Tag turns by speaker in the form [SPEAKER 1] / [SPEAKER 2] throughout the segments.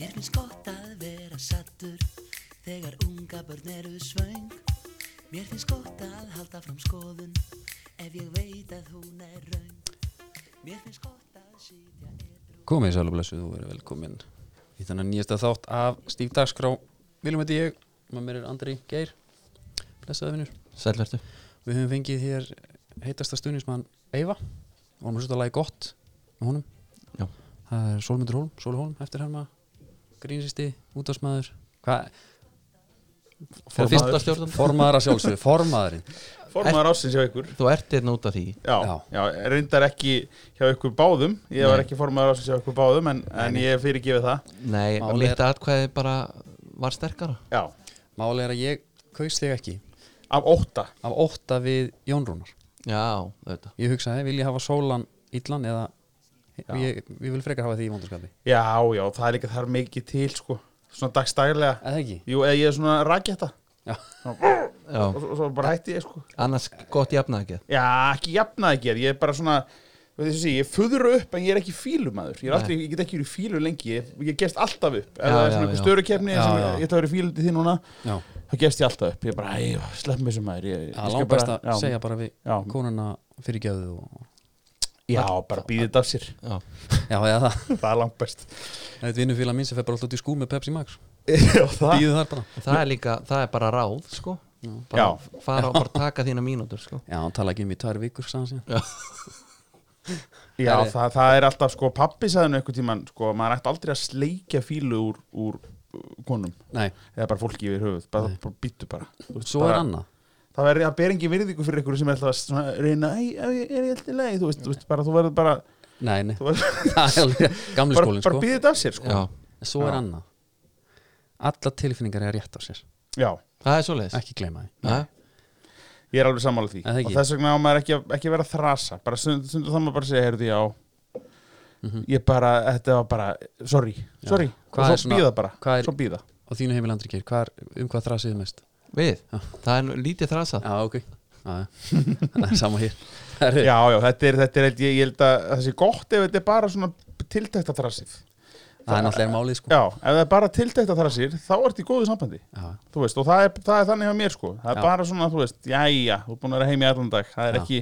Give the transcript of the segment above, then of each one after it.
[SPEAKER 1] Mér finnst gott að vera sattur þegar unga börn eru svöng. Mér finnst gott að halda fram skoðun ef ég veit að hún er raung. Mér finnst gott að sitja edru.
[SPEAKER 2] Komið sæl og blessuð og verið velkomin í þannig nýjasta þátt af Stíf Dagskrá Viljum þetta ég, maður mér er Andri Geir Blessaði vinnur
[SPEAKER 3] Sælvertu
[SPEAKER 2] Við höfum fengið hér heitasta stuðnismann Eyva og hann var svolítið að lagi gott með honum
[SPEAKER 3] Já.
[SPEAKER 2] Það er Solmundur Hólm, Sólu Hólm, eftir hann maður Grínsisti, útásmaður Hvað?
[SPEAKER 3] Formaður. Fyrstastjórnandi.
[SPEAKER 2] Formaður að sjálfsögðu, formaðurinn
[SPEAKER 4] Formaður ásins hjá ykkur
[SPEAKER 3] Þú ert einn út af því
[SPEAKER 4] já,
[SPEAKER 2] Já.
[SPEAKER 4] já. reyndar ekki hjá ykkur báðum Ég var ekki formaður ásins hjá ykkur báðum En, en ég fyrirgefið það
[SPEAKER 3] Nei,
[SPEAKER 2] Málið
[SPEAKER 3] Máli lítið atkvæði bara var sterkara
[SPEAKER 4] Já,
[SPEAKER 2] Máli er að ég kaus þig ekki
[SPEAKER 4] af ótta
[SPEAKER 2] af ótta við Jón Rúnar
[SPEAKER 3] Já, þetta
[SPEAKER 2] Ég hugsaði, vil ég hafa sólan illan eða ég, ég vil frekar hafa því í vondurskapi
[SPEAKER 4] Já, já, það er líka þar mikið til sko Svona dagstægilega
[SPEAKER 2] Eða ekki?
[SPEAKER 4] Jú, eða ég er svona rakjetta
[SPEAKER 2] Já.
[SPEAKER 4] og,
[SPEAKER 3] Já,
[SPEAKER 4] og svo bara hætti ég sko
[SPEAKER 3] annars gott jafna ekki
[SPEAKER 4] Já, ekki jafnaði ekki Ég er bara svona þú veist þessi, Ég fuðru upp en ég er ekki fílumadur Ég, er aldrei, ég get ekki verið í fílu lengi Ég, ég gefst alltaf upp Ef
[SPEAKER 3] Já,
[SPEAKER 4] það er
[SPEAKER 3] já,
[SPEAKER 4] svona einhver
[SPEAKER 3] já.
[SPEAKER 4] störu kefni
[SPEAKER 2] Já,
[SPEAKER 4] sem
[SPEAKER 2] já.
[SPEAKER 4] ég ætla að vera í fílu til því núna
[SPEAKER 2] Já,
[SPEAKER 4] þá gefst ég alltaf upp Ég bara, æ, slepp mér sem maður Ég, ég
[SPEAKER 2] það
[SPEAKER 4] skal
[SPEAKER 2] langt best að
[SPEAKER 4] já.
[SPEAKER 2] segja bara við
[SPEAKER 4] Já.
[SPEAKER 2] konuna fyrir gjöðu og...
[SPEAKER 4] Já, bara býðið þetta af sér
[SPEAKER 3] Já,
[SPEAKER 2] Já, eða það
[SPEAKER 4] Það er langt best
[SPEAKER 2] Það er vinnufélag minn sem fer bara alltaf út í skúr með Pepsi Max
[SPEAKER 4] Já, það
[SPEAKER 2] Býðu þar bara
[SPEAKER 3] Og það er líka, það er bara ráð, sko bara fara og bara taka þína mínútur, sko
[SPEAKER 2] Já, hann tala ekki um í tvær vikur sagði hann síðan.
[SPEAKER 4] Já, það, það er alltaf, sko, pappi sagði nú einhvern tímann, sko, maður ætti aldrei að sleikja fílu úr, úr uh, konum
[SPEAKER 2] Nei,
[SPEAKER 4] eða bara fólki yfir höfuð, bara, bara býttu bara Þú veist,
[SPEAKER 2] svo
[SPEAKER 4] bara,
[SPEAKER 2] er annað
[SPEAKER 4] Það verður að bera engin virðingu fyrir ykkur sem er alltaf að svona, reyna, ei, er ég- er ég alltaf leið, þú veist, þú veist, bara, þú verður bara
[SPEAKER 2] Nei, nei,
[SPEAKER 4] þú verður,
[SPEAKER 2] það er alveg gamli
[SPEAKER 4] bara,
[SPEAKER 2] skólinn
[SPEAKER 4] bara
[SPEAKER 2] sko
[SPEAKER 4] býðið þetta af sér, sko
[SPEAKER 3] Já,
[SPEAKER 2] Svo er
[SPEAKER 4] Já.
[SPEAKER 2] annað Alla tilfinningar er rétt á sér
[SPEAKER 4] Já,
[SPEAKER 3] það er svoleiðis
[SPEAKER 2] Ekki gleyma því
[SPEAKER 3] Nei.
[SPEAKER 4] ég er alveg sammála því
[SPEAKER 2] Eða ekki?
[SPEAKER 4] og þess vegna á maður ekki, að- ekki að vera að þrasa bara sund, sundur það maður bara að segja, heyrðu, já ég bara, þetta var bara sorry, sorry,
[SPEAKER 2] Mhm. Hvað
[SPEAKER 4] og
[SPEAKER 2] er
[SPEAKER 4] svo
[SPEAKER 2] svona-
[SPEAKER 4] býða bara,
[SPEAKER 2] hvað er-
[SPEAKER 4] svo býða
[SPEAKER 2] Á þínu heimil andri kýr, um hvað þrasið þið mest?
[SPEAKER 3] Við, það er nú lítið þrasað
[SPEAKER 2] Já, ok Já, já. Það er sama hér Herri,
[SPEAKER 4] Já, já, þetta er, þetta er held ég, ég held að það sé gott ef þetta er bara svona tiltækta þrassið.
[SPEAKER 2] Það er náttúrulega málið sko
[SPEAKER 4] Já, ef það er bara tiltækta þrassir, þá ertu í góðu sambandi,
[SPEAKER 2] Já,
[SPEAKER 4] þú veist, og það er, það er þannig hjá mér, sko. Það er
[SPEAKER 2] Já.
[SPEAKER 4] bara svona, þú veist, jæja, þú er búin að vera heim í allan dag, það er
[SPEAKER 2] Já.
[SPEAKER 4] ekki,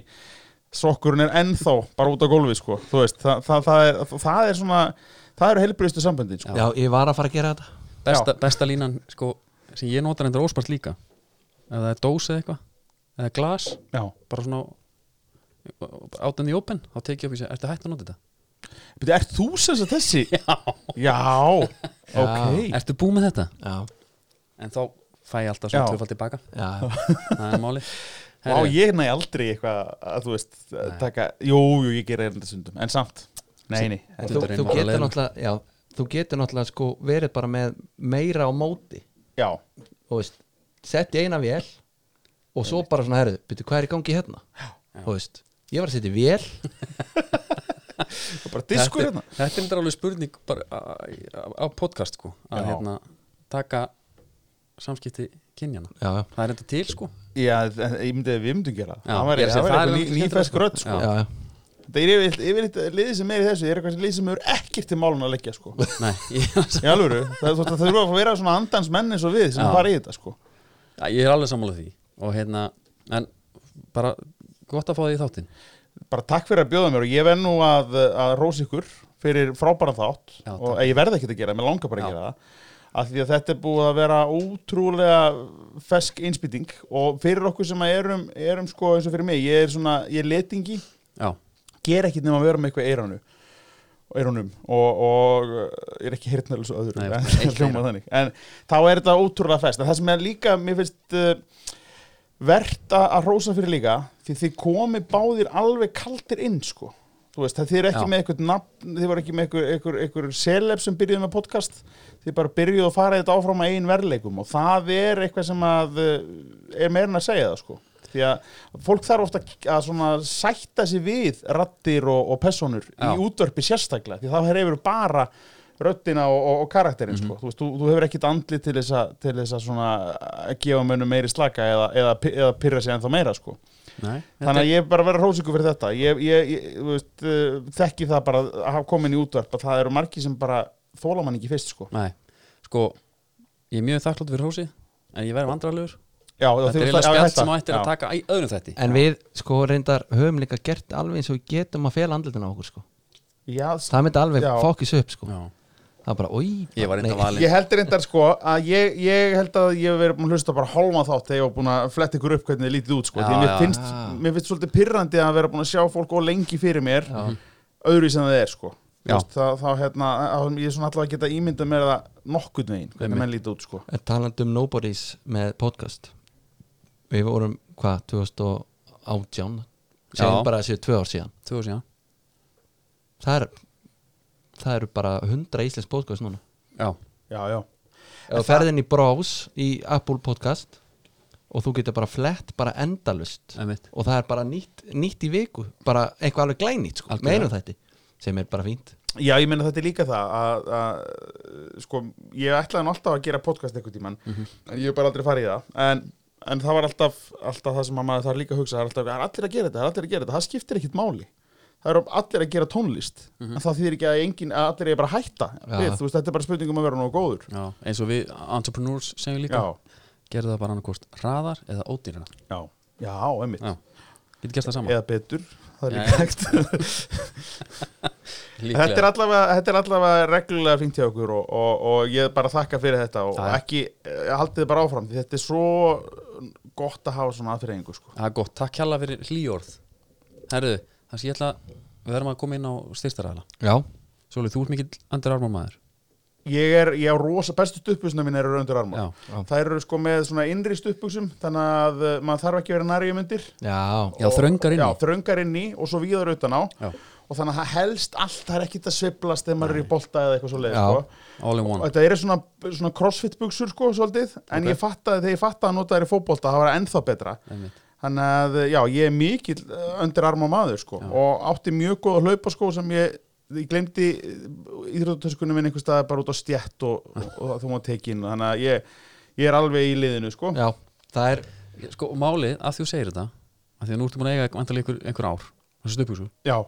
[SPEAKER 4] sokkurinn er ennþá bara út á gólfi, sko, þú veist, það, það, það, er, það er svona, það eru heilbriðstu sambandin, sko.
[SPEAKER 3] Já, ég var að fara að gera þetta
[SPEAKER 2] besta, besta línan sko, sem ég notar endur óspart líka ef það er dós eða eitthvað eða glas,
[SPEAKER 4] Já.
[SPEAKER 2] bara svona out in the open, þá tekið ég upp í sig ertu hægt að nota þetta?
[SPEAKER 4] Býtu, ert þú sem sagt þessi?
[SPEAKER 2] Já.
[SPEAKER 4] Já, ok.
[SPEAKER 2] Ertu búið með þetta?
[SPEAKER 3] Já,
[SPEAKER 2] En þá fæ ég alltaf svona
[SPEAKER 4] Já.
[SPEAKER 2] tvöfald tilbaka
[SPEAKER 3] já,
[SPEAKER 2] það er máli
[SPEAKER 4] Vá, ég næ aldrei eitthvað að, þú veist, taka, jú, jú, ég ger erindasundum, en samt. Nei, nei,
[SPEAKER 3] já. Þú, þú getur náttúrulega Já, þú getur náttúrulega sko verið bara með meira á móti
[SPEAKER 4] já,
[SPEAKER 3] og veist, sett í eina vél og svo bara svona herðu, byrju hvað er í gangi hérna og veist, ég var að setja í vél
[SPEAKER 4] bara diskur hérna
[SPEAKER 2] þetta er endur alveg spurning bara á, á- á podcast sko að
[SPEAKER 4] Já.
[SPEAKER 2] hérna taka samskipti kynjana
[SPEAKER 3] já, já,
[SPEAKER 2] það er enda til sko
[SPEAKER 4] Já, en ég myndi að við myndum gera
[SPEAKER 2] Já,
[SPEAKER 4] það var
[SPEAKER 2] ég er að segja,
[SPEAKER 4] það
[SPEAKER 2] það
[SPEAKER 4] var
[SPEAKER 2] er
[SPEAKER 4] eitthvað
[SPEAKER 2] ný-
[SPEAKER 4] nýfæsk
[SPEAKER 2] nýtröð,
[SPEAKER 4] rödd
[SPEAKER 2] sko.
[SPEAKER 4] sko.
[SPEAKER 3] já, já.
[SPEAKER 4] það er yfirleitt, yfirleitt liðið sem er í þessu er eitthvað liðið sem hefur ekkert til málun að leggja sko.
[SPEAKER 2] Nei, ég,
[SPEAKER 4] í alvöru, það, það, það þurfa að vera svona andans menn eins og við sem
[SPEAKER 2] Já.
[SPEAKER 4] fara í þetta sko.
[SPEAKER 2] Já, ég er alveg sammála því og hérna, en bara gott að fá því í þáttinn
[SPEAKER 4] bara takk fyrir að bjóða mér og ég verð nú að, að rósa ykkur fyrir frábæran þátt
[SPEAKER 2] Já, takk.
[SPEAKER 4] og eh, ég verð ekki að gera, mér langar
[SPEAKER 2] Já.
[SPEAKER 4] bara að gera það af því að þetta er búið að vera ótrúlega fesk einspýting og fyrir okkur sem að erum, erum sko eins og fyrir mig, ég er svona, ég er letingi
[SPEAKER 2] Já,
[SPEAKER 4] ger ekkert nema að vera með eitthvað eiranu eirunum og, og uh, ég er ekki hirtnælu svo öðru
[SPEAKER 2] Nei,
[SPEAKER 4] en,
[SPEAKER 2] eitt eyra.
[SPEAKER 4] hljóma þannig. en þá er þetta ótrúlega fest en það sem er líka, mér finnst uh, verðt að að hrósa fyrir líka því þið komi báðir alveg kaldir inn sko Þú Veist, það þið er ekki
[SPEAKER 2] Já.
[SPEAKER 4] með eitthvað nafn, þið voru ekki með eitthvað, eitthvað, eitthvað seleb sem byrjuðu með podcast þið bara byrjuðu að fara þetta áfram að einn verðleikum og það er eitthvað sem að uh, er meira en að segja það sko því að fólk þarf ofta að svona sætta sig við rattir og, og personur
[SPEAKER 2] Já.
[SPEAKER 4] í útvarpi sérstaklega því það hefur bara röddina og, og, og karakterinn
[SPEAKER 2] Mhm.
[SPEAKER 4] sko. þú, veist, þú, þú hefur ekkit andli til þess að, til þess að svona að gefa mönnum meiri slaka eða, eða, pi- eða pyrra sig ennþá meira sko.
[SPEAKER 2] nei
[SPEAKER 4] þannig að ég er bara að vera hrósingu fyrir eh, þetta ég, ég, ég þú veist, uh, þekki það bara að hafa komin í útvarp að það eru margi sem bara þóla mann ekki fyrst sko
[SPEAKER 2] Nei, sko Ég er mjög þakklátt fyrir hósi En ég verði vandrarlegur
[SPEAKER 4] já, já,
[SPEAKER 2] Þetta
[SPEAKER 4] þeir-
[SPEAKER 2] er eiginlega
[SPEAKER 4] já,
[SPEAKER 2] spjall
[SPEAKER 4] þetta.
[SPEAKER 2] sem á eftir
[SPEAKER 4] Já.
[SPEAKER 2] að taka í öðrum þætti
[SPEAKER 3] En við sko reyndar höfum líka gert alveg eins og við getum að fela andlutin á okkur sko
[SPEAKER 4] já, s-
[SPEAKER 3] Það myndi alveg
[SPEAKER 4] Já.
[SPEAKER 3] fókis upp sko
[SPEAKER 2] Já,
[SPEAKER 3] Það er bara, oi
[SPEAKER 2] ég var reynda
[SPEAKER 3] nei,
[SPEAKER 2] valinn
[SPEAKER 4] ég held reyndar sko að ég, ég held að ég hef verið búin að hlusta bara hálma þátt þegar ég var búin að fletta ykkur upp hvernig þið lítið út sko.
[SPEAKER 2] Já,
[SPEAKER 4] því að mér
[SPEAKER 2] já.
[SPEAKER 4] finnst,
[SPEAKER 3] Já.
[SPEAKER 4] mér finnst svolítið pirrandi að vera búin að sjá fólk og lengi fyrir mér öðru sem það er sko.
[SPEAKER 2] Já.
[SPEAKER 4] Vist, það, þá hérna, að, ég er svona allavega að geta ímyndað mér það nokkurn veginn hvernig
[SPEAKER 2] Einmitt.
[SPEAKER 4] menn lítið út sko.
[SPEAKER 3] En talandi um Nobodies með podcast Við vorum, hvað, 2018
[SPEAKER 2] Já.
[SPEAKER 3] Segjum bara þessi tvö ár síðan
[SPEAKER 2] Tvö ár síðan
[SPEAKER 3] Það er Það eru bara 100 íslensk podcast núna
[SPEAKER 2] Já,
[SPEAKER 4] já, já.
[SPEAKER 3] Ef þú ferð inn í Browse í Apple podcast og þú getur bara flett bara endalust
[SPEAKER 2] einmitt
[SPEAKER 3] og það er bara nýtt, nýtt í viku bara eitthvað alveg glænýtt sko,
[SPEAKER 2] Algjörlega.
[SPEAKER 3] meinu þetta sem er bara fínt
[SPEAKER 4] Já, ég meina þetta er líka það að, að sko, ég ætlaði nú alltaf að gera podcast einhvern tímann, en ég hef bara aldrei farið í það en, en það var alltaf, alltaf það sem að maður þarf líka að hugsa, það er alltaf það er allir að gera þetta, það er allir að gera þetta, það skiptir ekkit máli það eru allir að gera tónlist en það þýðir ekki að, engin, að allir er bara að hætta
[SPEAKER 3] Já.
[SPEAKER 4] við, þú veist, þetta er bara spurningum að vera nógu góður
[SPEAKER 2] Já, eins og við entrepreneurs segjum líka
[SPEAKER 4] Já.
[SPEAKER 2] Gerðu það bara annarkost hraðar eða ódýrara
[SPEAKER 4] Já, já, einmitt
[SPEAKER 2] Já, getur gert það saman
[SPEAKER 4] eða betur, það
[SPEAKER 2] Já,
[SPEAKER 4] er líka
[SPEAKER 2] já.
[SPEAKER 4] hægt þetta er allavega, þetta er allavega reglulega fínt hjá okkur og, og, og ég bara þakka fyrir þetta og
[SPEAKER 2] Það er-
[SPEAKER 4] ekki, eh, haldið þið bara áfram því þetta er svo gott að hafa svona aðfyrirðingu sko.
[SPEAKER 2] Það er gott, takk hella fyrir hlýjórð Herðu, þannig að ég ætla Við verðum að koma inn á styrstaræðla
[SPEAKER 3] Já,
[SPEAKER 2] Svolítið, þú ert mikill andur armamaður
[SPEAKER 4] ég er, ég á rosa bestu stuppusna mín eru raundur armar
[SPEAKER 2] Já.
[SPEAKER 3] Já.
[SPEAKER 4] þær eru sko með svona innri stuppuksum þannig að eh, maður þarf ekki að vera nærjum undir
[SPEAKER 3] já,
[SPEAKER 2] Já, þröngar inn í.
[SPEAKER 4] já, þröngar inn í og svo víðar utan á
[SPEAKER 2] Já.
[SPEAKER 4] og þannig að það helst allt, það er ekkit að sveiflast þegar maður er í bolta eða eitthvað svo leið
[SPEAKER 3] Já.
[SPEAKER 4] sko.
[SPEAKER 2] All in
[SPEAKER 4] og
[SPEAKER 2] one
[SPEAKER 4] þetta eru svona, svona crossfit buksur sko svolítið, en ég fattaði þegar ég fattaði að nota þær í fótbolta, það var ennþá betra
[SPEAKER 2] Einmitt.
[SPEAKER 4] þannig að já, ég er mikill eh, undir arma maður sko og átti mjög góða hlaupaskó sem ég ég glemdi íþróttöskunum minn einhvers staðar bara út á stjætt og, og, og þú maður tekin þannig að ég, ég er alveg í liðinu sko
[SPEAKER 3] já það er
[SPEAKER 2] Ég- Sko, og málið, að þú segir þetta að Því að nú ertu búin að eiga vantarlega einhver, einhver ár Þessu stöpjúsu,
[SPEAKER 4] Já,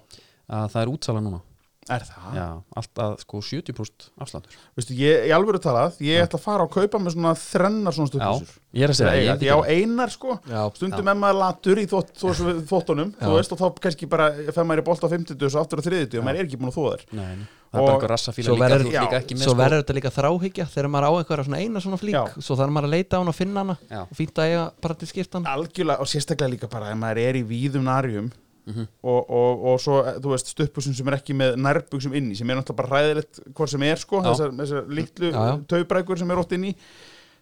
[SPEAKER 2] að það er útsala núna
[SPEAKER 4] er það?
[SPEAKER 2] Já, allt að sko 70% afslandur
[SPEAKER 4] Veistu, ég, í alvöru talað, ég ætla að fara og kaupa með svona þrennar svona stöðbúsur.
[SPEAKER 2] Já, ég er að segja, ég
[SPEAKER 4] Ég,
[SPEAKER 2] get
[SPEAKER 4] ég á
[SPEAKER 2] það.
[SPEAKER 4] einar sko,
[SPEAKER 3] Já,
[SPEAKER 4] stundum er maður latur í þvott, þó, svo við þvottunum, þú
[SPEAKER 3] Já.
[SPEAKER 4] veist, og þá kannski bara fer maður í bolt á 50 og svo aftur á 30 og maður er ekki búin að þóða þér.
[SPEAKER 2] Nei, nei. það er bara
[SPEAKER 4] Og-
[SPEAKER 2] einhver rassafíla
[SPEAKER 3] svo
[SPEAKER 2] líka,
[SPEAKER 3] verður,
[SPEAKER 2] þú
[SPEAKER 4] já,
[SPEAKER 2] ert líka ekki með
[SPEAKER 3] svo
[SPEAKER 2] sko-
[SPEAKER 3] verður þetta líka þráhyggja þegar maður á eitthvað svona eina svona flík
[SPEAKER 4] Já.
[SPEAKER 3] svo þarf maður að leita á hana og finna hana
[SPEAKER 2] Já.
[SPEAKER 3] og fínt að eiga bara til skiptana
[SPEAKER 4] Algjörlega, og sérstaklega líka bara, ef maður er í víðum nærjum
[SPEAKER 3] Mhm.
[SPEAKER 4] og, og, og svo, eh, þú veist, stöppusum sem er ekki með nærbuksum inni, sem er náttúrulega bara ræðilegt hvort sem er sko,
[SPEAKER 2] Já.
[SPEAKER 4] þessar, þessar litlu
[SPEAKER 3] Já, já.
[SPEAKER 4] taubrækur sem er ótt inni,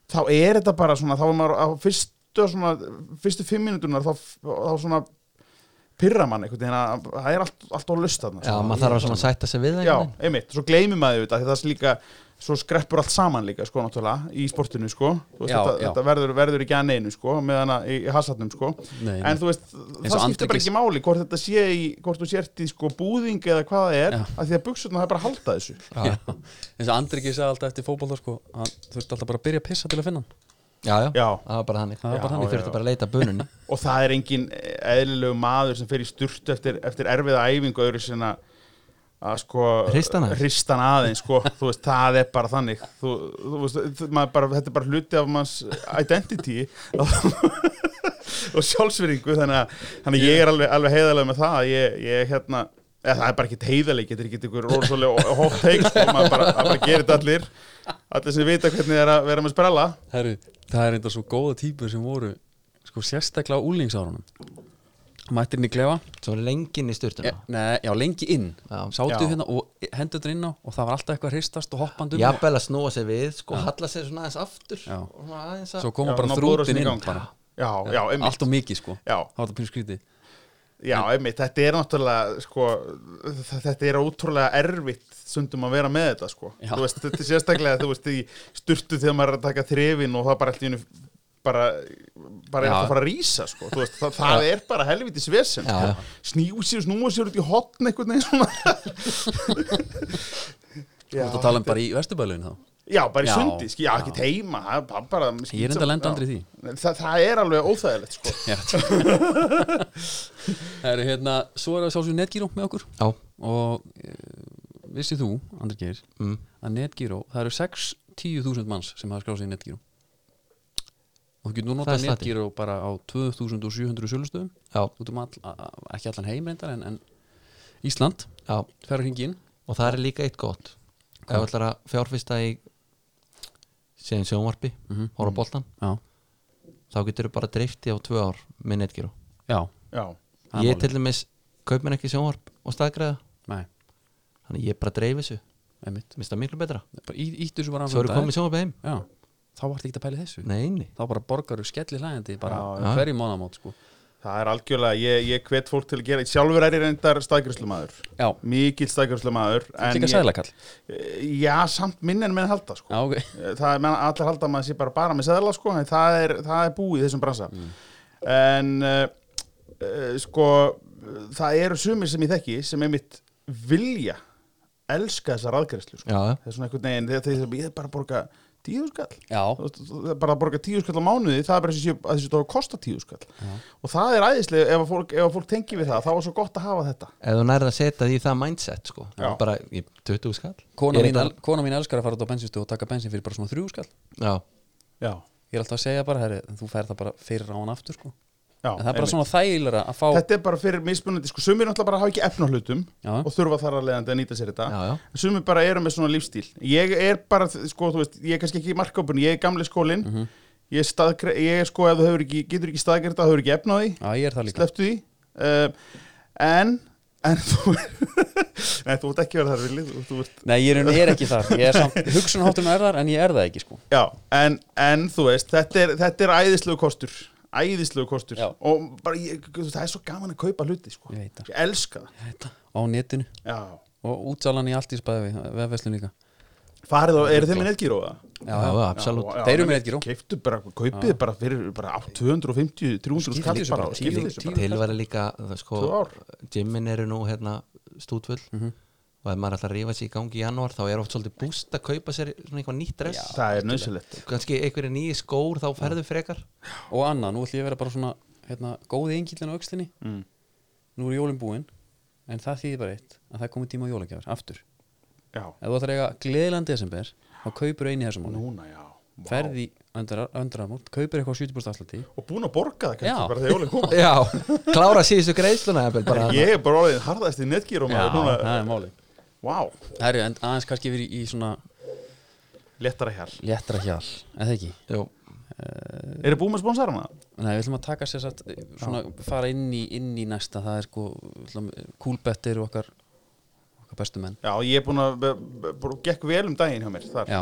[SPEAKER 4] þá er þetta bara svona, þá er maður á fyrstu, svona, fyrstu fimm minútunar, þá, þá svona pyrra mann einhvern veginn að það er allt, allt á lust þarna. sko.
[SPEAKER 3] já,
[SPEAKER 4] svona.
[SPEAKER 3] maður þarf að svona sætta sig við það
[SPEAKER 4] Já,
[SPEAKER 3] einhvern veginn.
[SPEAKER 4] einmitt, svo gleymir maður þetta, því það er líka, svo skreppur allt saman líka, sko, náttúrulega, í sportinu, sko, Þú veist,
[SPEAKER 2] Já,
[SPEAKER 4] þetta,
[SPEAKER 2] já.
[SPEAKER 4] þetta verður, verður ekki að neinu, sko, meðan að í, í hasatnum, sko,
[SPEAKER 2] Nei, nei.
[SPEAKER 4] en þú veist, það
[SPEAKER 2] og
[SPEAKER 4] skiptir bara
[SPEAKER 2] andríkis-
[SPEAKER 4] ekki máli hvort þetta sé í, hvort þú sért í, sko, búðing eða hvað það er,
[SPEAKER 2] Já.
[SPEAKER 4] að því að buksutna það er bara að halda þessu.
[SPEAKER 2] Já, eins og Andri ekki sagði alltaf eftir fótbolta sko, að þú þurft alltaf bara að byrja að pissa til að finna hann
[SPEAKER 3] já, já,
[SPEAKER 4] Já.
[SPEAKER 3] það var bara þannig
[SPEAKER 2] Það var bara
[SPEAKER 3] Já,
[SPEAKER 2] þannig.
[SPEAKER 3] ég þurfti bara að leita bununni
[SPEAKER 4] og það er engin eðlilegu maður sem fer í styrtu eftir, eftir erfiða æfingu öðru sinna að sko
[SPEAKER 3] Hrista hann aðeins.
[SPEAKER 4] hrista hann aðeins sko, þú veist, það er bara þannig þú, þú veist, þú- maður bara, þetta er bara hluti af manns identity og sjálfsveringu þannig að, þannig að ég er alveg, alveg heiðalega með það að ég, ég hérna eða það er bara ekki heiðaleg, getur ekki ykkur rosalega hótt teik, sko, maður bara, að bara gerir þetta allir allir sem vita hvernig það er að vera með sprella
[SPEAKER 2] Herru, það er enda svo góða típur sem voru sko, sérstaklega á úlingsárunum mættir inn í klefa
[SPEAKER 3] svo lengin í styrtuna
[SPEAKER 2] e, nei, já, lengi inn,
[SPEAKER 3] Já.
[SPEAKER 2] sátu
[SPEAKER 4] Já.
[SPEAKER 2] hérna og hendur þetta inn á og það var alltaf eitthvað að hristast og um hoppandum
[SPEAKER 3] jafnvel að snúa sig við sko, halla sér svona aðeins aftur
[SPEAKER 2] Já.
[SPEAKER 3] og svona aðeins að
[SPEAKER 2] svo koma
[SPEAKER 4] Já, ná
[SPEAKER 2] bara
[SPEAKER 4] blóðrásinn
[SPEAKER 2] þrútin
[SPEAKER 4] í
[SPEAKER 2] inn
[SPEAKER 4] gang.
[SPEAKER 2] bara.
[SPEAKER 4] já, já, einmitt
[SPEAKER 2] allt og mikið sko,
[SPEAKER 4] Já.
[SPEAKER 2] það var það pínu skrítið
[SPEAKER 4] Já, einmitt, þetta er náttúrulega sko, þ- þetta er ótrúlega erfitt sundum að vera með þetta sko.
[SPEAKER 2] Já.
[SPEAKER 4] þú veist, þetta er sérstaklega, þú veist, í sturtu þegar maður er að taka þrefin og það bara allt í unni bara, bara er
[SPEAKER 2] Já.
[SPEAKER 4] alltaf að fara að rísa sko. þú veist, það, það er bara helviti svesen
[SPEAKER 3] Já, já.
[SPEAKER 4] snýu sér, snúa sér út í hotn einhvern veginn svona
[SPEAKER 2] þú ert að tala um bara í vesturbælun þá
[SPEAKER 4] Já, bara í
[SPEAKER 2] Já.
[SPEAKER 4] sundi, skil, já, ekki teima það, það bara,
[SPEAKER 2] Ég er enda að lenda aldrei í því.
[SPEAKER 4] það, það er alveg óþægilegt sko.
[SPEAKER 2] Já. Herru, hérna, svo er að sjálfsögur netgíró með okkur
[SPEAKER 3] já,
[SPEAKER 2] og e, vissið þú, Andri Geir
[SPEAKER 3] Mm.
[SPEAKER 2] að NetGyró, það eru 6 10.000 manns sem hafa skráð sig í NetGyró og þú getur nú
[SPEAKER 3] Það
[SPEAKER 2] notað
[SPEAKER 3] er slatti.
[SPEAKER 2] NetGyró bara á 2.700 sölustöðum
[SPEAKER 3] já,
[SPEAKER 2] út um all, a- a- ekki allan heim reyndar en, en Ísland,
[SPEAKER 3] já
[SPEAKER 2] fer að hringi inn
[SPEAKER 3] og það er líka eitt gott ef
[SPEAKER 2] Hvað?
[SPEAKER 3] þú ætlar að fjárfista í séðan sjónvarpi
[SPEAKER 2] Mhm.
[SPEAKER 3] horfa á boltan,
[SPEAKER 2] já,
[SPEAKER 3] þá getur þú bara dreifti á tvö ár með netgíru
[SPEAKER 2] já,
[SPEAKER 4] já,
[SPEAKER 2] Það er
[SPEAKER 3] ég
[SPEAKER 2] málið.
[SPEAKER 3] til dæmis kaup mér ekki sjónvarp og staðgræða
[SPEAKER 2] nei,
[SPEAKER 3] þannig ég bara dreif þessu,
[SPEAKER 2] einmitt
[SPEAKER 3] minnst það miklu betra
[SPEAKER 2] bara í- íttu þessu bara
[SPEAKER 3] svo eru
[SPEAKER 2] dag.
[SPEAKER 3] komið sjónvarpi heim,
[SPEAKER 2] já, þá vart ekki að pæla í þessu
[SPEAKER 3] neini
[SPEAKER 2] þá bara borgaru skelli hlægandi bara
[SPEAKER 4] Já,
[SPEAKER 3] já.
[SPEAKER 2] hverju mánamót sko
[SPEAKER 4] það er algjörlega ég, ég hvet fólk til að gera, sjálfur er ég reyndar staðgjörslumadur,
[SPEAKER 2] já,
[SPEAKER 4] mikill staðgjörslumadur
[SPEAKER 2] líka sæðlakall
[SPEAKER 4] Eh, já, samt minn en menn halda sko.
[SPEAKER 2] já, ok,
[SPEAKER 4] það er, menn, allir halda að maður sé bara bara með seðla sko, en það er, það er búið í þessum bransa
[SPEAKER 2] Mm.
[SPEAKER 4] en uh, uh, sko það eru sumir sem ég þekki sem einmitt vilja elska þessar aðgæðslu sko.
[SPEAKER 3] já, já.
[SPEAKER 4] það er svona einhvern veginn þegar þeir ég er bara að borga tíu skall
[SPEAKER 2] já,
[SPEAKER 4] Þú veist, það er bara að borga tíu skall á mánuði það er bara eins og sé að þessi tók kosta tíu skall og það er æðislega ef að fólk, ef að fólk tengi við það þá er svo gott að hafa þetta
[SPEAKER 3] ef þú nærið að setja því það mindset sko.
[SPEAKER 4] Já.
[SPEAKER 3] bara í 20 skall
[SPEAKER 2] kona
[SPEAKER 3] Ég er
[SPEAKER 2] mín,
[SPEAKER 3] þetta-
[SPEAKER 2] el, kona mín elskar að fara út á bensinstu og taka bensin fyrir bara svona þrjú skall
[SPEAKER 3] já,
[SPEAKER 4] já,
[SPEAKER 2] ég er alltaf að segja bara, herri, þú fær það bara fyrir á hann aftur sko,
[SPEAKER 4] já,
[SPEAKER 2] en það er bara
[SPEAKER 4] einmitt.
[SPEAKER 2] svona þægilega að fá
[SPEAKER 4] þetta er bara fyrir mismunandi sko, sumir náttúrulega bara hafa ekki efn á hlutum
[SPEAKER 2] Já.
[SPEAKER 4] og þurfa þar að leiðandi að nýta sér þetta
[SPEAKER 3] já, já,
[SPEAKER 4] En sumir bara eru með svona lífstíl ég er bara, sko, þú veist, ég er kannski ekki í markkópun ég er gamli skólin
[SPEAKER 2] Mhm.
[SPEAKER 4] ég, er staðgre- ég er sko, ef þú hefur ekki, getur ekki staðgerð það hefur ekki efn á því,
[SPEAKER 2] já, ég er það líka
[SPEAKER 4] sleftu því uh, en en þú nei, þú ert ekki verið þar villi þú, þú ert,
[SPEAKER 2] Nei, ég er, ég er ekki þar, ég er samt, hugsunhátturinn er þar en ég er það ekki sko
[SPEAKER 4] já, en, en þú veist þetta er, þetta er æðislegu kostur æðislegu kostur
[SPEAKER 2] Já.
[SPEAKER 4] og bara, ég, þú veist, það er svo gaman að kaupa hluti sko.
[SPEAKER 2] Ég veit það.
[SPEAKER 4] elska það
[SPEAKER 2] á netinu
[SPEAKER 4] já.
[SPEAKER 2] og útsalan í allt í spæði vefveslun líka
[SPEAKER 4] farið og eru þeim með netgíróða
[SPEAKER 2] Já,
[SPEAKER 3] já,
[SPEAKER 2] já,
[SPEAKER 3] absolutt
[SPEAKER 2] Þeir eru með netgíró.
[SPEAKER 4] Keiptu bara, kaupið bara fyrir bara á 250, 300
[SPEAKER 2] Skiptu
[SPEAKER 4] skall
[SPEAKER 2] þessu
[SPEAKER 4] bara
[SPEAKER 2] bara,
[SPEAKER 4] og skiptu
[SPEAKER 2] tíu-
[SPEAKER 4] þessu
[SPEAKER 2] tíu-
[SPEAKER 4] bara
[SPEAKER 3] tilværi líka það sko,
[SPEAKER 4] Tvö ár.
[SPEAKER 3] gymmin eru nú hérna stútvöld og ef maður ætlar að rífa sér í gangi í janúar þá er oft svolítið búst að kaupa sér svona eitthvað nýtt dress
[SPEAKER 4] Það er nöðsilegt
[SPEAKER 3] kannski einhverju nýji skór þá ferðu frekar
[SPEAKER 2] og annað, nú ætlum ég að vera bara svona hérna, góði engillin á aukslinni
[SPEAKER 4] Mm.
[SPEAKER 2] nú er jólin búin, en það þýðir bara eitt að það komið tíma á jólagjafar, aftur ef
[SPEAKER 4] Já,
[SPEAKER 2] þú ætlar að eiga gleðilan desember þá kaupur eini þessum mánu
[SPEAKER 4] núna já Vá.
[SPEAKER 2] ferði öndramót, kaupur eitthvað á 70% afslati
[SPEAKER 4] Og búin að borga það
[SPEAKER 2] Já.
[SPEAKER 4] kannski bara þegar jólinn koma
[SPEAKER 3] já, klára síðustu greiðsluna jafnvel, bara
[SPEAKER 4] Ég er bara orðin harðast í netgírum
[SPEAKER 2] Já, það er máli
[SPEAKER 4] Vá,
[SPEAKER 2] Það eru en aðeins kannski verið í svona
[SPEAKER 4] léttara hér
[SPEAKER 2] léttra hjal, eða ekki Eh,
[SPEAKER 3] Jú,
[SPEAKER 4] Eru búin með sponsarana?
[SPEAKER 2] Nei, við ætlum að taka sér satt eh, svona, fara inn í, inn í næsta það er sko, kúlbett eru okkar okkar bestu menn
[SPEAKER 4] Já, ég er búin að b- b- bara gekk vel um daginn hjá mér þar.
[SPEAKER 2] Já,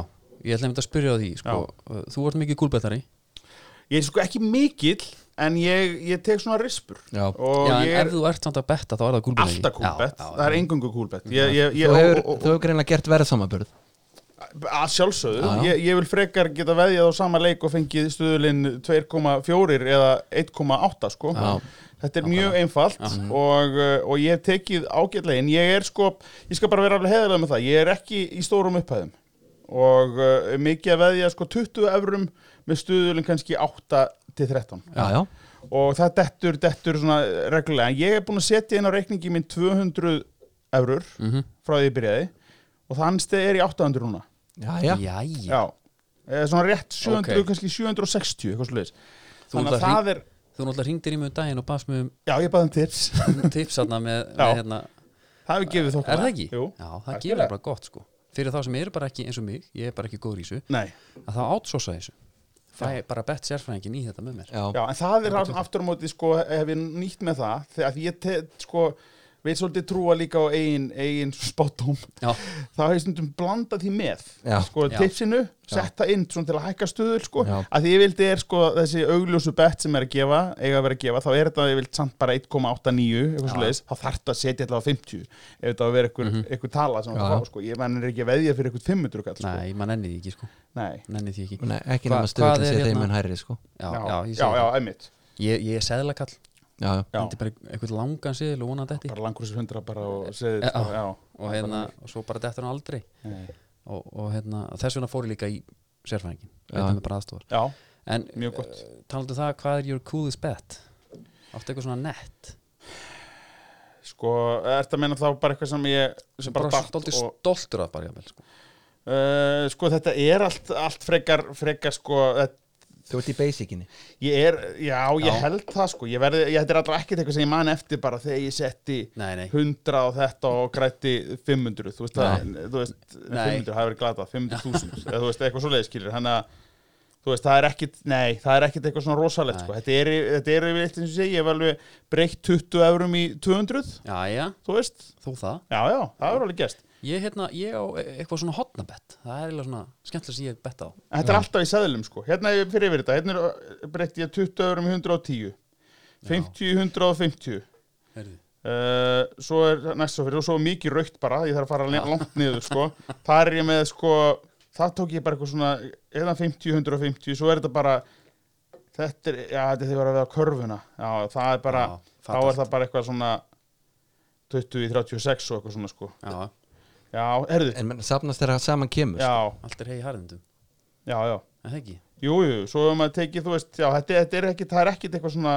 [SPEAKER 2] ég ætla einmitt að spyrja á því sko, uh, þú ert mikið kúlbettari
[SPEAKER 4] Ég er sko ekki mikill en ég, ég tek svona rispur
[SPEAKER 3] Já.
[SPEAKER 4] og
[SPEAKER 2] Já, en
[SPEAKER 4] ég er
[SPEAKER 2] ef þú ert samt að betta þá er það kúlbett
[SPEAKER 4] alltaf kúlbett
[SPEAKER 2] já,
[SPEAKER 4] Það er engungu kúlbett ég, ég, ég,
[SPEAKER 3] þú hefur,
[SPEAKER 4] og- og-
[SPEAKER 3] þú hefur greinlega gert verðsamaburð
[SPEAKER 4] Að sjálfsögðu,
[SPEAKER 3] Já, já.
[SPEAKER 4] Ég, ég vil frekar geta veðjað á sama leik og fengið stuðulinn 2,4 eða 1,8 sko
[SPEAKER 3] Já.
[SPEAKER 4] Þetta er mjög einfalt og, uh, og ég hef tekið ágætlega en ég er sko, ég skal bara vera alveg heðalega með það, ég er ekki í stórum upphæðum og uh, mikið að veðja sko 20 eurum með stuðulinn kannski 8 til 13
[SPEAKER 3] já, já,
[SPEAKER 4] og það dettur, dettur svona reglulega en ég er búin að setja inn á reikningi minn 200 eurur
[SPEAKER 3] Mhm.
[SPEAKER 4] frá því ég byrjaði og það hans er í 800 núna
[SPEAKER 3] já,
[SPEAKER 2] já.
[SPEAKER 3] já.
[SPEAKER 2] Já,
[SPEAKER 4] Já, eða svona rétt 700,
[SPEAKER 2] Ok.
[SPEAKER 4] kannski 760 eitthvað sliðis
[SPEAKER 2] Þú
[SPEAKER 4] Þannig að
[SPEAKER 2] náttúrulega
[SPEAKER 4] það er,
[SPEAKER 2] Þú náttúrulega hringdir í mig um daginn og baðst mig um
[SPEAKER 4] já ég baði um tips
[SPEAKER 2] tips þarna með,
[SPEAKER 4] Já.
[SPEAKER 2] með hérna,
[SPEAKER 4] Það hefur gefið þóknað
[SPEAKER 2] er það ekki?
[SPEAKER 4] Jú,
[SPEAKER 2] Já, það gefur
[SPEAKER 4] algjörlega.
[SPEAKER 2] bara gott sko Fyrir þá sem eru bara ekki eins og mig, ég er bara ekki góður í þessu
[SPEAKER 4] Nei,
[SPEAKER 2] að þá outsourca þessu Fæ bara bett sérfræðingin í þetta með mér
[SPEAKER 4] já en það er hann aftur á móti sko hef ég nýtt með það þegar að ég te, sko veit svolítið trúa líka á eigin, eigin spátum
[SPEAKER 2] Já,
[SPEAKER 4] þá hef ég stundum blandað því með
[SPEAKER 3] Já.
[SPEAKER 4] sko
[SPEAKER 2] Já.
[SPEAKER 4] tipsinu, setta inn svona til að hækka stuðul sko,
[SPEAKER 3] Já.
[SPEAKER 4] að því ég vildi er sko þessi augljósu bett sem er að gefa eiga að vera að gefa, þá er þetta ég vildi samt bara 1,89 eitthvað svo leiðis, þá þarf þetta að setja allavega 50, ef þetta á að vera eitthvað,
[SPEAKER 2] Mhm.
[SPEAKER 4] eitthvað tala sem
[SPEAKER 3] Já,
[SPEAKER 4] það
[SPEAKER 3] já.
[SPEAKER 4] fá sko, ég menn er ekki að veðja fyrir eitthvað 500 kall, sko.
[SPEAKER 2] nei, maður nenni því ekki sko
[SPEAKER 4] nei,
[SPEAKER 2] Nenni því ekki
[SPEAKER 3] Nei, ekki
[SPEAKER 2] Hva-
[SPEAKER 3] nema
[SPEAKER 2] hvað
[SPEAKER 3] stöðu
[SPEAKER 2] er
[SPEAKER 3] til þeim
[SPEAKER 2] hérna?
[SPEAKER 3] en hærri sko.
[SPEAKER 2] Já,
[SPEAKER 4] já,
[SPEAKER 2] já, ég
[SPEAKER 4] já,
[SPEAKER 2] segi
[SPEAKER 4] já,
[SPEAKER 2] það
[SPEAKER 4] einmitt
[SPEAKER 2] Ég, ég er seðlakall,
[SPEAKER 3] já, já,
[SPEAKER 4] já,
[SPEAKER 2] þetta er bara eitthvað langan seðil og vonandi þetta
[SPEAKER 4] bara langur þessi 100 bara og segði
[SPEAKER 2] Já.
[SPEAKER 4] þetta, já,
[SPEAKER 2] og, hérna, og svo bara dettur hann aldrei
[SPEAKER 4] Nei.
[SPEAKER 2] og, og hérna, þess vegna fór ég líka í sérfræðingin
[SPEAKER 3] Já.
[SPEAKER 2] þetta með bara aðstofar
[SPEAKER 4] já,
[SPEAKER 2] En
[SPEAKER 4] mjög gott
[SPEAKER 2] talandu það, hvað er your coolest bet? Áttu eitthvað svona nett
[SPEAKER 4] sko, ertu að meina þá bara eitthvað sem ég sem bara
[SPEAKER 2] bara
[SPEAKER 4] datt
[SPEAKER 2] stoltur,
[SPEAKER 4] og-
[SPEAKER 2] stoltur að bara jáfnvel sko.
[SPEAKER 4] uh, sko þetta er allt, allt frekar, frekar sko, þetta-
[SPEAKER 3] Þú ert í basicinni
[SPEAKER 4] ég er, já, ég
[SPEAKER 3] Já.
[SPEAKER 4] held það sko ég verði, ég, þetta er allra ekkert eitthvað sem ég man eftir bara þegar ég setti
[SPEAKER 2] Nei, nei.
[SPEAKER 4] 100 á þetta og grætti 500 þú veist, það, þú veist
[SPEAKER 2] Nei.
[SPEAKER 4] 500 hafi verið glatað, 500.000 eða þú veist, eitthvað svo leiðskilur, hann að þú veist, það er ekkit, nei, það er ekkit eitthvað svona rosalegt sko, þetta er, þetta er yfir eitt eins og sé, ég hef alveg breytt 20 eurum í 200,
[SPEAKER 2] Já, já,
[SPEAKER 4] þú veist
[SPEAKER 2] þó það
[SPEAKER 4] já, já, það er alveg gest
[SPEAKER 2] Ég, hérna, ég á eitthvað svona hotnabett Það er eiginlega svona skemmtilega sem ég betta á
[SPEAKER 4] Þetta er alltaf í seðlum sko Hérna er fyrir yfir þetta, hérna er- breytti ég 20 eurum í 110 50 í 150
[SPEAKER 2] Heyrðu.
[SPEAKER 4] uh, Svo er næsta fyrir og svo er mikið raukt bara, ég þarf að fara le- langt niður sko Það er ég með sko Það tók ég bara eitthvað svona eða 50, 150, svo er þetta bara Þetta er, já þetta er þegar að veða körfuna Já, það er bara,
[SPEAKER 2] Já,
[SPEAKER 4] þá er það bara eitthvað svona 20 í 36 og eitthvað svona sko
[SPEAKER 2] Já,
[SPEAKER 4] Já, herðu,
[SPEAKER 3] En menn, safnast þeirra saman kemur sko.
[SPEAKER 4] já,
[SPEAKER 2] allt er hegi harðindum
[SPEAKER 4] já, já
[SPEAKER 2] En það ekki
[SPEAKER 4] Jú, jú, svo hefur maður tekið, þú veist, já, þetta, þetta er ekkit, það er ekkit eitthvað svona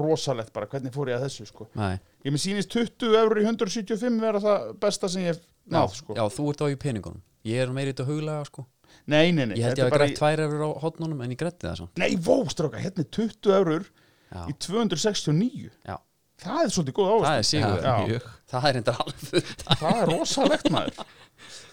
[SPEAKER 4] rosalegt bara, hvernig fór ég að þessu, sko.
[SPEAKER 2] Nei.
[SPEAKER 4] Ég með sýnist 20 eurur í 175 vera það besta sem ég hef náð, sko.
[SPEAKER 2] Já, þú ert á í peningunum Ég er meiri þetta huglega sko
[SPEAKER 4] Nei, nei, nei.
[SPEAKER 2] Ég held
[SPEAKER 4] þetta
[SPEAKER 2] ég
[SPEAKER 4] er
[SPEAKER 2] að
[SPEAKER 4] bara
[SPEAKER 2] grætt tvær efur á hotnunum En ég grætti það svo
[SPEAKER 4] í- Nei, vó, stráka, hérna er 20 eurur
[SPEAKER 2] Já,
[SPEAKER 4] í 269.
[SPEAKER 2] já
[SPEAKER 4] Það er svolítið góð
[SPEAKER 2] Það
[SPEAKER 4] áherslu.
[SPEAKER 2] er sigur
[SPEAKER 4] Já.
[SPEAKER 3] mjög
[SPEAKER 2] Það er enda alveg fullt af-
[SPEAKER 4] Það er rosalegt, maður.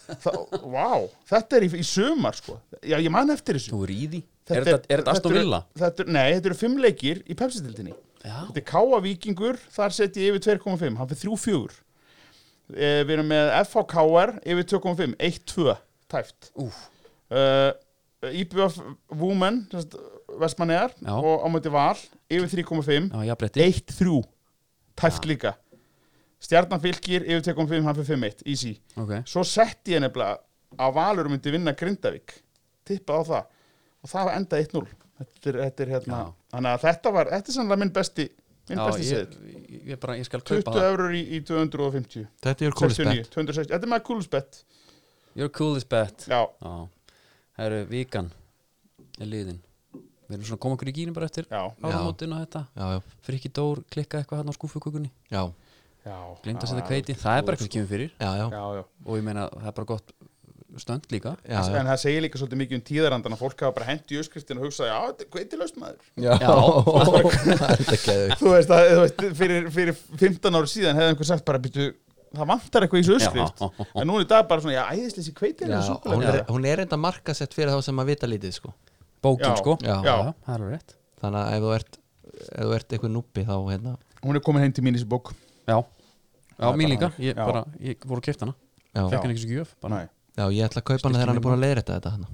[SPEAKER 4] Það, vá, þetta er í, í sumar, sko. Já, ég man eftir þessu.
[SPEAKER 2] Þú er í því Er þetta- er þetta Aston
[SPEAKER 4] eru-
[SPEAKER 2] Villa?
[SPEAKER 4] þetta eru- Nei, þetta eru fimm leikir í pepsitildinni.
[SPEAKER 2] Já,
[SPEAKER 4] Þetta er Káa Víkingur, þar set ég yfir 2,5, hann fyrir 3,4. Eh, við erum með FHKR yfir 2,5, 1,2, tæft.
[SPEAKER 2] úf
[SPEAKER 4] Uh, IBF Women, Vestmannegar
[SPEAKER 2] Já.
[SPEAKER 4] og ámöndi Val yfir 3,5,
[SPEAKER 2] Já, ég bretti
[SPEAKER 4] 1,3, tæft líka. Stjarnanfylgir yfir 2,5, hann fyrir 5,1, easy.
[SPEAKER 2] Ok
[SPEAKER 4] Svo setti ég nefnilega að Valur myndi vinna Grindavík, tippað á það og það var enda 1-0. Þetta er, þetta er hérna,
[SPEAKER 2] Já.
[SPEAKER 4] þannig að þetta var, þetta er sannlega minn besti, minn
[SPEAKER 2] Já, ég,
[SPEAKER 4] besti seðill.
[SPEAKER 2] ég, ég bara, ég skal kaupa
[SPEAKER 4] 20
[SPEAKER 2] það
[SPEAKER 4] eurur í, í 250
[SPEAKER 3] Þetta er kúlisbett
[SPEAKER 4] 69, 260, þetta er maður kúlusbett
[SPEAKER 2] You're cool as bet
[SPEAKER 4] já,
[SPEAKER 2] Já Það eru vikan Er liðin Við erum svona að koma okkur í gínu bara eftir
[SPEAKER 4] já,
[SPEAKER 2] Áramótin og þetta
[SPEAKER 3] Já, já,
[SPEAKER 2] Frikki Dór klikka eitthvað hann á skúfukökunni
[SPEAKER 3] já,
[SPEAKER 4] já
[SPEAKER 2] Gleimta að setja kveiti Það er bara eitthvað sem kemur fyrir
[SPEAKER 3] já, já,
[SPEAKER 4] já, já.
[SPEAKER 2] Og ég meina það er bara gott stönd líka
[SPEAKER 3] já, já.
[SPEAKER 4] en það segir líka svolítið mikið um tíðarandan að fólk hafa bara hent í öskristinu og hugsa já, þetta er kveitilaust maður
[SPEAKER 3] Já,
[SPEAKER 2] Já.
[SPEAKER 3] það er ekki
[SPEAKER 4] þú veist, að, þú veist fyrir, fyrir 15 ári síðan hefði einhver sagt bara býtu það vantar eitthvað í þessu öskrift
[SPEAKER 2] Já.
[SPEAKER 4] en nú er í dag bara svona, já, æðisleysi
[SPEAKER 3] Já,
[SPEAKER 4] kveitilaust
[SPEAKER 3] hún er, hún er enda markasett fyrir þá sem að vita lítið sko.
[SPEAKER 2] Bókin
[SPEAKER 4] Já.
[SPEAKER 2] sko
[SPEAKER 3] Já.
[SPEAKER 2] Það er alveg rétt
[SPEAKER 3] Þannig að ef þú ert ef þú ert eitthvað núpi þá hérna
[SPEAKER 4] hún er komin heim til mín í þessu bók
[SPEAKER 2] Já Já,
[SPEAKER 4] er
[SPEAKER 2] mín
[SPEAKER 4] bara
[SPEAKER 2] líka
[SPEAKER 4] þannig.
[SPEAKER 2] Ég
[SPEAKER 4] Já.
[SPEAKER 2] bara, ég voru að kipta hana
[SPEAKER 3] Já,
[SPEAKER 2] Fekk hann ekki svo gjöf bara.
[SPEAKER 4] Nei.
[SPEAKER 3] já ég ætla að kaupa hana þegar hann er búin að leiðrætta þetta hana.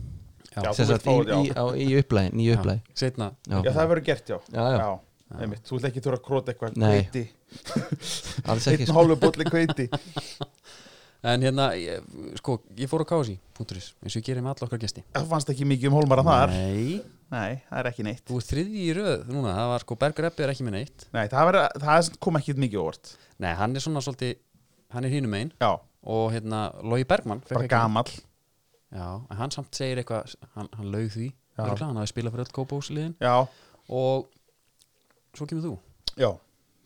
[SPEAKER 4] Já, þú
[SPEAKER 3] Sem
[SPEAKER 4] vilt
[SPEAKER 3] sagt,
[SPEAKER 4] fá
[SPEAKER 3] í,
[SPEAKER 4] þetta,
[SPEAKER 3] í, á,
[SPEAKER 4] já.
[SPEAKER 3] í upplæði, nýju upplæði
[SPEAKER 2] Setna
[SPEAKER 4] já,
[SPEAKER 3] Já,
[SPEAKER 4] það verður gert, já
[SPEAKER 3] Já, já.
[SPEAKER 4] einmitt, þú ert ekki þurfa að króta eitthvað
[SPEAKER 3] Nei.
[SPEAKER 4] kveiti
[SPEAKER 3] alls ekki
[SPEAKER 4] einn
[SPEAKER 3] sko.
[SPEAKER 4] hálfu bolli kveiti
[SPEAKER 2] En hérna, ég, sko, ég fór á kási.is eins og ég gerir með alla okkar gesti
[SPEAKER 4] það fannst ekki mikið um hólmara þar
[SPEAKER 2] Nei
[SPEAKER 4] Nei, það er ekki neitt
[SPEAKER 2] Þú ert þriðji í röð núna Það var sko, Bergur Eppi er ekki með neitt
[SPEAKER 4] Nei, það, vera, það kom ekki mikið óvart
[SPEAKER 2] Nei, hann er svona svolítið Hann er hínum einn
[SPEAKER 4] Já,
[SPEAKER 2] Og hérna, Logi Bergmann fékk
[SPEAKER 4] bara
[SPEAKER 2] ekki-
[SPEAKER 4] gamall
[SPEAKER 2] Já, en hann samt segir eitthvað Hann, hann laug því
[SPEAKER 4] Já.
[SPEAKER 2] örugglega, Hann hafi spilað fyrir öll kópásliðin
[SPEAKER 4] Já,
[SPEAKER 2] Og svo kemur þú
[SPEAKER 4] já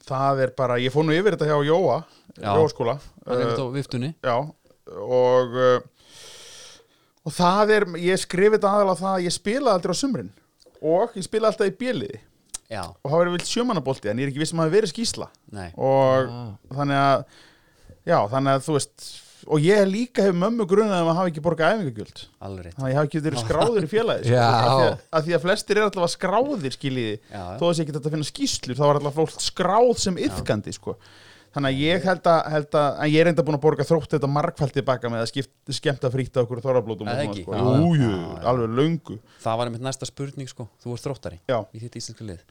[SPEAKER 4] Það er bara, ég fór nú yfir þetta hjá Jóa
[SPEAKER 2] Já.
[SPEAKER 4] Jóaskóla
[SPEAKER 2] Hann er
[SPEAKER 4] uh,
[SPEAKER 2] þetta á viftunni
[SPEAKER 4] Já, og uh, og það er, ég skrifi þetta aðalega það að ég spila aldrei á sumrin og ég spila alltaf í bjöliði
[SPEAKER 2] Já,
[SPEAKER 4] og það verið vilt sjömanabolti en ég er ekki viss um að það verið skísla
[SPEAKER 2] nei
[SPEAKER 4] og
[SPEAKER 3] Ah.
[SPEAKER 4] þannig að já, þannig að þú veist og ég líka hef mömmu grunað um að hafa ekki borgað æfingagjöld
[SPEAKER 2] Alveg rétt
[SPEAKER 4] þannig að ég hafi ekki verið skráður í félagi
[SPEAKER 3] Já.
[SPEAKER 4] af, því að, af því að flestir er alltaf skráðir skiljiði,
[SPEAKER 2] Já.
[SPEAKER 4] þó að sé ekki þetta að finna skýslur þá er alltaf fólk skráð sem yfkandi sko. þannig að ég held að, held að en ég er enda búin að borga þrótt þetta margfald tilbaka með að skipt, skemmta fríta okkur þorrablótum
[SPEAKER 2] Eða
[SPEAKER 4] og
[SPEAKER 2] ekki?
[SPEAKER 4] sko.
[SPEAKER 2] Já,
[SPEAKER 4] Jú,
[SPEAKER 2] já.
[SPEAKER 4] jú,
[SPEAKER 2] Já, já.
[SPEAKER 4] alveg löngu
[SPEAKER 2] Það var einmitt næsta spurning sko Þú ert þróttari
[SPEAKER 4] já,
[SPEAKER 2] í þitt íslenska lið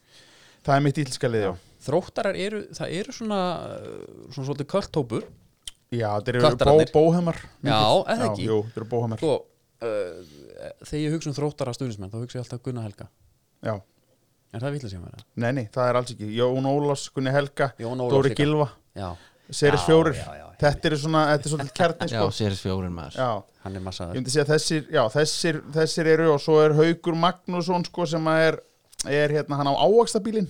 [SPEAKER 4] það er mitt ílska lið já,
[SPEAKER 2] Þróttarar eru, það eru svona uh, svona svolítið kvöldtópur
[SPEAKER 4] já þeir eru bó,
[SPEAKER 2] Köttararnir.
[SPEAKER 4] bóhemar
[SPEAKER 2] Já,
[SPEAKER 4] mikið.
[SPEAKER 2] eða ekki?
[SPEAKER 4] já, jú, þeir eru bóhemar
[SPEAKER 2] sko, uh, þegar ég hugsa um þróttara stuðnismenn þá hugsa ég alltaf Gunnar Helga
[SPEAKER 4] já.
[SPEAKER 2] en það vilja sér mér
[SPEAKER 4] Nei, nei, það er alls ekki Jón Ólafs, Gunni Helga,
[SPEAKER 2] Jón Ólafs
[SPEAKER 4] Dóri
[SPEAKER 2] líka.
[SPEAKER 4] Gilva
[SPEAKER 2] já,
[SPEAKER 4] Seris
[SPEAKER 2] Já,
[SPEAKER 4] fjórir,
[SPEAKER 2] já, já.
[SPEAKER 4] þetta er svona þetta er svolítið kjarni
[SPEAKER 3] Já,
[SPEAKER 4] sko.
[SPEAKER 3] séris fjórin maður
[SPEAKER 4] já.
[SPEAKER 2] hann er
[SPEAKER 4] ég
[SPEAKER 2] massaður
[SPEAKER 4] myndi segja að þessir, já, þessir, þessir eru og svo er Haugur Magnússon sko, sem að er, er hérna, hann á ávakstabílin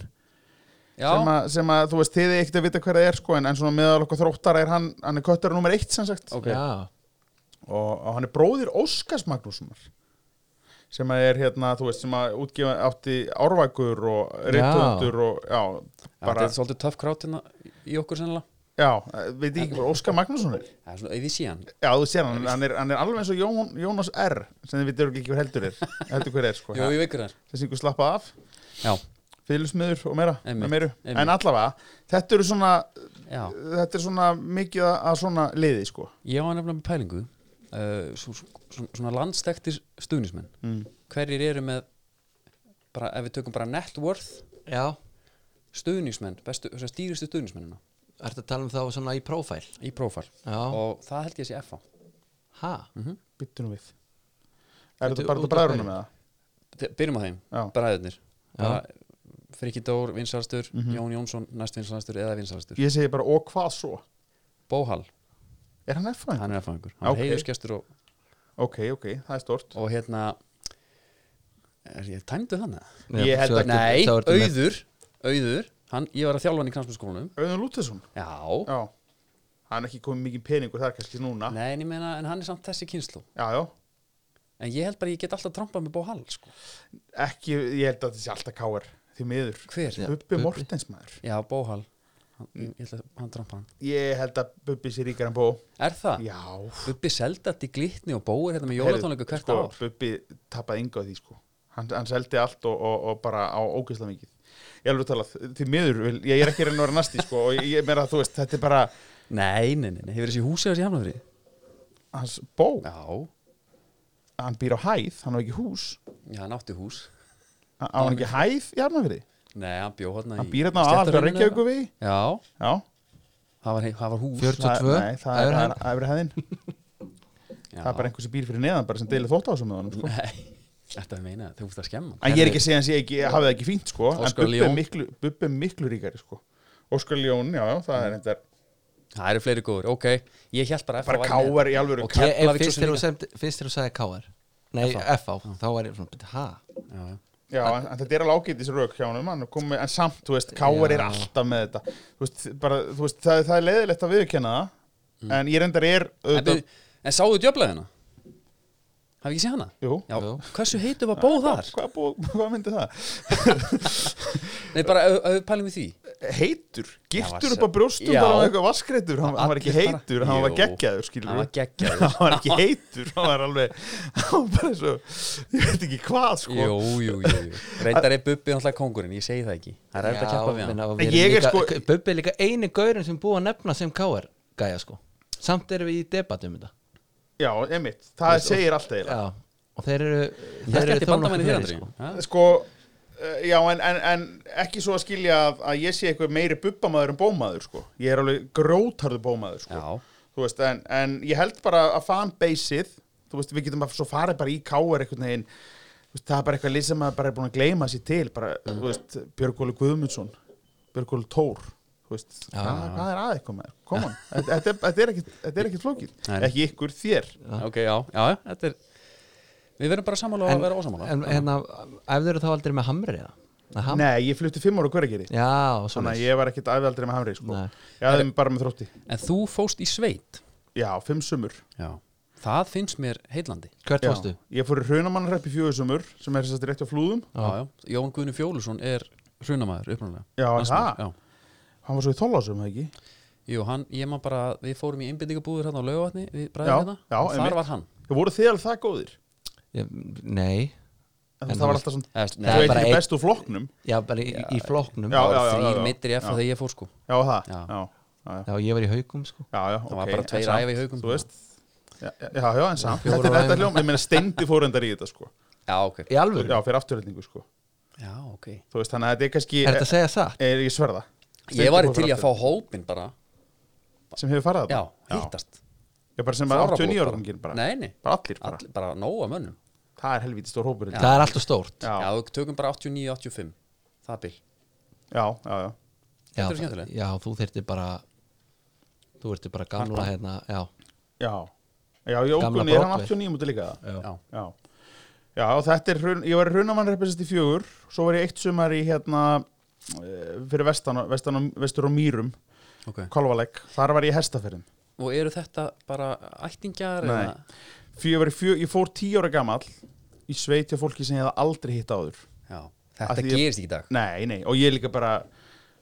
[SPEAKER 2] já,
[SPEAKER 4] sem, að- sem að þú veist þið er ekkert að vita hver það er sko, en, en svona meðal okkur þróttara er hann, hann er köttara nummer eitt sem sagt
[SPEAKER 2] ok,
[SPEAKER 3] Já,
[SPEAKER 4] og, og hann er bróðir Óskars Magnússonar sem að er hérna, þú veist, sem að útgefa átti árvækur og reytöndur og já,
[SPEAKER 2] Þetta
[SPEAKER 4] bara
[SPEAKER 2] er svolítið töff krátt hérna í okkur sennilega
[SPEAKER 4] já, veit ég ekki hvað Óskar Magnússon er
[SPEAKER 2] Það er svona auðvitað síðan
[SPEAKER 4] já, þú sér hann, hann er, hann er alveg eins og Jón, Jónas R sem þið veitur ekki hver heldur er heldur hver er, sko,
[SPEAKER 2] Jó, ég veikur þar
[SPEAKER 4] þessi ykkur slappa af
[SPEAKER 2] Já,
[SPEAKER 4] fylusmiður og meira,
[SPEAKER 2] Einmitt,
[SPEAKER 4] meira.
[SPEAKER 2] einmitt.
[SPEAKER 4] en allavega, þetta eru svona
[SPEAKER 2] já
[SPEAKER 4] þetta er svona mikið að svona liði, sko
[SPEAKER 2] Ég var nefnilega með pælingu uh, svo, svo, Svona landstektir stuðnismenn
[SPEAKER 4] mm.
[SPEAKER 2] Hverjir eru með bara, Ef við tökum bara net worth
[SPEAKER 3] já,
[SPEAKER 2] stuðnismenn bestu, þessa Stýristu stuðnismennina
[SPEAKER 3] ertu að tala um þá svona í prófæl
[SPEAKER 2] í prófal
[SPEAKER 3] já,
[SPEAKER 2] Og það held ég að sé FA
[SPEAKER 3] ha,
[SPEAKER 4] Mm. byttunum við
[SPEAKER 3] Bíddu,
[SPEAKER 4] er þetta bara
[SPEAKER 3] út
[SPEAKER 4] þetta
[SPEAKER 3] af
[SPEAKER 4] bræðrunum
[SPEAKER 3] hverju?
[SPEAKER 4] eða?
[SPEAKER 2] Þe- Byrjum á þeim,
[SPEAKER 4] Já.
[SPEAKER 2] bræðurnir
[SPEAKER 3] Já.
[SPEAKER 2] Friki Dór, vinsalastur
[SPEAKER 4] Mhm.
[SPEAKER 2] Jón Jónsson, næst vinsalastur eða vinsalastur
[SPEAKER 4] ég segi bara, og hvað svo?
[SPEAKER 2] Bóhall,
[SPEAKER 4] er hann F-fæðing?
[SPEAKER 2] hann er FA-ingur Hann
[SPEAKER 4] Ok.
[SPEAKER 2] er heiðuskestur og,
[SPEAKER 4] ok, ok, það er stort
[SPEAKER 2] og hérna er ég tæmdu hann eða?
[SPEAKER 4] Ég held
[SPEAKER 3] svo
[SPEAKER 4] að-
[SPEAKER 3] ertu-
[SPEAKER 2] Nei,
[SPEAKER 3] svo ertu með-
[SPEAKER 2] auður auður, hann, ég var að þjálfa hann í knafsmennskólanum
[SPEAKER 4] Auðun Lútesson,
[SPEAKER 2] já,
[SPEAKER 4] já hann er ekki komið mikið peningur þar kannski núna
[SPEAKER 2] nei, en ég meina en hann er samt þessi kynslu,
[SPEAKER 4] já, já,
[SPEAKER 2] en ég held bara að ég get alltaf trampað með Bó Hall, sko,
[SPEAKER 4] ekki, ég held að þetta sé alltaf káar því miður,
[SPEAKER 2] hver? Já,
[SPEAKER 4] Bubbi Mortens maður
[SPEAKER 2] Bó Hall hann,
[SPEAKER 4] Mm.
[SPEAKER 2] ég, ég ætla að hann trampa hann
[SPEAKER 4] ég held að Bubbi sé ríkar en bó
[SPEAKER 2] er það?
[SPEAKER 4] já,
[SPEAKER 2] Bubbi Seldat í glitni og Bó er hérna með jólatónleika hvert
[SPEAKER 4] sko,
[SPEAKER 2] ár
[SPEAKER 4] Bubbi tappaði yngu að því sko hann, hann seldi allt og, og, og bara á ógeðslega mikið ég alveg talað, því miður vil, ég er ekki að reyna að vera næsti sko og ég- ég meira að þú veist, þetta er bara
[SPEAKER 2] nei, nei, nei, nei, hefur þessi húsið þessi hafnafri?
[SPEAKER 4] hans bó,
[SPEAKER 2] Já,
[SPEAKER 4] hann býr á hæð hann á ekki hús,
[SPEAKER 2] já, hann átti hús
[SPEAKER 4] á hann ekki hæð í Arnafjörði,
[SPEAKER 2] nei, hann bjó hérna
[SPEAKER 4] hann býr hérna á aðalbjörn Reykjavíku við,
[SPEAKER 2] já,
[SPEAKER 4] já
[SPEAKER 2] það var, það var hús
[SPEAKER 3] 40.
[SPEAKER 4] það,
[SPEAKER 3] 22,
[SPEAKER 4] nei, það er
[SPEAKER 3] efri hæðin.
[SPEAKER 4] það er efri hæðin
[SPEAKER 2] já.
[SPEAKER 4] það er bara einhver sem býr fyrir neðan bara sem deilir þótt á þessum með honum sko.
[SPEAKER 2] Nei, þetta er meina, þú fyrst að skemma hann.
[SPEAKER 4] en ég er ekki að segja hans ég ekki, hafið það ekki fínt sko en
[SPEAKER 2] Óskar
[SPEAKER 4] Bubbi er
[SPEAKER 2] Ljón.
[SPEAKER 4] miklu, Bubbi er miklu ríkari sko Óskar Ljón, já, já, það er þetta
[SPEAKER 2] Það eru fleiri góður, ok Ég held bara að
[SPEAKER 4] bara
[SPEAKER 2] FH væri með.
[SPEAKER 4] káar í alvöru
[SPEAKER 2] Og
[SPEAKER 3] Ég- ef
[SPEAKER 2] Keflavík svo
[SPEAKER 3] fyrst
[SPEAKER 2] sem
[SPEAKER 3] þegar þú
[SPEAKER 2] líka.
[SPEAKER 3] sem- fyrst þegar þú sagði K.R. nei, F.A.
[SPEAKER 4] Mm.
[SPEAKER 3] þá var ég svona, bíddu, ha
[SPEAKER 2] Já, já.
[SPEAKER 4] Já, en, en þetta er alveg ágætis rauk hjá honum hann er komið með, en samt, þú veist, Káar er alltaf með þetta þú veist, bara, þú veist, það, það er leiðilegt að viðurkenna
[SPEAKER 2] Mm.
[SPEAKER 4] það en ég reyndar er
[SPEAKER 2] En,
[SPEAKER 4] auðvitað,
[SPEAKER 2] byrju, en sáðu djöflaðina? Hafið ekki séð hana?
[SPEAKER 4] jú,
[SPEAKER 2] Já,
[SPEAKER 3] Jú.
[SPEAKER 2] hversu heitu var bóð þar?
[SPEAKER 4] hvað, bú, hvað myndi það?
[SPEAKER 2] Nei, bara ef ef við pælum í því
[SPEAKER 4] Heitur,
[SPEAKER 2] Já, var
[SPEAKER 4] giftur upp á
[SPEAKER 2] sem-
[SPEAKER 4] brjóstum
[SPEAKER 2] Já.
[SPEAKER 4] bara á eitthvað vaskreitur, hann, hann var ekki
[SPEAKER 2] Allir bara-
[SPEAKER 4] heitur hann var
[SPEAKER 2] Jú.
[SPEAKER 4] geggjaður, skilur
[SPEAKER 2] Það var geggjað
[SPEAKER 4] hann var ekki heitur, hann var alveg hann var bara svo, ég veit ekki hvað sko.
[SPEAKER 2] Jú, jú, jú, jú Reyndar er Bubbi náttúrulega kongurinn, ég segi það ekki Það er eftir að keppa við hann
[SPEAKER 3] meina,
[SPEAKER 4] En
[SPEAKER 3] við erum
[SPEAKER 4] ég er
[SPEAKER 3] líka-
[SPEAKER 4] sko-
[SPEAKER 3] Bubbi er líka eini gaurin sem er búið að nefna sem K.R. gæja sko samt erum við í debatt um þetta
[SPEAKER 4] Já, einmitt, það segir allt eiginlega
[SPEAKER 3] já, og þeir eru
[SPEAKER 2] Það er eftir
[SPEAKER 3] þó
[SPEAKER 2] bandamenni
[SPEAKER 3] nokkuð
[SPEAKER 2] þér, Andri
[SPEAKER 3] fleiri, sko.
[SPEAKER 2] Ha?
[SPEAKER 4] sko eh, já, en, en, en ekki svo að skilja að, að ég sé eitthvað meiri bubbamaður en bómaður sko. ég er alveg grótarðu bómaður sko.
[SPEAKER 2] Já,
[SPEAKER 4] Þú veist, en, en ég held bara að fanbaseið þú veist, við getum bara svo farið bara í káar einhvern veginn Þú veist, það er bara eitthvað lið sem maður bara er búin að gleyma sér til bara,
[SPEAKER 2] Mhm.
[SPEAKER 4] þú veist, Björgóli Guðmundsson Björgóli Tór þú veist, hvað, hvað er aðeins komað koma, þetta er- þetta er ekkit- þetta er ekkert flókið
[SPEAKER 2] Nei.
[SPEAKER 4] ekki ykkur þér
[SPEAKER 2] ok, já, já, já, þetta er Við verðum bara sammála og sko. að vera ósammála
[SPEAKER 3] en hérna, ef þeir eru þá aldrei með hamri eða? Nei, ham-
[SPEAKER 4] nei, ég flutti fimm ára hverja geri
[SPEAKER 3] já, og svona
[SPEAKER 4] þannig að ég var ekkit æfaldri með hamri sko.
[SPEAKER 3] Nei.
[SPEAKER 4] ég aðeins bara með þrótti
[SPEAKER 2] En þú fóst í sveit
[SPEAKER 4] Já, fimm sumur
[SPEAKER 2] Já Það finnst mér heillandi
[SPEAKER 3] hvert
[SPEAKER 4] Já.
[SPEAKER 3] fórstu?
[SPEAKER 4] Ég fór í Hrunamannarhrepp í fjögur sumur sem er sérst rétt á flúðum
[SPEAKER 2] Já, já, Jón Guðni Fjólusson er hrunamaður uppnáðlega
[SPEAKER 4] Já, er það?
[SPEAKER 2] Já,
[SPEAKER 4] Hann var svo í Þólasum, eða ekki?
[SPEAKER 2] Jú, hann, ég maður bara, að við fórum í einbindingabúður hérna á laugavatni, við
[SPEAKER 4] Já,
[SPEAKER 2] bræðum hérna
[SPEAKER 4] já,
[SPEAKER 2] og þar
[SPEAKER 4] einmitt.
[SPEAKER 2] var hann
[SPEAKER 4] Það voru þið alveg það góðir
[SPEAKER 3] Ég- nei,
[SPEAKER 4] En,
[SPEAKER 3] En
[SPEAKER 4] það var
[SPEAKER 3] þú-
[SPEAKER 4] alltaf svona,
[SPEAKER 2] Eða, veist,
[SPEAKER 4] þú
[SPEAKER 2] nei,
[SPEAKER 4] veit
[SPEAKER 3] bara
[SPEAKER 4] ekki
[SPEAKER 3] einn-
[SPEAKER 4] best úr flokknum
[SPEAKER 3] já, bara í, í flokknum
[SPEAKER 4] Já,
[SPEAKER 2] það
[SPEAKER 4] já,
[SPEAKER 2] var
[SPEAKER 4] já,
[SPEAKER 2] þrýr
[SPEAKER 4] já.
[SPEAKER 2] meittir í F
[SPEAKER 4] Já.
[SPEAKER 2] þegar ég fór sko
[SPEAKER 4] Já, það
[SPEAKER 2] Já.
[SPEAKER 4] Já, já, já,
[SPEAKER 3] já, ég var í haugum sko
[SPEAKER 4] já, já ok
[SPEAKER 2] Það var bara
[SPEAKER 4] en
[SPEAKER 2] tveir
[SPEAKER 4] samt,
[SPEAKER 2] æfi í Haukum.
[SPEAKER 4] Þú veist Já, já, já, en samt
[SPEAKER 3] Fjórar
[SPEAKER 4] Þetta er
[SPEAKER 3] á
[SPEAKER 4] þetta
[SPEAKER 3] æfina.
[SPEAKER 4] hljóm, ég meina steindi fórundar í þetta sko
[SPEAKER 2] Já, ok
[SPEAKER 3] í alvöru,
[SPEAKER 4] Já, fyrir afturhætningu sko
[SPEAKER 2] Já, ok
[SPEAKER 4] Þú veist, þannig að þetta er kannski
[SPEAKER 3] er þetta að segja satt?
[SPEAKER 4] Er ég sverða
[SPEAKER 2] Ég var í til í að fá hópin bara
[SPEAKER 4] Sem hefur farið
[SPEAKER 2] Já,
[SPEAKER 4] þetta
[SPEAKER 2] hittast
[SPEAKER 4] Já, bara sem bara
[SPEAKER 2] Fárabók
[SPEAKER 4] 89
[SPEAKER 2] bara.
[SPEAKER 4] ára gangin bara
[SPEAKER 2] Nei, nei,
[SPEAKER 4] Bara allir bara
[SPEAKER 2] all, bara nóga mönnum
[SPEAKER 4] Það er helvítið stór hópur
[SPEAKER 3] það er alltaf stórt
[SPEAKER 4] Já,
[SPEAKER 2] Já,
[SPEAKER 4] já,
[SPEAKER 2] við tökum bara 89-85 Það bil
[SPEAKER 4] já, já
[SPEAKER 3] Já,
[SPEAKER 2] Þetta er skemmtilegt.
[SPEAKER 3] já, þú þyrtir bara þú ertir bara gamla
[SPEAKER 2] Harpa.
[SPEAKER 3] hérna, já,
[SPEAKER 4] Já, já,
[SPEAKER 3] Gamla
[SPEAKER 4] ég ógunni, er hann
[SPEAKER 3] Broadway.
[SPEAKER 4] 89 mútið líka það?
[SPEAKER 3] já.
[SPEAKER 2] Já,
[SPEAKER 4] Já, já og þetta er, hrun- ég var í Runamannreppist í fjögur, svo var ég eitt sumar í hérna, eh, fyrir vestan, á- vestan á, vestur á Mýrum,
[SPEAKER 2] ok
[SPEAKER 4] Kolvaleg, þar var ég í hestaferðin
[SPEAKER 2] og eru þetta bara ættingjar
[SPEAKER 4] Nei.
[SPEAKER 2] eða-
[SPEAKER 4] Fjö, ég, var í fjö, ég fór tíu ára gamall í sveit hjá fólki sem ég hef aldrei hitt áður
[SPEAKER 2] Já,
[SPEAKER 4] Af
[SPEAKER 2] þetta
[SPEAKER 4] því ég-
[SPEAKER 2] gerist ekki í dag
[SPEAKER 4] Nei, nei, og ég líka bara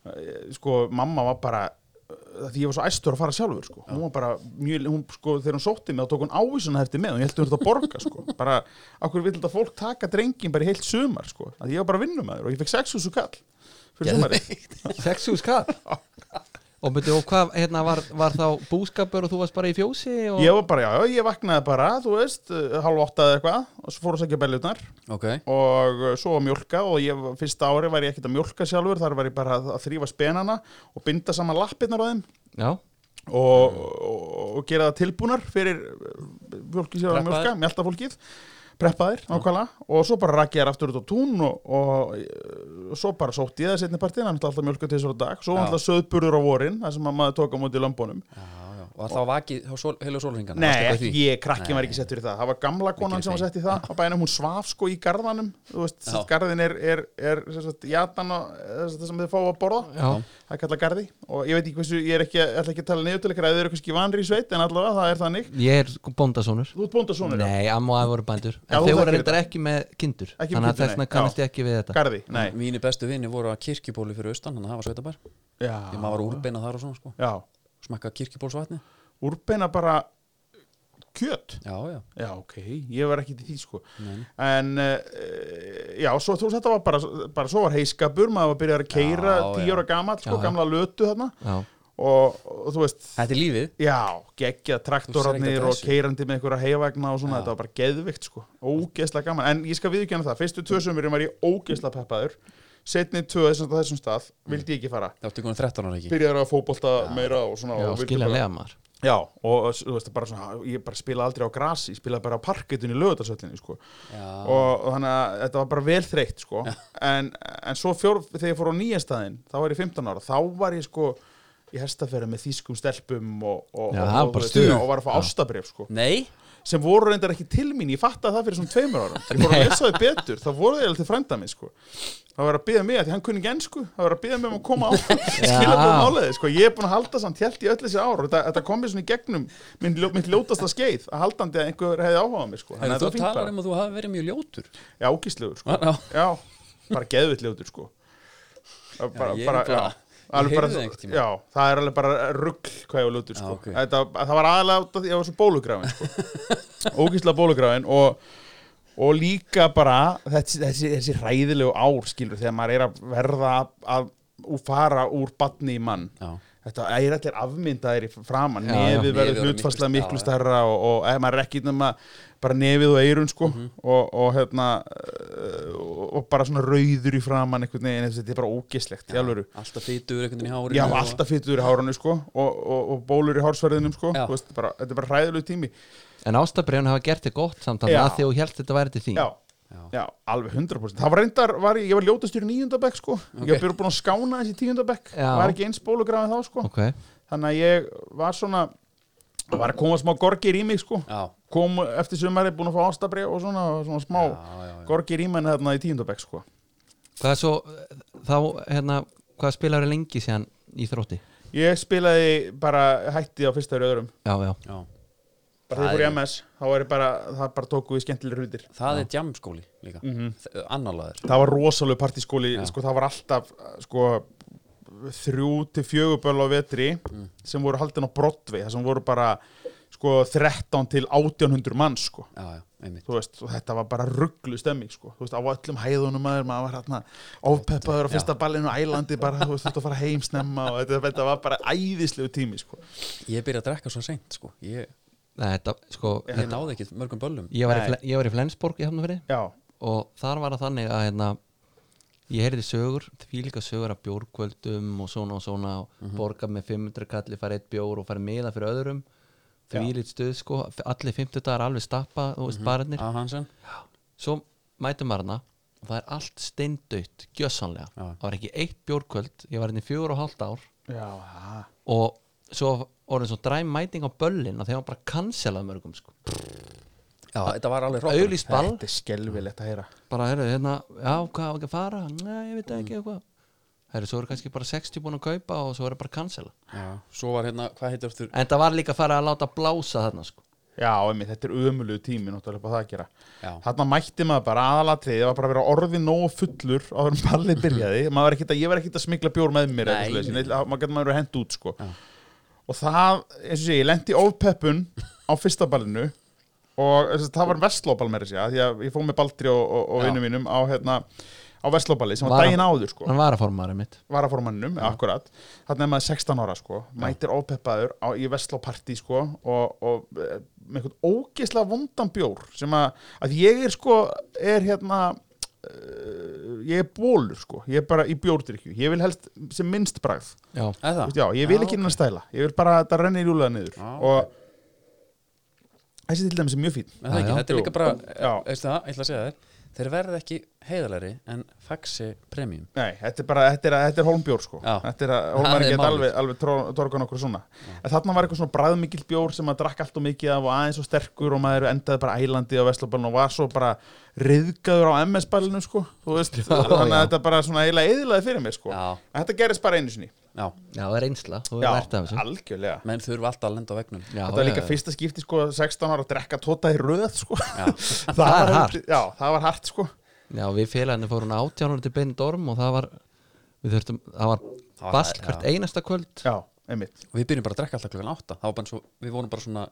[SPEAKER 4] eh, sko, mamma var bara eh, því ég var svo æstur að fara sjálfur sko. hún var bara, mjög, hún, sko, þegar hún sótti mig þá tók hún ávísun eftir með, hún heldur hún þetta að borga sko. bara, okkur vill þetta fólk taka drengin bara í heilt sumar, sko, að ég var bara vinnumæður og ég fekk 6.000 kall fyrir sumari
[SPEAKER 3] Sexu skall Og betur, og hvað, hérna var, var þá búskapur og þú varst bara í fjósi og...
[SPEAKER 4] ég var bara, já, já, ég vaknaði bara, þú veist eh, hálf átta eða eitthvað, og svo fór að segja bellunar
[SPEAKER 2] Ok,
[SPEAKER 4] og uh, svo að mjólka og ég, fyrsta ári var ég ekkert að mjólka sjálfur þar var ég bara að, að þrýfa spenana og binda saman lappirnar á þeim
[SPEAKER 3] Já,
[SPEAKER 4] og, og, og gera það tilbúnar fyrir uh, fólki sem var að
[SPEAKER 2] Preppaðir.
[SPEAKER 4] mjölka, mjölta fólkið preppaðir, nákvæmlega, og svo bara rakki ég þær aftur út á tún og, og, og svo bara sótti ég það setni partíðan, hann ætla alltaf mjölka til þessar dag, svo
[SPEAKER 2] Já.
[SPEAKER 4] alltaf söðburður á vorin þar sem að maður tók á móti lömbunum
[SPEAKER 2] já, já Var þá vakið, þá sól, heilu sólringana
[SPEAKER 4] Nei, ekki, ég, krakkin var ekki settur í það Það var gamla konan
[SPEAKER 2] Ekki
[SPEAKER 4] sem var
[SPEAKER 2] því.
[SPEAKER 4] sett í það á bænum, hún svaf sko í garðanum Þú veist,
[SPEAKER 2] Já.
[SPEAKER 4] sett garðin er, er, er sem sagt, jatan og eh, það sem þið fá að borða
[SPEAKER 3] já,
[SPEAKER 4] Það er kallað garði og ég veit ekki hversu, ég er ekki, ætla ekki að tala niður til ykkur að þið eru kannski vanri í sveit en allavega það er þannig
[SPEAKER 3] ég er bóndasonur
[SPEAKER 4] Þú ert bóndasónur,
[SPEAKER 3] Nei, amma og afi voru bændur
[SPEAKER 4] Já,
[SPEAKER 3] En
[SPEAKER 4] þú
[SPEAKER 3] þeir voru
[SPEAKER 4] þekkir
[SPEAKER 3] reyndar ekki með kindur
[SPEAKER 4] Ekki
[SPEAKER 3] Þannig
[SPEAKER 4] með
[SPEAKER 3] að
[SPEAKER 4] kindur,
[SPEAKER 3] þessna
[SPEAKER 4] nei.
[SPEAKER 3] kannast
[SPEAKER 4] Já.
[SPEAKER 3] ég ekki við þetta
[SPEAKER 4] garði, nei
[SPEAKER 2] Mínu bestu vinni voru að kirkjubóli fyrir austan Þannig að það var sveitabær
[SPEAKER 4] Já,
[SPEAKER 2] Ég maður var úrbeina þar og svona sko
[SPEAKER 4] já.
[SPEAKER 2] Smakka kirkjubólsvatni
[SPEAKER 4] úrbeina bara kjöt
[SPEAKER 2] Já, já,
[SPEAKER 4] Já, ok, ég var ekki til því sko
[SPEAKER 2] Nei.
[SPEAKER 4] En, uh, já, svo, þú veist, þetta var bara, bara svo var heiskapur, maður var byrjað að keira
[SPEAKER 2] Já,
[SPEAKER 4] tíu
[SPEAKER 2] já.
[SPEAKER 4] ára gamall, sko,
[SPEAKER 3] Já, já.
[SPEAKER 4] gamla lötu þarna
[SPEAKER 3] Já,
[SPEAKER 4] og, og þú veist,
[SPEAKER 2] þetta er lífið
[SPEAKER 4] já, geggja
[SPEAKER 2] Þú sér
[SPEAKER 4] traktorarnir
[SPEAKER 2] ekkert
[SPEAKER 4] og
[SPEAKER 2] þessu.
[SPEAKER 4] keirandi með einhverja heifagna og svona,
[SPEAKER 2] Já.
[SPEAKER 4] þetta var bara geðvikt sko, ógeðslega gaman, en ég skal viðkjöna það, fyrstu tvö sömurinn var ég ógeðslega peppaður, setni tvö þessum, þessum stað, vildi ég ekki fara,
[SPEAKER 2] Það átti konar 13 ára ekki
[SPEAKER 4] byrjaður að fótbolta meira og svona,
[SPEAKER 3] já
[SPEAKER 4] og vildi bara,
[SPEAKER 3] skiljanlega maður
[SPEAKER 4] já, og þú veist, bara svona, ég bara spila aldrei á grasi, ég spilaði bara á parkettinu í lögutasöllinni, sko,
[SPEAKER 2] Já,
[SPEAKER 4] og þannig að þetta var bara vel þreytt sko. en, en svo fjór, þegar ég fór á nýja staðinn þá var ég 15 ára, þá var ég sko í hestaferði með þýskum stelpum og, og,
[SPEAKER 3] Já,
[SPEAKER 4] og,
[SPEAKER 3] það var
[SPEAKER 4] og,
[SPEAKER 3] bara
[SPEAKER 4] og,
[SPEAKER 3] stuð.
[SPEAKER 4] og var að fá ástabrif sko.
[SPEAKER 2] nei
[SPEAKER 4] sem voru reyndar ekki til mín, ég fattaði það fyrir svona tveimur ára ég fór að lesa þau betur, þá voru þau til frænda minn sko. það var að byggja mig, því hann kunni ekki ennsku það var að byggja mig um að koma á skilabóðum áleði, sko. ég er búin að halda samt hjælt í öll þessi ár og þetta, þetta kom mér svona í gegnum minn, ljó- mitt ljótasta skeið að haldandi að einhver hefði áhugað mig sko.
[SPEAKER 2] Þannig
[SPEAKER 4] þetta
[SPEAKER 2] þú
[SPEAKER 4] var fínt bara.
[SPEAKER 2] talar um að þú hafi verið mjög ljótur
[SPEAKER 4] Já, ógíslegur sko.
[SPEAKER 2] Já.
[SPEAKER 4] Já, bara geðvitt ljótur sko. Já, bara,
[SPEAKER 2] ég er
[SPEAKER 4] bara,
[SPEAKER 2] bara-
[SPEAKER 4] já.
[SPEAKER 2] ég
[SPEAKER 4] Alveg
[SPEAKER 2] heyrði það einhvern tímann.
[SPEAKER 4] já, það er alveg bara rugg hvað ég var ljótur sko.
[SPEAKER 2] Já, ok.
[SPEAKER 4] Þetta, það var aðalega út af því að ég var svo bólugráin sko. ógíslega bólugráin og, og líka bara þessi, þessi, þessi ræðilegu ár skilur þegar maður er að verða að úr fara úr batni í mann
[SPEAKER 2] Já.
[SPEAKER 4] Þetta er allir afmyndaðir í framan,
[SPEAKER 3] Já, já.
[SPEAKER 4] nefið
[SPEAKER 2] Nefið
[SPEAKER 4] verður
[SPEAKER 2] verður
[SPEAKER 4] hlutfarslega
[SPEAKER 2] miklu-
[SPEAKER 4] miklu
[SPEAKER 2] já, já.
[SPEAKER 4] stærra og, og ef maður er ekki nema bara nefið og eirun sko
[SPEAKER 2] Mhm.
[SPEAKER 4] og, og hérna eh, og, og bara svona rauður í framan einhvern veginn, þetta er bara ógislegt í alvöru
[SPEAKER 2] Alltaf fytur einhvern veginn í hárinu
[SPEAKER 4] Já,
[SPEAKER 2] og-
[SPEAKER 4] alltaf fyttur í háranu sko og, og, og bólur í hársverðinum sko
[SPEAKER 2] Já.
[SPEAKER 4] Þú veist, bara, þetta er bara ræðilegu tími
[SPEAKER 3] En ástabriðun hafa gert þig gott samt Þannig
[SPEAKER 4] Já.
[SPEAKER 3] að því þú hélst þetta væri til þín
[SPEAKER 4] Já,
[SPEAKER 2] Já.
[SPEAKER 4] já, alveg 100% Það var reyndar, var, ég ég var ljótastur í níundabekk sko Ég var byrjuð búin að skána þessi tíundabekk
[SPEAKER 3] Já.
[SPEAKER 4] Var ekki eins bólugrafið þá sko
[SPEAKER 3] Ok,
[SPEAKER 4] Þannig að ég var svona Var að koma smá gorgir í mig sko
[SPEAKER 2] Já,
[SPEAKER 4] kom eftir sumari búin að fá ástabrið og svona, svona smá
[SPEAKER 2] já, já, já.
[SPEAKER 4] gorgi rýmenn þarna í tíundabæk sko.
[SPEAKER 3] hvað svo Þá, hérna, hvað spilaður lengi síðan í þrótti?
[SPEAKER 4] Ég spilaði bara hætti á fyrsta ári öðrum
[SPEAKER 3] Já, já,
[SPEAKER 2] já.
[SPEAKER 4] bara
[SPEAKER 2] Það
[SPEAKER 4] þegar ég fór í
[SPEAKER 2] er-
[SPEAKER 4] MS, þá er ég bara það bara tóku við skemmtilegur hlutir
[SPEAKER 2] Það er jamskóli líka mm
[SPEAKER 4] Mhm.
[SPEAKER 2] -hmm. Annarlaður
[SPEAKER 4] það var rosalega partískóli, sko, það var alltaf sko, þrjú til fjöguböl á vetri
[SPEAKER 2] Mm.
[SPEAKER 4] sem voru haldin á Broadway, það sem voru bara sko, 13 til 1800 mann sko.
[SPEAKER 2] Já, já, einmitt
[SPEAKER 4] þú veist, og þetta var bara rugglu stemming sko, þú veist, á öllum hæðunum maður, maður var hérna ofpeppaður á fyrsta ballinu á ælandi bara, þú veist, þú að fara heim snemma og þetta, þetta var bara æðislegu tími sko.
[SPEAKER 2] Ég byrja að drekka svo seint sko Ég,
[SPEAKER 3] Nei, þetta, sko
[SPEAKER 2] ég náði ekki mörgum böllum
[SPEAKER 3] Ég var, í,
[SPEAKER 4] Nei.
[SPEAKER 3] Fle- ég var í Flensborg í Hafnafyrði
[SPEAKER 4] já,
[SPEAKER 3] og þar var það þannig að hérna, ég heyrði sögur, því líka sögur af bjórkvöldum og svona og svona og borga með 500 kalli, fara eitt bjór og fara meða fyrir öðrum því lít stuð sko, allir 50 dagar alveg stappa þú veist, barnir,
[SPEAKER 2] Á Hansen
[SPEAKER 3] svo mætum maður hana og það er allt steindaut gjössanlega,
[SPEAKER 2] Já.
[SPEAKER 3] það var ekki eitt bjórkvöld ég var hérna í fjögur og hálft ár
[SPEAKER 4] já, ha.
[SPEAKER 3] og svo orðin svo dræm mæting á böllin og þegar var bara cancelað mörgum sko.
[SPEAKER 2] Já, þetta var alveg hrótt
[SPEAKER 3] auðlýst ball
[SPEAKER 4] þetta er skelvilegt að heyra
[SPEAKER 3] bara, heyrðu, hérna, já, hvað á ekki að fara? Nei, ég veit það ekki eitthvað Herri, svo eru kannski bara 60 búin að kaupa og svo eru bara að cancela
[SPEAKER 2] já, svo var hérna, hvað heitir aftur
[SPEAKER 3] En það var líka að fara að láta blása þarna sko
[SPEAKER 4] Já, emi, þetta er ömulegu tími náttúrulega bara það að gera
[SPEAKER 2] Já.
[SPEAKER 4] Þarna mætti maður bara aðalatrið Það var bara að vera orðin nógu fullur á hvernig ballið byrjaði maður var ekkit að, Ég var ekkit að smikla bjór með mér eða
[SPEAKER 2] Nei,
[SPEAKER 4] eitthvað svoleiðis. Ég- það- Maður getur maður að henda út sko. Og það, eins og sé, ég lendi ofpeppun á fyrsta ballinu og þess, það var vestlóbal með þessi því að ég fóð með Baldri og, og, og
[SPEAKER 2] Já.
[SPEAKER 4] vinnum mínum á, hérna, á vestlóbali sem var,
[SPEAKER 3] Var-
[SPEAKER 4] daginn áður sko
[SPEAKER 3] Hann var að formaðurinn mitt
[SPEAKER 4] varaformanninum, akkurat þannig að maður 16 ára sko, mætir ópeppaður á, í Vestlóparti sko og, og eh, með einhvern ógeðslega vondan bjór sem að, að ég er sko er hérna uh, ég er bólur sko, ég er bara í bjórdrykju ég vil helst sem minnst bragð
[SPEAKER 3] Já,
[SPEAKER 2] eða,
[SPEAKER 4] Vist, já, ég vil ekki innan stæla, ég vil bara að þetta renni í rúlega niður
[SPEAKER 2] Já,
[SPEAKER 4] og þessi til dæmis er mjög fín
[SPEAKER 2] eða ekki,
[SPEAKER 3] Já, já.
[SPEAKER 2] þetta er líka bara
[SPEAKER 4] Já.
[SPEAKER 2] veistu það, ég ætla að segja þér þeir verða ekki heiðalari en faxi premium
[SPEAKER 4] Nei, þetta er bara, þetta er, þetta er holmbjór sko
[SPEAKER 2] Já.
[SPEAKER 4] Þetta er að
[SPEAKER 2] Það
[SPEAKER 4] holmar
[SPEAKER 2] er
[SPEAKER 4] ekki
[SPEAKER 2] málið.
[SPEAKER 4] alveg, alveg tró- torgan okkur svona En þarna var eitthvað svona bræðmikill bjór sem maður drakk allt og mikið af og aðeins og sterkur og maður endaði bara ælandi á Vestlóbalinu og var svo bara riðgaður á MS-balinu sko Þú veist, þannig að
[SPEAKER 3] já.
[SPEAKER 4] þetta bara svona eiginlega eðilaði fyrir mér sko
[SPEAKER 2] Já.
[SPEAKER 4] En þetta gerist bara einu sinni
[SPEAKER 2] já,
[SPEAKER 3] já það er einsla, þú er verðt af þessu
[SPEAKER 4] algjörlega
[SPEAKER 2] menn þurfa alltaf að lenda á vegnum
[SPEAKER 3] Já,
[SPEAKER 4] Þetta var líka
[SPEAKER 3] já, já.
[SPEAKER 4] fyrsta skipti sko 16 ára að drekka tóta í röð sko Það
[SPEAKER 3] Það er
[SPEAKER 4] var-
[SPEAKER 3] hart.
[SPEAKER 4] Já, það var hart sko
[SPEAKER 3] Já, við félagarnir fórum 18 ára til Benidorm og það var, við þurftum, það var
[SPEAKER 2] Það var-
[SPEAKER 3] basl hvert
[SPEAKER 2] já.
[SPEAKER 3] einasta kvöld
[SPEAKER 4] Já, einmitt
[SPEAKER 2] og við byrjum bara að drekka alltaf klukkan átta það var bara eins og, við vorum bara svona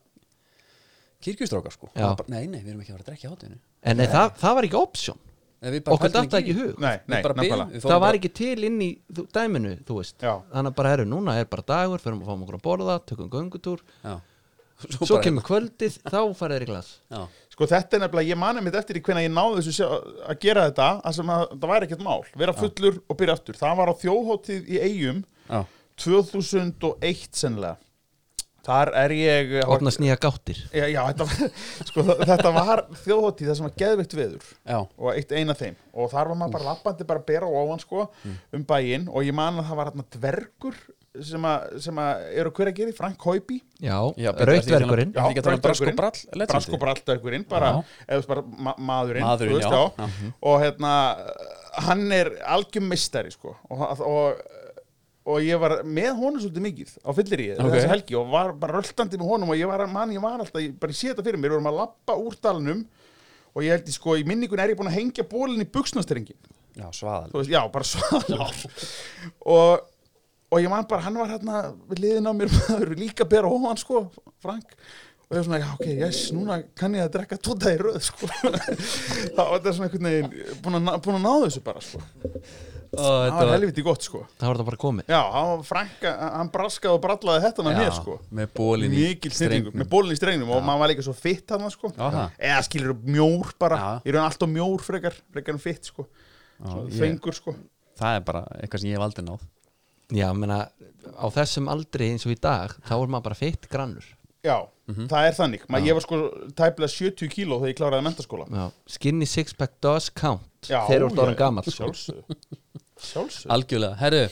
[SPEAKER 2] kirkjustrákar sko
[SPEAKER 3] Já.
[SPEAKER 2] Það var bara, nei, nei, við erum ekki að fara að drekka í hátinu
[SPEAKER 3] En nei, það, það var ekki option, okkur datt það ekki í hug
[SPEAKER 4] Nei, nei, nákvæmlega
[SPEAKER 3] Það var ekki til inn í þú- dæminu, þú veist
[SPEAKER 4] Já.
[SPEAKER 3] Þannig að bara erum núna, er bara dagur, förum að fáum okkur að borða, tökum göngutúr
[SPEAKER 2] já.
[SPEAKER 3] Svo,
[SPEAKER 2] bara-
[SPEAKER 3] kemur kvöldið, þá farið þér í glas
[SPEAKER 2] já.
[SPEAKER 4] Sko þetta er nefnilega, ég mani mitt eftir í hvenna ég náði þessu sjá- að gera þetta að sem að það væri ekkert mál, vera fullur og byrja aftur það var á þjóðhótið í Eyjum
[SPEAKER 2] Já.
[SPEAKER 4] 2001 sennilega þar er ég eh,
[SPEAKER 3] Opnast nýja gáttir
[SPEAKER 4] já, já, þetta, var- sko, þetta var þjóðhótið það sem var geðveikt veður
[SPEAKER 2] já,
[SPEAKER 4] og eitt eina þeim og þar var maður bara lappandi bara að bera á ofan sko um bæinn og ég man að það var hérna dvergur sem að, sem að eru hver að gera í Frank Haupi
[SPEAKER 3] Já,
[SPEAKER 2] Já,
[SPEAKER 3] já
[SPEAKER 2] Pétur, ertu ekki
[SPEAKER 3] rautverkurinn
[SPEAKER 2] Ertu ekki að tala um
[SPEAKER 4] Braskóbrall,
[SPEAKER 2] Braskóbrall, legendið?
[SPEAKER 4] Braskóbrallverkurinn bara, eða þú veist bara ma maðurinn,
[SPEAKER 2] Maðurinn,
[SPEAKER 4] þú veist,
[SPEAKER 2] já. Mhm.
[SPEAKER 4] og hérna hann er algjum mistari sko, og, og, og ég var með honum svolítið mikið á fyllir í
[SPEAKER 2] Ok.
[SPEAKER 4] þessi helgi og var bara röltandi með honum og ég var, man, ég var alltaf, ég, bara ég sé þetta fyrir mér, við vorum að lappa úr dalnum og ég held ég sko, í minningun er ég búin að hengja bólinn í buksnastrengin
[SPEAKER 2] já, svaðal
[SPEAKER 4] þú veist, já, bara svalur og, og ég man bara, hann var hérna við liðin á mér, maður líka bera ofan sko, Frank og ég var svona, já, ok, yes, núna kann ég að drekka tóta í röð, sko það var þetta svona einhvern veginn, búin að, ná- búin að ná þessu bara, sko, það var helviti gott, sko
[SPEAKER 3] Það var það bara komið
[SPEAKER 4] já, hann var Frank, hann braskaði og brallaði þetta með mér, sko
[SPEAKER 2] með bólin í
[SPEAKER 4] mikil snillingur, með bólinn í strengnum og maður var líka svo fitt hann sko.
[SPEAKER 2] Já, það.
[SPEAKER 4] eða skilur mjór bara,
[SPEAKER 2] Já.
[SPEAKER 4] ég raun alltaf mjór frekar frekar en fitt, sko Svo
[SPEAKER 2] ég-
[SPEAKER 4] fengur, sko
[SPEAKER 2] það er bara eitthvað sem ég hef aldrei náð
[SPEAKER 3] Já, menna, á þessum aldri eins og í dag Þá er maður bara feitt grannur
[SPEAKER 4] Já,
[SPEAKER 3] Mhm.
[SPEAKER 4] það er þannig Ma, Ég var sko tæplega 70 kíló þegar ég kláraði mentaskóla
[SPEAKER 3] já. Skinny sixpack does count
[SPEAKER 4] Já,
[SPEAKER 3] Þeir eru orðan
[SPEAKER 4] ég-
[SPEAKER 3] gamall sko.
[SPEAKER 4] Sjálfsög Sjálfsög
[SPEAKER 2] algjörlega, herru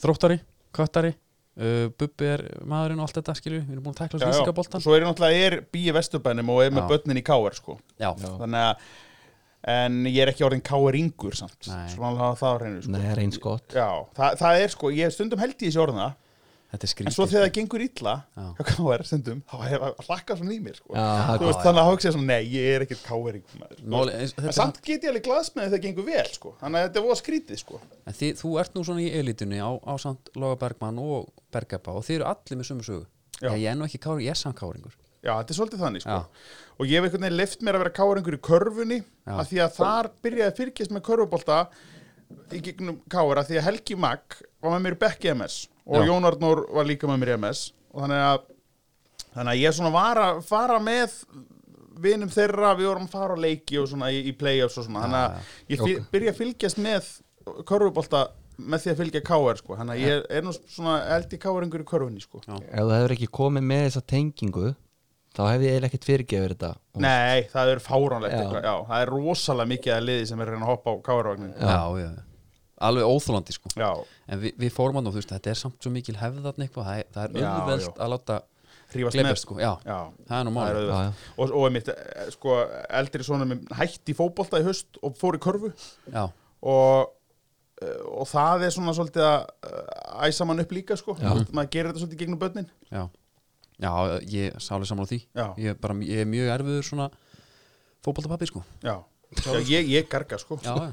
[SPEAKER 2] þróttari, köttari uh, bubbi er maðurinn og allt þetta skilju, við erum búin að tækla þessu lýsingaboltan
[SPEAKER 4] Svo er ég náttúrulega er býi vesturbænum og er með
[SPEAKER 2] Já.
[SPEAKER 4] börnin í káar sko
[SPEAKER 2] já,
[SPEAKER 4] Þannig að En ég er ekki orðin káaringur samt
[SPEAKER 2] Nei.
[SPEAKER 4] Svo alveg hafa það á hreinu sko
[SPEAKER 3] Nei, það er eins gott
[SPEAKER 4] Já, það, það er sko, ég stundum held í þessi orðina
[SPEAKER 2] þetta er
[SPEAKER 4] En
[SPEAKER 2] skrítið
[SPEAKER 4] svo þegar það gengur illa
[SPEAKER 2] Já.
[SPEAKER 4] hjá káar stundum, þá hef að hlakka svona í mér sko
[SPEAKER 3] Já, það er
[SPEAKER 4] Þú veist,
[SPEAKER 3] gott
[SPEAKER 4] þannig að hugsa ég svona, nei, ég er ekkert káaringur maður sko.
[SPEAKER 2] Máli, eins,
[SPEAKER 4] En
[SPEAKER 2] þetta,
[SPEAKER 4] samt get ég alveg glaðs með þegar það gengur vel sko Þannig að þetta er voða skrítið sko
[SPEAKER 2] en þið, þú ert nú svona í elitunni á, á samt Loga Bergmann og Bergabba og þið eru allir með sömu sögu
[SPEAKER 4] Já.
[SPEAKER 2] já. ég er nú ekki káringur, ég er samt káringur
[SPEAKER 4] Já, þetta er svolítið þannig sko.
[SPEAKER 2] Já.
[SPEAKER 4] og ég hef einhvern veginn leift mér að vera káringur í körfunni
[SPEAKER 2] Já.
[SPEAKER 4] af því að þar byrjaði fyrkist með körfubolta í gegnum kára því að Helgi Magg var með mér í bekk í MS og
[SPEAKER 2] Já.
[SPEAKER 4] Jón Arnór var líka með mér í MS og þannig að, þannig að ég svona var að fara með vinum þeirra, við vorum að fara á leiki og svona í, í play-offs og svona þannig að ég fyr, byrja að fylgjast með körfubolta með því að fylgja káar sko. þannig að ég er nú svona eldi káringur í körfunni sko.
[SPEAKER 3] Ef þú hefur ekki komið með þessa tengingu Þá hefði ég eiginlega ekkert fyrirgefur þetta Og-
[SPEAKER 4] Nei, það er fáránlegt
[SPEAKER 3] Já.
[SPEAKER 4] eitthvað, já, það er rosalega mikið að liði sem er að reyna að hoppa á káarvagnin
[SPEAKER 2] já. Já, alveg óþólandi sko
[SPEAKER 4] Já,
[SPEAKER 2] en við, við fórum að þú veist, þetta er samt svo mikil hefðarn eitthvað, það er, það er
[SPEAKER 4] Já,
[SPEAKER 2] auðvelst
[SPEAKER 4] já.
[SPEAKER 2] að láta
[SPEAKER 4] Hrífast með.
[SPEAKER 2] gleipast sko, já, það er nú
[SPEAKER 4] það er
[SPEAKER 2] máli
[SPEAKER 3] Já, já.
[SPEAKER 4] auðvitað Og, og einmitt, eh, sko, eldri svona minn hætti í fótbolta í haust og fór í körfu
[SPEAKER 2] já,
[SPEAKER 4] og eh, og það er svona svolítið að eh, æsa mann upp líka sko
[SPEAKER 3] Já.
[SPEAKER 4] maður gerir þetta svolítið gegnum börnin
[SPEAKER 2] já, já ég sálega saman á því
[SPEAKER 4] Já.
[SPEAKER 2] ég er, bara, ég er mjög erfiður svona fótboltapappi sko
[SPEAKER 4] já, já ég, ég garga sko
[SPEAKER 2] já, já.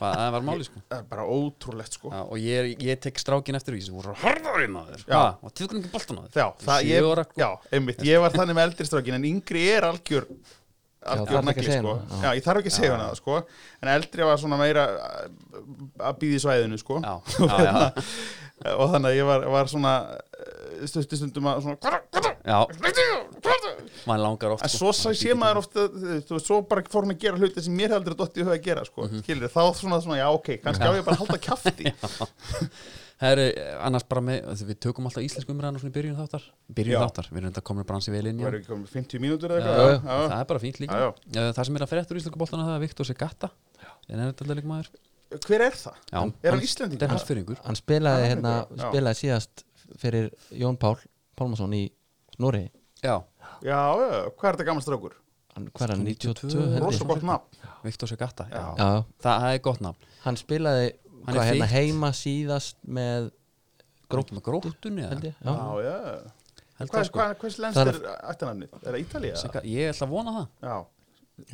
[SPEAKER 2] Ba- það var máli sko
[SPEAKER 4] það er bara ótrúlegt sko
[SPEAKER 2] já, og ég, ég tek strákin eftir því sem voru harðarinn á þér
[SPEAKER 4] Já.
[SPEAKER 2] Ha, og tilgjum ekki boltan á þér
[SPEAKER 4] Já, það
[SPEAKER 2] Sjö
[SPEAKER 4] ég,
[SPEAKER 2] ára, sko.
[SPEAKER 4] já, einmitt, ég var þannig með eldri strákin en yngri er algjör
[SPEAKER 3] þarf
[SPEAKER 4] algjör
[SPEAKER 3] ekki að
[SPEAKER 4] nagli
[SPEAKER 3] segja
[SPEAKER 4] sko
[SPEAKER 3] hana, já.
[SPEAKER 4] já, ég þarf ekki að segja hana það sko en eldri var svona meira uh, að býði svæðinu sko
[SPEAKER 2] Já,
[SPEAKER 4] og,
[SPEAKER 2] já, já.
[SPEAKER 4] þannig, og þannig að ég var, var svona stötti stundum að svona "Hvarra, hvarra,
[SPEAKER 2] já,
[SPEAKER 4] hvarra, hvarra?"
[SPEAKER 2] maður langar oft sko.
[SPEAKER 4] en svo
[SPEAKER 2] maður
[SPEAKER 3] Sko,
[SPEAKER 4] sæ- sé
[SPEAKER 2] býtur-
[SPEAKER 4] maður ofta þú veist, svo bara fór hann að gera hluti sem mér heldur að dotti í huga að gera sko,
[SPEAKER 3] Mhm.
[SPEAKER 4] mm þá svona svona, já ok, kannski á ég bara að halda kjafti
[SPEAKER 2] Herri, eh, annars bara með, við tökum alltaf íslensku umræðan og svona í byrjun þáttar byrjun
[SPEAKER 4] Já.
[SPEAKER 2] þáttar, við erum þetta komin að bransi vel inn já.
[SPEAKER 4] var ekki komin 50 mínútur
[SPEAKER 3] Já,
[SPEAKER 4] eða
[SPEAKER 3] já.
[SPEAKER 4] eitthvað já, já.
[SPEAKER 2] það er bara fínt líka
[SPEAKER 4] Já,
[SPEAKER 2] Eh, það sem er að fyrir eftir íslensku boltana það er Viktor Segata en er þetta leik maður
[SPEAKER 4] hver er það?
[SPEAKER 2] já,
[SPEAKER 4] er hann
[SPEAKER 2] þetta
[SPEAKER 4] Íslendingur?
[SPEAKER 2] er hans fyrringur
[SPEAKER 3] hann spilaði,
[SPEAKER 4] Já,
[SPEAKER 3] hérna,
[SPEAKER 4] já.
[SPEAKER 3] spilaði síðast fyrir Jón Pál Pálmason í Noregi
[SPEAKER 2] já,
[SPEAKER 4] já, já, hvað er þetta gammal strákur?
[SPEAKER 3] hann, hvað er hann, 92 held ég?
[SPEAKER 4] rosa gott nafn
[SPEAKER 2] Viktor Segata já.
[SPEAKER 3] já,
[SPEAKER 2] Það, það er gott nafn
[SPEAKER 3] hann spilaði
[SPEAKER 2] Hann
[SPEAKER 3] hvað,
[SPEAKER 2] er
[SPEAKER 3] hérna,
[SPEAKER 2] fitt.
[SPEAKER 3] heima síðast með
[SPEAKER 2] gróttum með gróttunni
[SPEAKER 3] held
[SPEAKER 2] eða?
[SPEAKER 3] ég, já.
[SPEAKER 4] já, já
[SPEAKER 2] Held
[SPEAKER 4] hvað,
[SPEAKER 2] það, sko.
[SPEAKER 4] hvað, hvers lenst
[SPEAKER 3] Það
[SPEAKER 4] er
[SPEAKER 3] er-
[SPEAKER 4] ættanamnið? er það Ítalía?
[SPEAKER 2] Sega, ég ætla að vona það
[SPEAKER 4] já,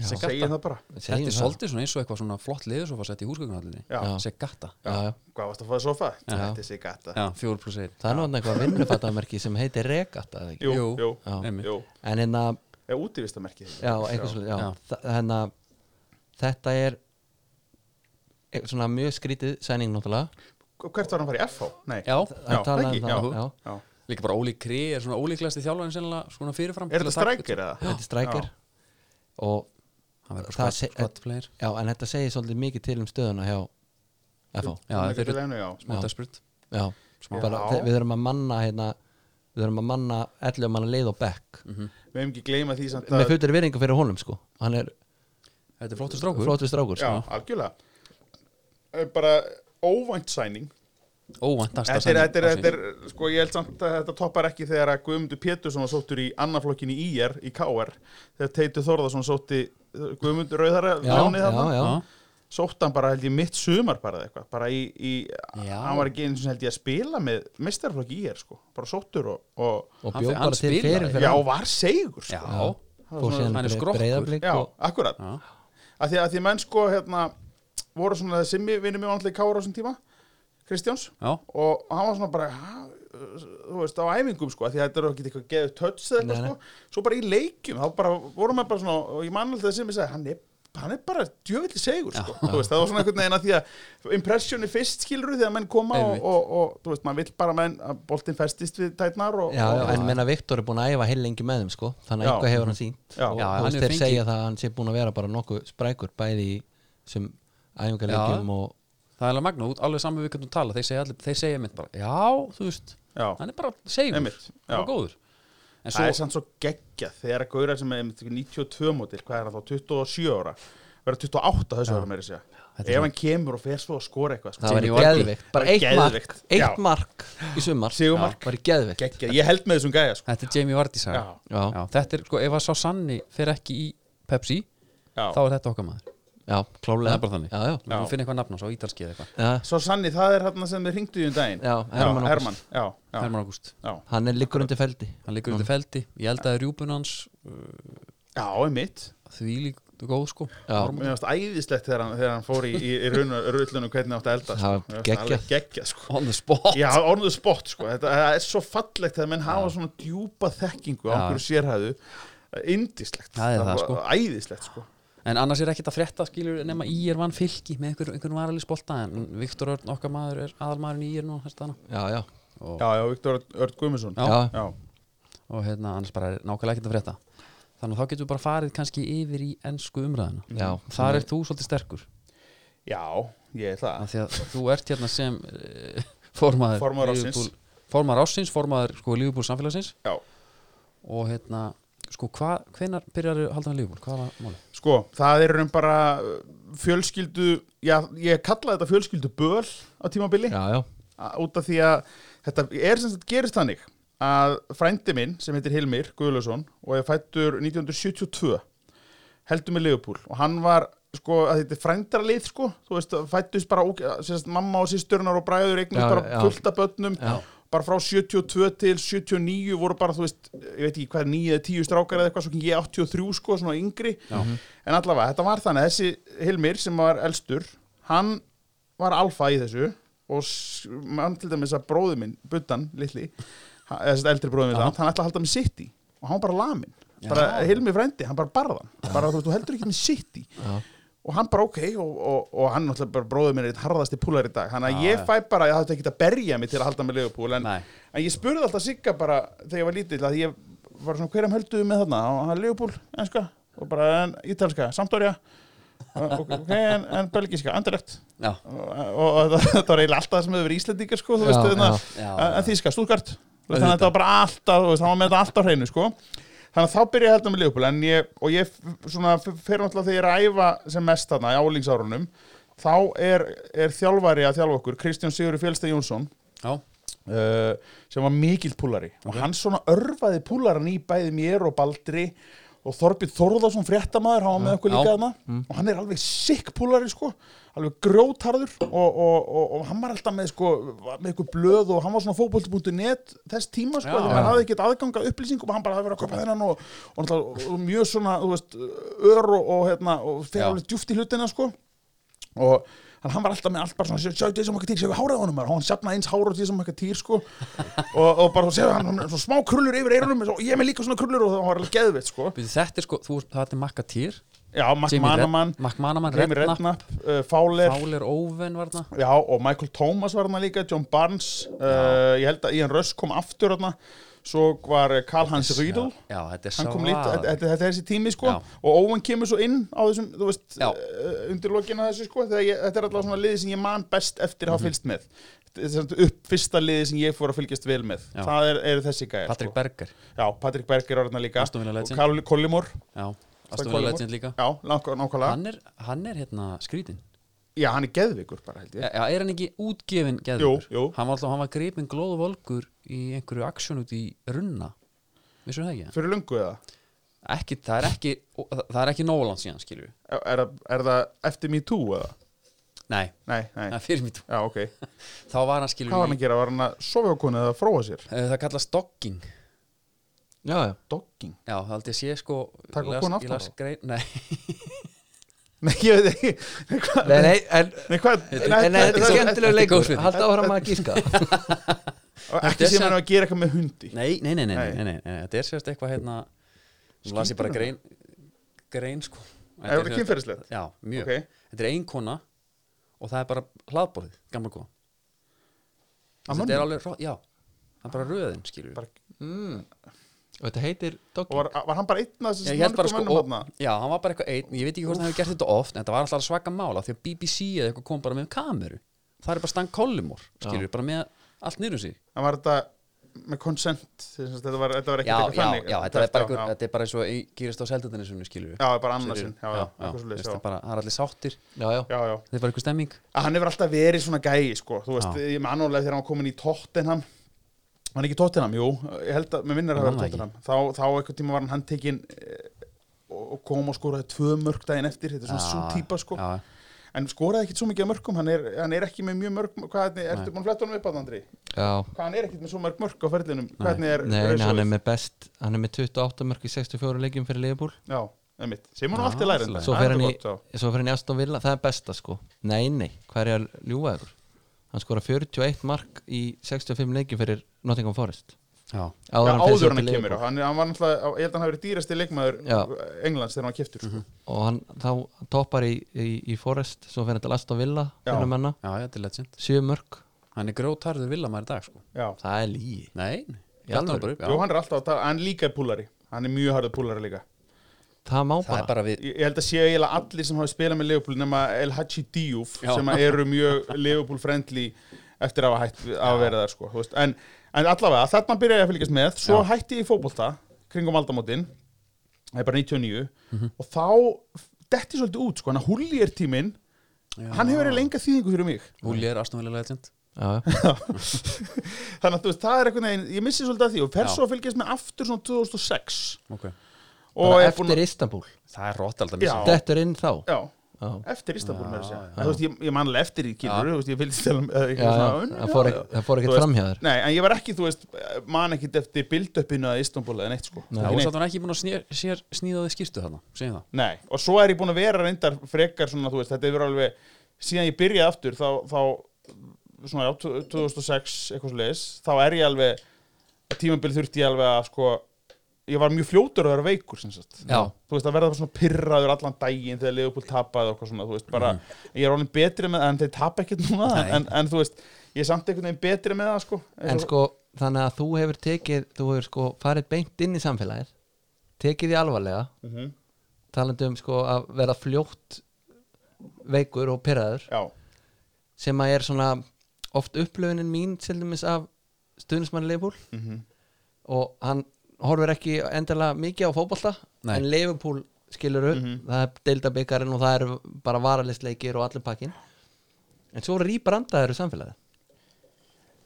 [SPEAKER 3] Já.
[SPEAKER 4] segir það bara
[SPEAKER 3] Segjum
[SPEAKER 2] þetta er
[SPEAKER 3] það.
[SPEAKER 2] svolítið svona eins og eitthvað svona flott liður svo að setja í húsgögnhallinni
[SPEAKER 4] já,
[SPEAKER 3] Já.
[SPEAKER 2] Segata,
[SPEAKER 3] já, já.
[SPEAKER 4] hvað varst að fá það sofa?
[SPEAKER 3] Já.
[SPEAKER 4] þetta er Sigata
[SPEAKER 2] já, fjór pluss einn
[SPEAKER 3] það er náttúrulega eitthvað vinnufattamerki sem heitir regata eða ekki?
[SPEAKER 4] jú,
[SPEAKER 2] Jú.
[SPEAKER 4] jú,
[SPEAKER 3] Já.
[SPEAKER 2] Einmitt.
[SPEAKER 4] jú
[SPEAKER 3] en hérna
[SPEAKER 4] er útivistamerkið
[SPEAKER 3] já, eitthvað svolítið, já,
[SPEAKER 2] Já.
[SPEAKER 3] Þa- hérna þetta er eitthvað svona mjög skrítið sæning náttúrulega
[SPEAKER 4] hvert var hann að fara í FH? nei,
[SPEAKER 2] já,
[SPEAKER 4] Já,
[SPEAKER 3] Að tala
[SPEAKER 4] ekki,
[SPEAKER 3] um það,
[SPEAKER 4] já.
[SPEAKER 3] já.
[SPEAKER 4] já
[SPEAKER 2] líka bara Óli Kri er svona ólíklegasti þjálfarinn sennilega svona fyrirfram
[SPEAKER 4] er
[SPEAKER 2] til
[SPEAKER 4] þetta
[SPEAKER 2] að taka-
[SPEAKER 4] strækir eða?
[SPEAKER 3] þetta er strækir
[SPEAKER 4] Já.
[SPEAKER 3] og
[SPEAKER 2] Hann verður
[SPEAKER 3] Það
[SPEAKER 2] squad-
[SPEAKER 3] sé-
[SPEAKER 2] squad player.
[SPEAKER 3] já, en þetta segir svolítið mikið til um stöðuna hjá
[SPEAKER 2] Já,
[SPEAKER 3] FH
[SPEAKER 4] Hann er
[SPEAKER 2] þetta
[SPEAKER 4] ekki
[SPEAKER 2] eru-
[SPEAKER 4] til einu, já.
[SPEAKER 2] smá
[SPEAKER 3] Já.
[SPEAKER 2] desperate
[SPEAKER 3] já,
[SPEAKER 4] Já.
[SPEAKER 3] bara, þe- við þurfum að manna hérna, við þurfum að manna 11 manna leið og bekk
[SPEAKER 2] Mhm.
[SPEAKER 4] við hefum ekki gleyma því samt
[SPEAKER 3] með
[SPEAKER 4] að
[SPEAKER 3] fullri virðingu fyrir honum sko hann er
[SPEAKER 2] Þetta er flottur strákur
[SPEAKER 3] flottur strákur
[SPEAKER 4] já,
[SPEAKER 3] sko.
[SPEAKER 4] algjörlega Eh, bara óvænt sæning
[SPEAKER 2] Óvæntasta
[SPEAKER 4] Þetta er,
[SPEAKER 2] sæning
[SPEAKER 4] þetta er,
[SPEAKER 2] ársins.
[SPEAKER 4] þetta er, sko ég held samt að þetta toppar ekki þegar að Guðmundur Pétursson var sóttur í annaflokkinni í IR, í KR þegar Teitur Þórðarsson sótti eh, Guðmundur Rauðara lánið
[SPEAKER 3] já,
[SPEAKER 4] þarna,
[SPEAKER 3] já, já.
[SPEAKER 2] Já.
[SPEAKER 4] sótt hann bara held ég mitt sumar bara eða eitthvað, bara í, í
[SPEAKER 2] Já.
[SPEAKER 4] hann var ekki einu sem held ég að spila með mestarflokki í IR sko, bara sóttur og, og
[SPEAKER 2] Hann
[SPEAKER 3] og
[SPEAKER 2] fer-
[SPEAKER 3] bjóð
[SPEAKER 2] hann
[SPEAKER 3] bara til
[SPEAKER 2] spilaði.
[SPEAKER 3] fyrir fyrir
[SPEAKER 4] já, var segur sko.
[SPEAKER 2] Já,
[SPEAKER 3] fór
[SPEAKER 2] Hann
[SPEAKER 3] síðan
[SPEAKER 2] er skrokkur.
[SPEAKER 3] breyðablík
[SPEAKER 4] Já,
[SPEAKER 3] og
[SPEAKER 4] akkurat
[SPEAKER 2] Já.
[SPEAKER 4] að því, að því menn sko hérna, voru svona þessi vinnum mjög vanlega í Kára á þessum tíma Kristjáns
[SPEAKER 2] já,
[SPEAKER 4] og hann var svona bara "Ha?" þú veist á æfingum sko af því að þetta eru ekki eitthvað geðu tötts eða eitthvað
[SPEAKER 3] Nei, nei.
[SPEAKER 4] sko svo bara í leikjum þá bara voru maður bara svona og ég man alltaf þessi sem ég sagði hann er hann er bara djöfelli segur sko. þú veist, það var svona einhvern veginn að því að impressioni fyrst skilur þegar menn koma og,
[SPEAKER 2] Einmitt.
[SPEAKER 4] og, og þú veist, maður vill bara menn að boltinn festist við tætnar og,
[SPEAKER 3] Já, já,
[SPEAKER 4] og,
[SPEAKER 3] en menna Viktor er búin að æfa heilengi með þeim sko, þannig
[SPEAKER 4] Já.
[SPEAKER 3] að eitthvað hefur hann sínt
[SPEAKER 4] Já.
[SPEAKER 3] og
[SPEAKER 2] Já,
[SPEAKER 3] þú
[SPEAKER 2] hann
[SPEAKER 3] veist
[SPEAKER 2] hefur
[SPEAKER 3] þeir
[SPEAKER 2] fengið-
[SPEAKER 3] segja það að hann sé búin að vera bara nokkuð sprækur bæði í sem æfingarleikjum og
[SPEAKER 2] það er alveg magna út alveg saman við hvernig þú tala þeir segja, allir, þeir segja mynd bara, já, þú veist
[SPEAKER 4] Já.
[SPEAKER 2] hann er bara segur,
[SPEAKER 4] Einmitt,
[SPEAKER 2] hann
[SPEAKER 4] já.
[SPEAKER 2] er góður en
[SPEAKER 4] það
[SPEAKER 2] svo,
[SPEAKER 4] er samt svo geggjað þegar að gauðra sem er einmitt 92 mótil hvað er það þá, 27 ára vera 28 þessu ára meira að
[SPEAKER 2] Þetta
[SPEAKER 4] segja
[SPEAKER 2] er
[SPEAKER 4] ef hann kemur og fer svo að skora eitthvað sko.
[SPEAKER 3] það var í
[SPEAKER 2] Jimmy Vardy.
[SPEAKER 3] geðveikt, bara eitt mark
[SPEAKER 4] Geðveikt, já.
[SPEAKER 3] eitt mark í sumar
[SPEAKER 4] Sigurmark.
[SPEAKER 3] Já, var í geðveikt
[SPEAKER 4] geggjað, ég held með þessum gæja sko.
[SPEAKER 2] þetta er Jamie Vardy saga
[SPEAKER 4] Já.
[SPEAKER 3] Já.
[SPEAKER 2] þetta er, sko, ef að sá Sanni fer ekki í Pepsi,
[SPEAKER 4] Já.
[SPEAKER 2] þá er þetta okkar maður
[SPEAKER 3] Já,
[SPEAKER 2] það
[SPEAKER 3] klálega
[SPEAKER 2] er bara þannig,
[SPEAKER 3] Já, já,
[SPEAKER 2] við erum að finna eitthvað nafn á svo ítalskið eitthvað,
[SPEAKER 3] já,
[SPEAKER 4] Svo sanni, það er hérna sem við ringdu í um daginn
[SPEAKER 3] Já, Hermann Ágúst.
[SPEAKER 4] já, Herman, já, já,
[SPEAKER 2] Herman August
[SPEAKER 4] já.
[SPEAKER 3] hann er liggur undir feldi
[SPEAKER 2] hann liggur undir feldi, ég held að rjúbun hans
[SPEAKER 4] já einmitt
[SPEAKER 2] því líkt góð sko
[SPEAKER 3] Já.
[SPEAKER 2] Hormón-
[SPEAKER 4] Mér finnst æðislegt þegar hann, þegar hann fór í, í, í rullunum hvernig átti að elda sko.
[SPEAKER 3] Það var
[SPEAKER 4] Mér fannst alveg
[SPEAKER 3] geggjað.
[SPEAKER 4] geggjað sko.
[SPEAKER 2] on the spot
[SPEAKER 4] Já, orðuðu spott sko. Þetta það er svo fallegt þegar menn hafa svona djúpa þekkingu á
[SPEAKER 2] Já.
[SPEAKER 4] einhverju sérhæðu Indislegt
[SPEAKER 2] Það er það, sko.
[SPEAKER 4] Æðislegt sko.
[SPEAKER 2] En annars er ekkert að frétta skilur nema í er vann fylki með einhver, einhverjum varalið spolta en Viktor Örn okkar maður er aðalmaðurinn í er nú þess staðna.
[SPEAKER 3] Já, já,
[SPEAKER 4] Já, já, Viktor Örd Guðmundsson
[SPEAKER 2] Já.
[SPEAKER 3] já,
[SPEAKER 4] já.
[SPEAKER 2] og hérna annars bara er nákvæmlega ekkert að frétta þannig að þá getum við bara farið kannski yfir í ennsku umræðina
[SPEAKER 3] já
[SPEAKER 2] Þar er þú svolítið sterkur
[SPEAKER 4] já, ég er það
[SPEAKER 2] af því að þú ert hérna sem eh, formaður
[SPEAKER 4] Formaður
[SPEAKER 2] Liverpool- formaður ásins, formaður sko lífbúl samfélagsins
[SPEAKER 4] Já,
[SPEAKER 2] og hérna sko hvað, hvenar byrjar að halda hann lífbúl, hvað var málið?
[SPEAKER 4] Sko, það er um bara uh, fjölskyldu, já, ég kalla þetta fjölskyldu böl á tímabili
[SPEAKER 3] Já, já,
[SPEAKER 4] Að- út af því að þetta er sem sagt gerist þannig að frændi minn sem heitir Hilmir Guðlöfsson og er fættur 1972 heldur með Leopold og hann var sko, að þetta er frændralið sko, þú veist, fættust bara óge- sérst, mamma og sýsturnar og bræður eignast
[SPEAKER 3] Já,
[SPEAKER 4] bara
[SPEAKER 3] já.
[SPEAKER 4] fullt af börnum
[SPEAKER 3] Já.
[SPEAKER 4] bara frá 72 til 79 voru bara, þú veist, ég veit ekki hvað er 9 eða 10 strákar eða eitthvað, svo kynni ég 83 sko, svona yngri, já.
[SPEAKER 3] Mhm.
[SPEAKER 4] en allavega þetta var þannig að þessi Hilmir sem var elstur, hann var alfa í þessu og s- mann til dæmis að bróði minn, Buddan, litli ha- eða þessi eldri bróði minn, hann ætlaði að halda með sitt í og hann var bara lamin, bara Hilmi frændi, hann bara barðan, bara þú veist, þú heldur ekki með sitt í
[SPEAKER 3] Já.
[SPEAKER 4] og hann bara ok og, og, og hann náttúrulega bara bróður minn er eitt harðasti púlar í dag þannig að ég fæ bara, ég hafði ekki að berja mig til að halda með legupúl en,
[SPEAKER 2] Nei.
[SPEAKER 4] en ég spurði alltaf Sigga bara þegar ég var lítill að ég var svona hverjum hölduðu með þarna og hann legupúl, enska og bara en, ítalska, samtórja ok, ok, en, en belgiska, andilegt
[SPEAKER 2] Já,
[SPEAKER 4] og, og, og þetta var eiginlega alltaf það sem hefur verið íslendingar sko, þú
[SPEAKER 3] Já,
[SPEAKER 4] veist, þannig
[SPEAKER 3] já.
[SPEAKER 2] Já,
[SPEAKER 4] að-
[SPEAKER 2] já.
[SPEAKER 4] en þýska, stúðgart þannig að þetta var bara alltaf, þú veist, hann var með þetta alltaf á hreinu sko. þannig að þá byrja ég að heldur með Leopold en ég, og ég f- svona f- fer náttúrulega þegar ég er að æfa sem mest þarna í álingsárunum þá er, er þjálfari að þjálfa okkur Kristján Sigurður Fjölsteg Jónsson
[SPEAKER 2] já,
[SPEAKER 4] uh, sem var mikill púlari og hann svona örfaði púlaran í bæði mér og Baldri og Þorbjörn Þórðarsson fréttamaður, hann var með okkur
[SPEAKER 2] Já. Mm.
[SPEAKER 4] líka þarna og hann er alveg sikk púlari sko alveg grjótarður og, og, og, og hann var alltaf með sko með eitthvað blöð og hann var svona fótbolti.net þess tíma sko,
[SPEAKER 2] Já.
[SPEAKER 4] þegar maður hafði ekkert aðganga upplýsingum hann bara hafði verið að köpa þennan og, og, náttúrulega- og, og mjög svona, þú veist, ör og, og hérna, og
[SPEAKER 2] Já.
[SPEAKER 4] þegar alveg djúft í hlutina sko og hann, hann var alltaf með allt bara svona sjá- sjáðu því sem okkar týr, sjáðu hárað á honum maður." og hann safnaði eins hárað því sem okkar týr sko og, og bara þú séu hann, hann er svona smá krullur yfir eyrunum og ég er með líka svona krullur og það var alveg geðvitt sko
[SPEAKER 2] Býtu, þetta er sko, þú, þetta er Makka Týr
[SPEAKER 4] já, Mac
[SPEAKER 2] Jimmy Red-
[SPEAKER 4] Manaman,
[SPEAKER 2] Mac Manaman,
[SPEAKER 4] Jamie
[SPEAKER 2] Redknapp.
[SPEAKER 4] Redknapp, uh, Fowler
[SPEAKER 2] Fálir Óven var þarna
[SPEAKER 4] já, og Michael Thomas var hann líka John Barnes, uh, ég held að Ian Russ kom aftur hann, svo var eh, Karl-Hans Rydl
[SPEAKER 2] Já, þetta er
[SPEAKER 4] hann kom lít,
[SPEAKER 2] svaðalegt.
[SPEAKER 4] þetta þetta- þetta er þessi tími sko
[SPEAKER 2] Já.
[SPEAKER 4] og Owen kemur svo inn á þessum, þú veist,
[SPEAKER 2] Já.
[SPEAKER 4] uh, undir lokinu þessu sko, þegar ég, þetta er alltaf svona liði sem ég man best
[SPEAKER 2] Mhm.
[SPEAKER 4] eftir að hafa fylgst með Þetta er sem sagt upp fyrsta liði sem ég fór að fylgjast vel með,
[SPEAKER 2] Já.
[SPEAKER 4] það er, er þessi gæja
[SPEAKER 2] Patrik
[SPEAKER 4] sko.
[SPEAKER 2] Berger
[SPEAKER 4] Já, Patrick Berger var hérna líka
[SPEAKER 2] Aston Villa
[SPEAKER 4] og
[SPEAKER 2] legend.
[SPEAKER 4] Karl Kollimor
[SPEAKER 2] Já, Aston Villa Legend líka
[SPEAKER 4] Já, langar- nákvæmlega,
[SPEAKER 2] Hann er, hann er hérna skrýtin
[SPEAKER 4] já hann er geðvikur bara held ég
[SPEAKER 2] Já, er hann ekki útgefin
[SPEAKER 4] Jú,
[SPEAKER 2] geðvigur?
[SPEAKER 4] jú.
[SPEAKER 2] Hann var alltaf, hann var gripin glóð og volgur í einhverju aksjón út í runna Vissum það ekki?
[SPEAKER 4] Fyrir lungu eða?
[SPEAKER 2] ekki? Það er ekki, ó, það það er ekki nólan síðan, skilju
[SPEAKER 4] Er, er, það- er það eftir me too eða?
[SPEAKER 2] Nei,
[SPEAKER 4] Nei,
[SPEAKER 2] það
[SPEAKER 4] nei,
[SPEAKER 2] er fyrir mér
[SPEAKER 4] já ok
[SPEAKER 2] Þá var hann skilju
[SPEAKER 4] Hvað var hann að gera? Var hann að sofa á konu eða fróa sér?
[SPEAKER 2] Það kallast dogging
[SPEAKER 3] já, já,
[SPEAKER 4] Dogging?
[SPEAKER 2] Já, það held ég sé sko
[SPEAKER 4] Taka
[SPEAKER 2] ég las-
[SPEAKER 4] konu
[SPEAKER 2] ég
[SPEAKER 4] aftan
[SPEAKER 2] las
[SPEAKER 4] á?
[SPEAKER 2] grein- Nei,
[SPEAKER 4] Nei, ég veit ekki Nei, hvað-
[SPEAKER 3] nei, nei, en
[SPEAKER 4] Nei, hvað?
[SPEAKER 3] En þetta er skemmtilega
[SPEAKER 2] þetta er
[SPEAKER 3] leikur,
[SPEAKER 2] góð spurning.
[SPEAKER 3] halda áfram að gíska
[SPEAKER 4] Og ekki sem hann að gera eitthvað með hundi
[SPEAKER 2] nei, nei, nei, nei, nei,
[SPEAKER 4] Nei.
[SPEAKER 2] nei, nei, nei. Þetta er sérst eitthvað hérna Nú las ég bara grein Grein sko
[SPEAKER 4] Er þetta kynferðislegt?
[SPEAKER 2] Já, mjög
[SPEAKER 4] Ok.
[SPEAKER 2] Þetta er ein kona og það er bara hlaðborðið, gamla kona
[SPEAKER 4] Að
[SPEAKER 2] Þetta er
[SPEAKER 4] mönnum?
[SPEAKER 2] alveg, hró- já Það er bara röðin, skilju
[SPEAKER 4] Bara-
[SPEAKER 3] mm. Og þetta heitir
[SPEAKER 4] Og
[SPEAKER 3] Doggy
[SPEAKER 4] var, var hann bara einn að
[SPEAKER 2] Ég
[SPEAKER 4] þessum
[SPEAKER 2] held bara
[SPEAKER 4] mörgum
[SPEAKER 2] sko
[SPEAKER 4] mönnum
[SPEAKER 2] og,
[SPEAKER 4] hann
[SPEAKER 2] Já, hann var bara eitthvað einn Ég veit ekki hvort hann hefur gert þetta oft En þetta var alltaf svaka mála Því að BBC eða eitthvað kom bara með kameru Það er bara Stan Collymore Skilju, bara með allt niður um sig
[SPEAKER 4] Hann var þetta með consent sem sagt, Þetta var, þetta var ekki
[SPEAKER 2] Já, já, já, þetta er bara, einhver,
[SPEAKER 4] já,
[SPEAKER 2] þetta er bara eins og í- gerist á seldöndinni skilju
[SPEAKER 4] já, bara annarsinn Já, já, eitthvað svoleiðis,
[SPEAKER 2] Þetta
[SPEAKER 4] já.
[SPEAKER 2] er bara, það er allir sáttir
[SPEAKER 3] Já, já,
[SPEAKER 4] já, já
[SPEAKER 2] Þetta er bara einhver stemming
[SPEAKER 4] að Hann hefur alltaf verið svona gæi sko Þú veist,
[SPEAKER 2] Já.
[SPEAKER 4] ég með annarlega þegar hann var komin í Tottenham Var Hann ekki í Tottenham, jú Ég held að, mér vinnir að
[SPEAKER 2] Ég
[SPEAKER 4] vera
[SPEAKER 2] man það
[SPEAKER 4] Tottenham Þá, þá eitthvað tíma var hann handtekinn eh, og og kom og skoraði tvö mörg daginn eftir Þetta er svona svo
[SPEAKER 2] Já,
[SPEAKER 4] típa sko
[SPEAKER 2] já,
[SPEAKER 4] En skoraði ekkit svo mikið af mörgum Hann er, hann er ekki með mjög mörg Hvað er, ertu búin að fletta honum upp að Andri?
[SPEAKER 3] já
[SPEAKER 4] hvað hann er ekkert með svo mörg mörg á ferlinum
[SPEAKER 3] Nei,
[SPEAKER 4] hvernig er
[SPEAKER 3] nei, nei, hann er
[SPEAKER 4] með
[SPEAKER 3] með best Hann er með 28 mörg í 64 leikjum fyrir Leifbúl
[SPEAKER 4] já, einmitt sem hann alltaf læra
[SPEAKER 3] Svo fer hann í Svo fer hann í Aston Villa, það er besta sko Nei, nei, hvað er ég að ljúga ykkur? Hann skora 41 mark í 65 leikjum fyrir Nottingham Forest
[SPEAKER 2] já,
[SPEAKER 3] Áður
[SPEAKER 4] áður já,
[SPEAKER 3] fer svo
[SPEAKER 4] áður
[SPEAKER 3] til
[SPEAKER 4] hann kemur
[SPEAKER 3] Liverpool.
[SPEAKER 4] já. hann, hann var náttúrulega, ég held að hann hafi verið dýrasti leikmaður
[SPEAKER 3] Já. Mhm.
[SPEAKER 4] Englands þegar hann var keftur sko.
[SPEAKER 3] og hann þá toppar í, í, í Forest svo fyrir þetta last á Villa
[SPEAKER 4] Já.
[SPEAKER 3] fyrir manna,
[SPEAKER 2] já, þetta er legend
[SPEAKER 3] sjö mörg
[SPEAKER 2] Hann er grótarður villamæður í dag sko
[SPEAKER 4] já,
[SPEAKER 3] það er lígi
[SPEAKER 2] Nei,
[SPEAKER 3] Í alvöru?
[SPEAKER 2] bara upp, já.
[SPEAKER 4] Jú, hann er alltaf að tala, hann líka er púlari hann er mjög harður púlari líka
[SPEAKER 3] það má
[SPEAKER 2] Það
[SPEAKER 3] bara,
[SPEAKER 2] er bara við
[SPEAKER 4] ég, ég held að séu eiginlega allir sem hafi spilað með Leopold nema El Haji Diouf
[SPEAKER 2] Já.
[SPEAKER 4] sem að eru mjög Leopold friendly eftir að hafa hætt við- að vera þar sko, þú veist. en, en allavega þarna byrjaði ég að fylgjast með svo hætti ég í fótbolta kringum aldamótin það er bara 99
[SPEAKER 2] Mhm.
[SPEAKER 4] og þá detti svolítið út sko, hann að Hulli er tíminn hann hefur verið lenga þýðingu fyrir mig
[SPEAKER 2] Húli er aðstofnilega legend
[SPEAKER 3] já, já.
[SPEAKER 4] þannig að þú veist, það er einhvern veginn, ég missi svolítið að því og fer
[SPEAKER 2] Já.
[SPEAKER 4] svo að fylgjast með aftur svona 2006
[SPEAKER 2] okay.
[SPEAKER 4] og
[SPEAKER 3] bara
[SPEAKER 4] er búinn
[SPEAKER 3] eftir Istanbul
[SPEAKER 2] Það er rótt alltaf
[SPEAKER 4] Já.
[SPEAKER 2] missa
[SPEAKER 3] þetta er inn þá
[SPEAKER 4] Já,
[SPEAKER 3] Já.
[SPEAKER 4] eftir Istanbul með þess að þú veist, ég, ég manlega eftir í kilur þú veist, ég fylgst til
[SPEAKER 3] Já, já, það fór ekki- það fór ekkert fram hjá þér.
[SPEAKER 4] nei, en ég var ekki, þú veist, man ekkit eftir bildöppinu að Istanbul eða neitt sko
[SPEAKER 2] Það
[SPEAKER 4] Ekki
[SPEAKER 2] var
[SPEAKER 4] neitt.
[SPEAKER 2] satt hann ekki búin að snér, sér, sníða þið skýrtu þarna Segjum það
[SPEAKER 4] Nei, og svo er ég búin að vera reyndar frekar svona, þú veist, þetta hefur alveg síðan ég byrjaði aftur, þá, þá svona, já, 2006, eitthvað svo leiðis þá er ég alveg að tímabili þurfti ég alveg að, sko ég var mjög fljótur að vera veikur, sem sagt
[SPEAKER 2] Já.
[SPEAKER 4] þú veist, að verða bara svona pyrraður allan daginn þegar Leopold tapaði og eitthvað svona, þú veist, bara ég er alveg betri með, en þeir tapa ekkert núna en,
[SPEAKER 2] Nei.
[SPEAKER 4] en, en þú veist, ég er samt einhvern veginn betri með það, sko
[SPEAKER 3] En sko, þannig að þú hefur tekið þú hefur sko farið beint inn í samfélagið tekið því alvarlega
[SPEAKER 4] Mhm.
[SPEAKER 3] talandi um sko að vera fljótt veikur og pyrraður
[SPEAKER 4] Já,
[SPEAKER 3] sem að er svona oft upplöfunin mín til dæmis af stuðnismann Leifbúl og hann horfir ekki endilega mikið á fótbolta
[SPEAKER 2] Nei.
[SPEAKER 3] en Leifbúl skilur upp það er deildabikarin og það eru bara varalistleikir og allir pakkin en svo rýbrandaður samfélagið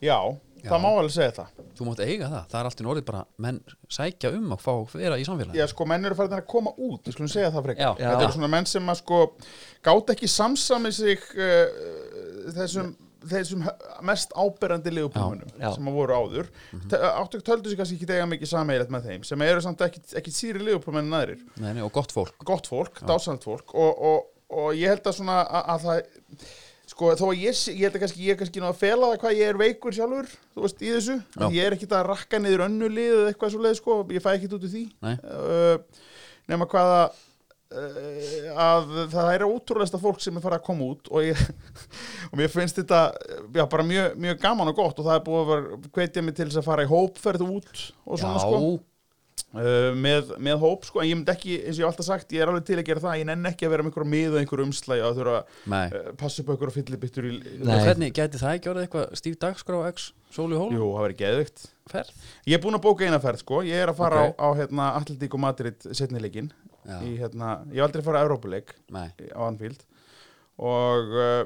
[SPEAKER 4] já, það má alveg segja það
[SPEAKER 2] Þú mátt eiga það, það er allt í norðið bara menn sækja um að fá að vera í samfélagi
[SPEAKER 4] Já, sko, menn eru farin að koma út, við skulum segja það frekar.
[SPEAKER 2] Já.
[SPEAKER 4] Þetta
[SPEAKER 3] Já.
[SPEAKER 4] eru svona menn sem að sko gátt ekki samsami sig uh, þessum, þessum hö- mest áberandi liðupúmunum
[SPEAKER 3] Já. Mhm. Já.
[SPEAKER 4] sem að voru áður. Mm Áttu töldu sig kannski ekki dega mikið sameigilegt með þeim sem eru samt ekki, ekki síri liðupúmun en aðrir.
[SPEAKER 2] Nei, nei, og gott fólk
[SPEAKER 4] Gott fólk, dásanlegt fólk og, og, og ég held að svona að, að það sko þó að ég, sé- ég held að kannski ég er kannski ná að fela það hvað ég er veikur sjálfur þú veist í þessu,
[SPEAKER 2] Já.
[SPEAKER 4] ég er ekkit að rakka niður önnu lið eða eitthvað svo leið sko ég fæ ekkit út úr því
[SPEAKER 2] Nei,
[SPEAKER 4] uh, nema hvaða uh, að það er ótrúlegasta fólk sem er farið að koma út og, ég, og mér finnst þetta já, bara mjög, mjög gaman og gott og það er búið að vera hvetja mig til þess að fara í hópferð út og svona
[SPEAKER 2] já,
[SPEAKER 4] sko uh, með, með hóp sko en ég myndi ekki, eins og ég hef alltaf sagt, ég er alveg til að gera það ég nenn ekki að vera með einhverjum miða einhverjum umslæg og þurfa að
[SPEAKER 2] nei
[SPEAKER 4] uh, passa upp á einhverjum fyllibittur í
[SPEAKER 3] Nei.
[SPEAKER 2] Og hvernig gæti það ekki orðið eitthvað stíf dagskrá X Sólu Hól
[SPEAKER 4] Jú, það verið geðvikt
[SPEAKER 2] ferð?
[SPEAKER 4] Ég er búin að bóka eina ferð sko, ég er að fara
[SPEAKER 2] Ok.
[SPEAKER 4] á, á hérna, Atletík og Madrid setnileikin
[SPEAKER 2] Já.
[SPEAKER 4] í, hérna, ég hef aldrei farið að Európuleik
[SPEAKER 2] Nei,
[SPEAKER 4] á Anfield og uh,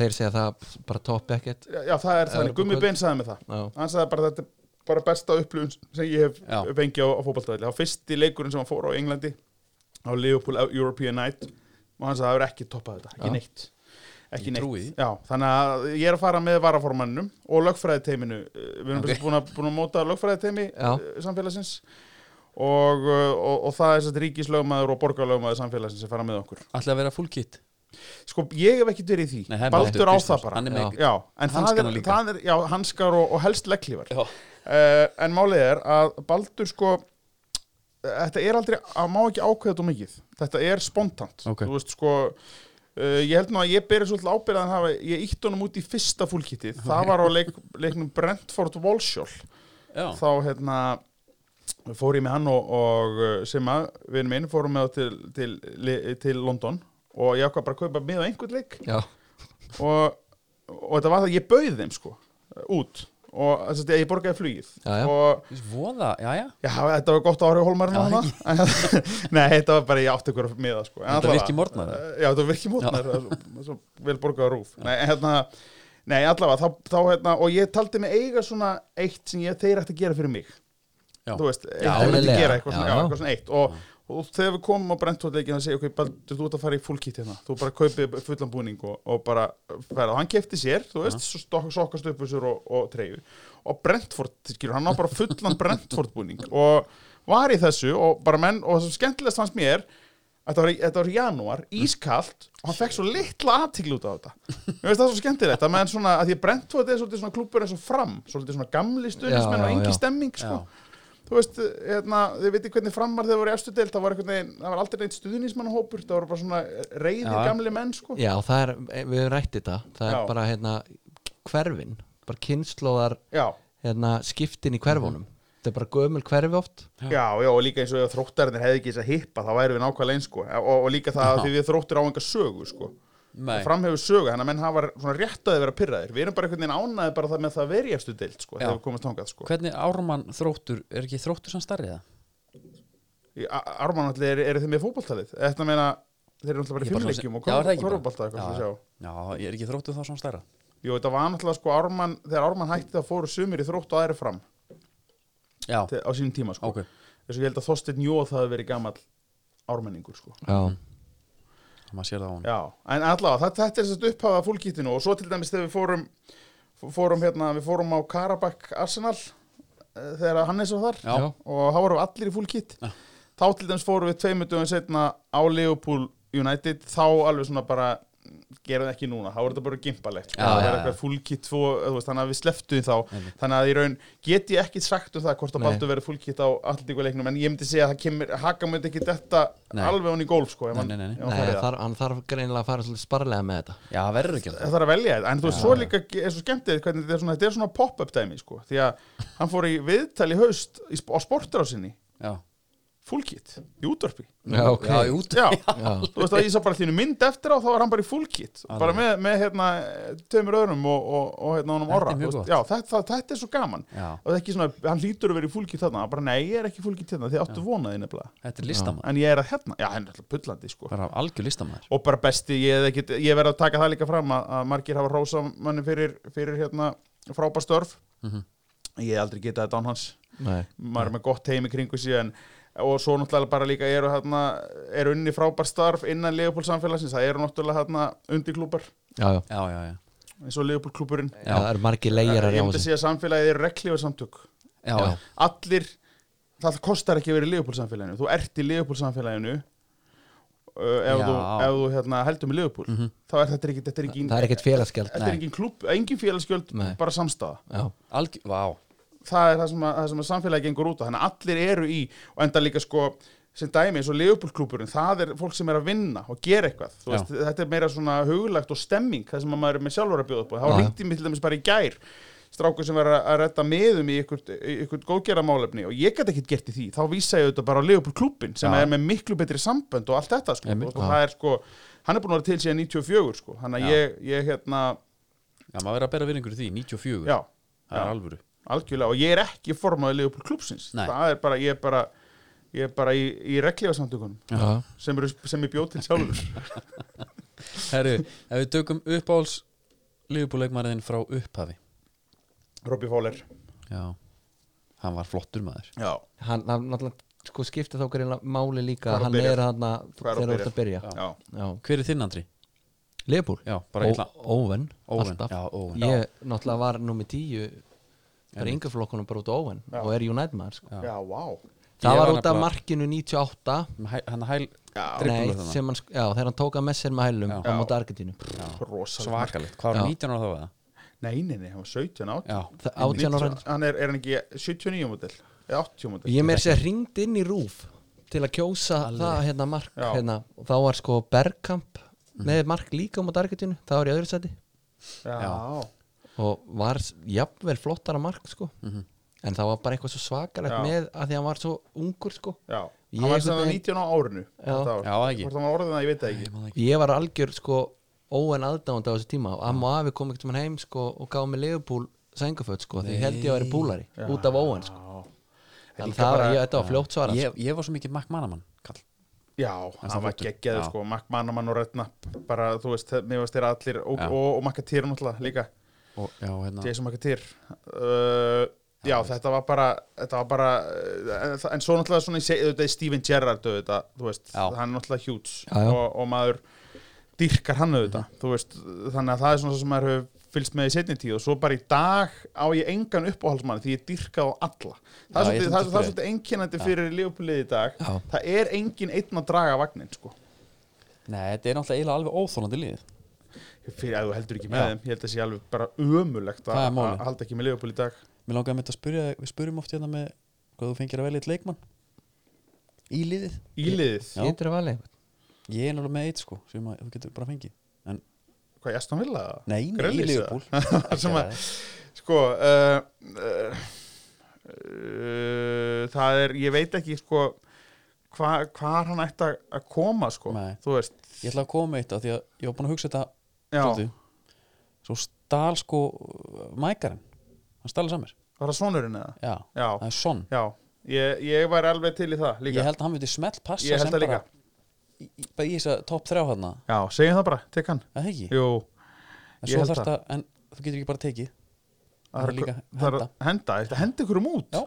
[SPEAKER 3] þeir segja það bara topp ekkert
[SPEAKER 4] já, það er þannig,
[SPEAKER 3] Evrópukvöld.
[SPEAKER 4] Gummi Ben sagði með það
[SPEAKER 3] Já.
[SPEAKER 4] hann sagði bara þetta er bara besta upplifun sem ég hef
[SPEAKER 2] Já.
[SPEAKER 4] fengið á, á fótballtæðli það var fyrsti leikurinn sem hann fór á Englandi á Liverpool European Night og hann sagði það er ekki toppað þetta, ekki
[SPEAKER 3] Já.
[SPEAKER 4] neitt ekki
[SPEAKER 2] Ég
[SPEAKER 4] neitt,
[SPEAKER 2] trúi því.
[SPEAKER 4] já, þannig að ég er að fara með varaformannum og lögfræðiteiminu Eh, við erum
[SPEAKER 2] Ok.
[SPEAKER 4] okay. búin, að, búin að móta lögfræðiteimi
[SPEAKER 3] Já.
[SPEAKER 4] eh, samfélagsins og, eh, og, og það er þess að ríkislögmaður og borgarlögmaður samfélagsins sem fara með okkur
[SPEAKER 2] ætla að vera full kit
[SPEAKER 4] Sko, ég hef ekki verið í því
[SPEAKER 2] Nei, það er
[SPEAKER 4] Baldur
[SPEAKER 2] Baldur
[SPEAKER 4] á
[SPEAKER 2] Kristjáns.
[SPEAKER 4] það bara
[SPEAKER 2] Hann er
[SPEAKER 4] Já,
[SPEAKER 2] með-
[SPEAKER 4] já en það er,
[SPEAKER 2] hanskana líka.
[SPEAKER 4] það er, já, hanskar og, og helst legglífar uh,
[SPEAKER 2] Já,
[SPEAKER 4] En málið er að Baldur sko Þetta er aldrei, að má ekki ákveða þetta mikið Þetta er spontant
[SPEAKER 2] Ok.
[SPEAKER 4] Þú veist sko Uh, ég held nú að ég berið svolítið ábyrðan hafa ég ítt honum út í fyrsta fúlkitið það var á leik, leiknum Brentford Walshall
[SPEAKER 2] já,
[SPEAKER 4] þá hérna fór ég með hann og, og uh, Simma, vinn minn, fórum með þá til, til, til, til London og ég ákvað bara að kaupa með á einhvern leik
[SPEAKER 3] Já.
[SPEAKER 4] og, og þetta var það, ég bauði þeim sko út og þess að ég borgaði flugið
[SPEAKER 3] Já, já.
[SPEAKER 4] og
[SPEAKER 2] voða, já, já
[SPEAKER 4] já, þetta var gott áhrif
[SPEAKER 3] Já,
[SPEAKER 4] hólmarinn þarna. nei, þetta var bara ég átti ykkur með það sko En
[SPEAKER 2] Þetta
[SPEAKER 4] allavega-
[SPEAKER 2] virki morgnar, eða?
[SPEAKER 4] já, þetta virki mórnar, svo vel borgaði rúf nei, en hérna Nei, allavega, þá, þá hérna, og ég taldi mig eiga svona eitt sem ég, þeir ætti að gera fyrir mig
[SPEAKER 2] Já.
[SPEAKER 4] þú veist,
[SPEAKER 3] Já,
[SPEAKER 4] eitthvað myndi
[SPEAKER 3] eðlilega.
[SPEAKER 4] gera eitthvað svona,
[SPEAKER 3] Já.
[SPEAKER 4] já, eitthvað svona eitt og, og þegar við komum á brentúrleikin að segja, ok, Baldur, þú ert að fara í fólkitt hérna þú bara kaupið fullan búning og, og bara ferð, og hann kefti sér, þú veist svo stokk- sokkast upp þessur og, og treyju og Brentford, skilur, hann á bara fullan Brentford búning og var í þessu og bara menn, og það sem skemmtilegast fannst mér Þetta var, í- þetta var í janúar, ískalt og hann fekk svo litla aðtíkl út á þetta Mér veist það svo skemmtilegt að menn svona að því að Brentford er svolítið svona klúpur eins og fram svolítið svona gamli stuðnismenn
[SPEAKER 3] Já,
[SPEAKER 4] og
[SPEAKER 3] já,
[SPEAKER 4] engi
[SPEAKER 3] já.
[SPEAKER 4] stemming sko. Þú veist, hérna, þið veitir hvernig frammar þegar voru í efstu deild, það var, einhvern veginn- það var aldrei neitt stuðnismannahópur, það voru bara svona reyðir
[SPEAKER 2] Já.
[SPEAKER 4] gamli menn sko.
[SPEAKER 3] Já, það er, eh, við höfum rætt þetta það
[SPEAKER 4] Já.
[SPEAKER 3] er bara hérna hverfin bara kynnslóðar
[SPEAKER 4] Já,
[SPEAKER 3] hérna, skiptin í hverfunum þetta er bara gömul hverfi oft
[SPEAKER 4] já, já, og líka eins og ef þróttarinn hefði ekki þess að hippa, þá væri við nákvæmlega eins sko. og, og líka það að því við þróttir á enga sögu sko.
[SPEAKER 2] Nei,
[SPEAKER 4] og framhefur sögu, þannig að menn hafa svona rétt að þið vera pyrraðir, við erum bara einhvern veginn ánaði bara það með það verið efstu deild sko,
[SPEAKER 2] Já.
[SPEAKER 4] þegar við komumst þangað sko.
[SPEAKER 2] hvernig ármann þróttur er ekki þróttur sem starrið það?
[SPEAKER 4] Í Ar- Ármann allir eru er þið með fótballtalið þetta meina, þeir eru alltaf bara í
[SPEAKER 2] Ég bara
[SPEAKER 4] fimmleikjum
[SPEAKER 2] svona-
[SPEAKER 4] og
[SPEAKER 2] Já, er það ekki bara?
[SPEAKER 4] korfballta
[SPEAKER 2] Já,
[SPEAKER 4] eitthvað sem sjá
[SPEAKER 2] Já, ég er ekki þróttur þá svona starra
[SPEAKER 4] Jú, þetta var náttúrulega sko Ármann, þegar Ármann hætti það fóru sumir í þrótt og aðri fram
[SPEAKER 2] Já,
[SPEAKER 4] til, á sínum tíma sko
[SPEAKER 2] ok
[SPEAKER 4] þess að ég held að Þorsteinn Jóð það hafi verið gamall ármenningur sko
[SPEAKER 3] Já,
[SPEAKER 2] maður sér það á hann
[SPEAKER 4] Já, en allavega, þetta, þetta er þess að upphafa fúlgítinu og svo til dæmis þegar við fórum fórum hérna, við fórum á Karabakk Arsenal eh, þegar Hannes var þar
[SPEAKER 2] Já.
[SPEAKER 4] og þá vorum við allir í fúlgít
[SPEAKER 2] Já.
[SPEAKER 4] þá til dæmis fórum við tveimur dögum setna á Leopold United þá alveg svona bara gerum það ekki núna, þá er þetta bara gimpalegt
[SPEAKER 2] Já,
[SPEAKER 4] það
[SPEAKER 2] já,
[SPEAKER 4] er
[SPEAKER 2] já.
[SPEAKER 4] eitthvað fúlgít tvo, þú veist, þannig að við sleftum þá þannig að í raun get ég ekki sagt um það hvort að
[SPEAKER 3] Nei.
[SPEAKER 4] baldu verið fúlgít á allir leiknum en ég myndi segja að það kemur, haka myndi ekki þetta
[SPEAKER 2] Nei.
[SPEAKER 4] alveg hann í gólf sko, ef
[SPEAKER 2] Nei,
[SPEAKER 4] hann-
[SPEAKER 2] nei, nei, nei.
[SPEAKER 4] ef hann
[SPEAKER 3] Nei,
[SPEAKER 4] fær í
[SPEAKER 3] það
[SPEAKER 4] það.
[SPEAKER 3] þarf, hann þarf greinilega að fara svolítið sparlega með þetta
[SPEAKER 2] Já, verður ekki að
[SPEAKER 4] það þarf að velja þetta, en þú veist, svo líka er svo skemmtið hvernig þetta er svona, þetta er svona pop-up dæmi sko, því að hann fór í viðtal í haust í, sp- á sportrásinni,
[SPEAKER 2] Já,
[SPEAKER 4] fullkitt í útvarpi,
[SPEAKER 3] Já, ok.
[SPEAKER 2] já, í út
[SPEAKER 4] já,
[SPEAKER 3] Já,
[SPEAKER 4] þú veist að ég sá bara þínu mynd eftir á, þá var hann bara í fullkitt bara með, með hérna, tömur öðrum og, og, og hérna honum
[SPEAKER 2] Þetta er
[SPEAKER 4] orra,
[SPEAKER 2] mjög
[SPEAKER 4] þú
[SPEAKER 2] gott.
[SPEAKER 4] veist, já, þetta, það- þetta er svo gaman
[SPEAKER 2] Já.
[SPEAKER 4] og það er ekki svona, hann lítur að vera í fullkitt þarna, hann bara, nei, ég er ekki fullkitt þarna, hérna, þið áttu vonaði nefnilega,
[SPEAKER 2] Þetta er listamann,
[SPEAKER 4] en ég er að hérna, já, hann er alltaf pullandi, sko
[SPEAKER 2] bara algjör listamann
[SPEAKER 4] og bara besti, ég, hef ekkit, ég verð að taka það líka fram að, að margir hafa rósa manni fyrir, fyrir hérna frábær störf
[SPEAKER 2] Mhm.
[SPEAKER 4] ég hef aldrei getað þetta án hans
[SPEAKER 3] nei,
[SPEAKER 4] maður er með gott heim í kringu síðan og svo náttúrulega bara líka eru, hérna, eru unni frábær starf innan Leopold samfélagsins það eru náttúrulega hérna, undirklúpar
[SPEAKER 3] já, já,
[SPEAKER 2] Já, já, já,
[SPEAKER 4] eins og Leopold klúpurinn
[SPEAKER 3] já, það eru margir leigjarar
[SPEAKER 4] ég
[SPEAKER 3] hjá
[SPEAKER 4] myndi
[SPEAKER 3] þessu
[SPEAKER 4] segja að samfélagið er reklífa samtök
[SPEAKER 2] já,
[SPEAKER 3] Já.
[SPEAKER 2] já.
[SPEAKER 4] allir, það kostar ekki að vera í Leopold samfélaginu, þú ert í Leopold samfélaginu uh, ef,
[SPEAKER 2] Já.
[SPEAKER 4] þú, ef þú hérna, heldur með Leopold þá er þetta ekki, þetta er ekki
[SPEAKER 3] Það er ekkert félagsgjald
[SPEAKER 4] Þetta er engin klub, engin félagsgjöld,
[SPEAKER 3] Nei.
[SPEAKER 4] bara samstaða.
[SPEAKER 3] Já,
[SPEAKER 2] Algjör, vá
[SPEAKER 4] Það er það sem, að, það sem að samfélagi gengur út á. Þannig að allir eru í, og enda líka sko, sem dæmi eins og leifbúlklúburinn, það er fólk sem er að vinna og gera eitthvað. Þú
[SPEAKER 2] Já.
[SPEAKER 4] Veist, þetta er meira svona hugulegt og stemming, það sem að maður er með sjálfur að bjóða upp á.
[SPEAKER 3] Já,
[SPEAKER 4] Það
[SPEAKER 3] já.
[SPEAKER 4] var hringt í mig til dæmis bara í gær, strákur sem var að, að retta meðum í ykkurt, í ykkurt góðgeramálefni og ég gæti ekkert gert í því. Þá vísa ég auðvitað bara á leifbúlklúbin sem
[SPEAKER 2] Já.
[SPEAKER 4] er með miklu betri sambönd og allt þetta sko.
[SPEAKER 2] Einmitt.
[SPEAKER 4] og það er sko, hann er búin að vera til síðan 94 sko. Þannig að
[SPEAKER 2] Já.
[SPEAKER 4] ég, ég hérna,
[SPEAKER 2] Já, maður verður að bera virðingur í því, 94
[SPEAKER 4] já.
[SPEAKER 2] Það er
[SPEAKER 4] Já.
[SPEAKER 2] alvöru
[SPEAKER 4] algjörlega og ég er ekki formaður Leopold klúpsins,
[SPEAKER 2] Nei.
[SPEAKER 4] það er bara ég er bara, ég er bara í, í reglífasamtökunum
[SPEAKER 3] já,
[SPEAKER 4] sem, eru, sem ég bjóð til sjálfur
[SPEAKER 2] Herru, ef við tökum uppáhals Liðbúleikmarðin frá upphafi
[SPEAKER 4] Robby Fowler
[SPEAKER 2] Já, hann var flottur maður
[SPEAKER 4] já.
[SPEAKER 3] hann hann náttúrulega sko skiptir þá greinlega máli líka
[SPEAKER 4] Hvar
[SPEAKER 3] að
[SPEAKER 4] hann
[SPEAKER 3] hann
[SPEAKER 4] byrjar.
[SPEAKER 3] er hann
[SPEAKER 4] Hvar hann
[SPEAKER 3] þegar þú ert að byrja
[SPEAKER 4] Já.
[SPEAKER 3] Já,
[SPEAKER 2] Hver er þinn Andri?
[SPEAKER 3] Leopold
[SPEAKER 2] Já, bara illa.
[SPEAKER 3] Óven,
[SPEAKER 2] Owen,
[SPEAKER 3] alltaf
[SPEAKER 2] já, Owen.
[SPEAKER 3] Ég náttúrulega var nummer tíu bara yngaflokkunum bara út á Óven
[SPEAKER 4] Já.
[SPEAKER 3] og er United maður sko.
[SPEAKER 4] já, vá
[SPEAKER 2] Ég
[SPEAKER 3] Það
[SPEAKER 2] var
[SPEAKER 3] var út af
[SPEAKER 2] nefnilega-
[SPEAKER 3] markinu 98
[SPEAKER 2] Hæ- Hann hæl
[SPEAKER 4] Já.
[SPEAKER 2] dribblar
[SPEAKER 3] Nei,
[SPEAKER 2] þarna.
[SPEAKER 3] sem hann, sk- já, þegar hann tók að með sér með hælum
[SPEAKER 2] Já.
[SPEAKER 3] á móti Argentínu
[SPEAKER 4] rosalega
[SPEAKER 2] Svakalegt, hvað var
[SPEAKER 3] Já.
[SPEAKER 2] 19 ára þá var það?
[SPEAKER 4] nei, nei, nei, hann var 17 átt
[SPEAKER 2] Já,
[SPEAKER 3] Það- 18 ára
[SPEAKER 4] hann er, er hann ekki 79 mótil eða 80 mótil
[SPEAKER 3] Ég meir sér ringd inn í rúf til að kjósa það hérna mark
[SPEAKER 4] Já.
[SPEAKER 3] hérna, og þá var sko Bergkamp
[SPEAKER 2] Mhm.
[SPEAKER 3] með mark líka á móti Argentínu, það var í öðru seti
[SPEAKER 4] já. Já.
[SPEAKER 3] og var s- jafnvel flottara mark sko
[SPEAKER 2] Mhm.
[SPEAKER 3] en það var bara eitthvað svo svakalegt
[SPEAKER 4] Já.
[SPEAKER 3] með að því hann var svo ungur sko Ég
[SPEAKER 4] hann var
[SPEAKER 3] einhvern
[SPEAKER 4] sem það
[SPEAKER 3] veginn-
[SPEAKER 4] 19 á árinu þetta ár.
[SPEAKER 2] Já, það ekki.
[SPEAKER 4] hvort hann var orðin það, ég veit það ekki
[SPEAKER 3] ég var algjör sko óen aðdánd á þessu tíma og amma og afi kom ekkert mann heim sko og gaf mig legupúl sængaföld sko því ég held ég að vera púlari út af óen sko
[SPEAKER 4] líka
[SPEAKER 3] þannig það var,
[SPEAKER 4] bara-
[SPEAKER 3] ég, þetta var fljótt svara sko.
[SPEAKER 2] ég, ég var svo mikið Mac Manaman kall.
[SPEAKER 4] Já,
[SPEAKER 2] það
[SPEAKER 4] hann var
[SPEAKER 2] flottur.
[SPEAKER 4] geggjaður
[SPEAKER 2] Já.
[SPEAKER 4] sko, Mac Manaman og Redknapp bara, þú veist, mér varst þeir allir og,
[SPEAKER 2] Já.
[SPEAKER 4] og, og Makatir náttúrulega líka
[SPEAKER 2] og, Já, hérna
[SPEAKER 4] Jason McAteer uh, Já, þetta var bara, þetta var bara uh, en, það- en svo náttúrulega svona í seg- auðvitað er Steven Gerrard auðvitað, þú veist,
[SPEAKER 2] Já.
[SPEAKER 4] hann er náttúrulega hjúts
[SPEAKER 3] Já, já.
[SPEAKER 4] og, og maður dýrkar hann auðvitað,
[SPEAKER 2] Mhm.
[SPEAKER 4] þú veist, þannig að það er svona sem maður hefur fylgst með í setni tíð og svo bara í dag á ég engan uppáhaldsmann því ég dýrka á alla það
[SPEAKER 2] Já,
[SPEAKER 4] er
[SPEAKER 2] ég
[SPEAKER 4] svolítið,
[SPEAKER 2] finn
[SPEAKER 4] það, er-
[SPEAKER 2] þetta
[SPEAKER 4] það er
[SPEAKER 2] fyrir.
[SPEAKER 4] svolítið einkennandi fyrir lífupulið í dag
[SPEAKER 3] Já.
[SPEAKER 4] það er engin einn að draga vagnin sko,
[SPEAKER 2] Nei, þetta er náttúrulega eiginlega alveg óþólandi lið
[SPEAKER 4] fyrir að þú heldur ekki með
[SPEAKER 2] Já.
[SPEAKER 4] þeim ég held að það sé alveg bara ömulegt að
[SPEAKER 2] Það er málið.
[SPEAKER 4] að halda ekki með lífupulið í dag
[SPEAKER 2] Mér langaði með þetta að spyrja, þig- við spurjum oft hérna með hvað þú fengir að velja eitt leikmann í liðið
[SPEAKER 4] Íliðið,
[SPEAKER 2] Já.
[SPEAKER 3] getur að valja eitthvað
[SPEAKER 2] Ég er náttúrulega með eitt sko, sem að þú getur bara fengið En,
[SPEAKER 4] hvað ég stóðum vilja það?
[SPEAKER 2] nei, nei, í
[SPEAKER 4] Grealish, eða?
[SPEAKER 2] Liverpool Ekki
[SPEAKER 4] Sem að-
[SPEAKER 2] að-
[SPEAKER 4] Sko uh, uh, uh, Það er, ég veit ekki sko hva, hvað hann ætti að- að koma sko
[SPEAKER 2] Nei.
[SPEAKER 4] Þú veist
[SPEAKER 2] Ég ætla að koma með eitt af því að ég var búin að hugsa þetta
[SPEAKER 4] Já,
[SPEAKER 2] svolítið Svo stál sko uh, mækarinn Hann stáli samir
[SPEAKER 4] var það sonurinn eða?
[SPEAKER 2] Já,
[SPEAKER 4] Já,
[SPEAKER 2] það er sonn
[SPEAKER 4] já Ég, ég var alveg til í það líka
[SPEAKER 2] Ég held að hann myndi smelt passa
[SPEAKER 4] Ég held
[SPEAKER 2] sem
[SPEAKER 4] það líka.
[SPEAKER 2] bara, í, í, bara í þess að topp þrjá þarna
[SPEAKER 4] Já, segjum það bara, tek hann
[SPEAKER 2] Það ekki,
[SPEAKER 4] Jú,
[SPEAKER 2] en
[SPEAKER 4] ég
[SPEAKER 2] svo
[SPEAKER 4] held
[SPEAKER 2] þarft að En þú getur ekki bara tekið Það er líka
[SPEAKER 4] það er-
[SPEAKER 2] henda.
[SPEAKER 4] henda, þetta henda ykkur um út
[SPEAKER 2] Já.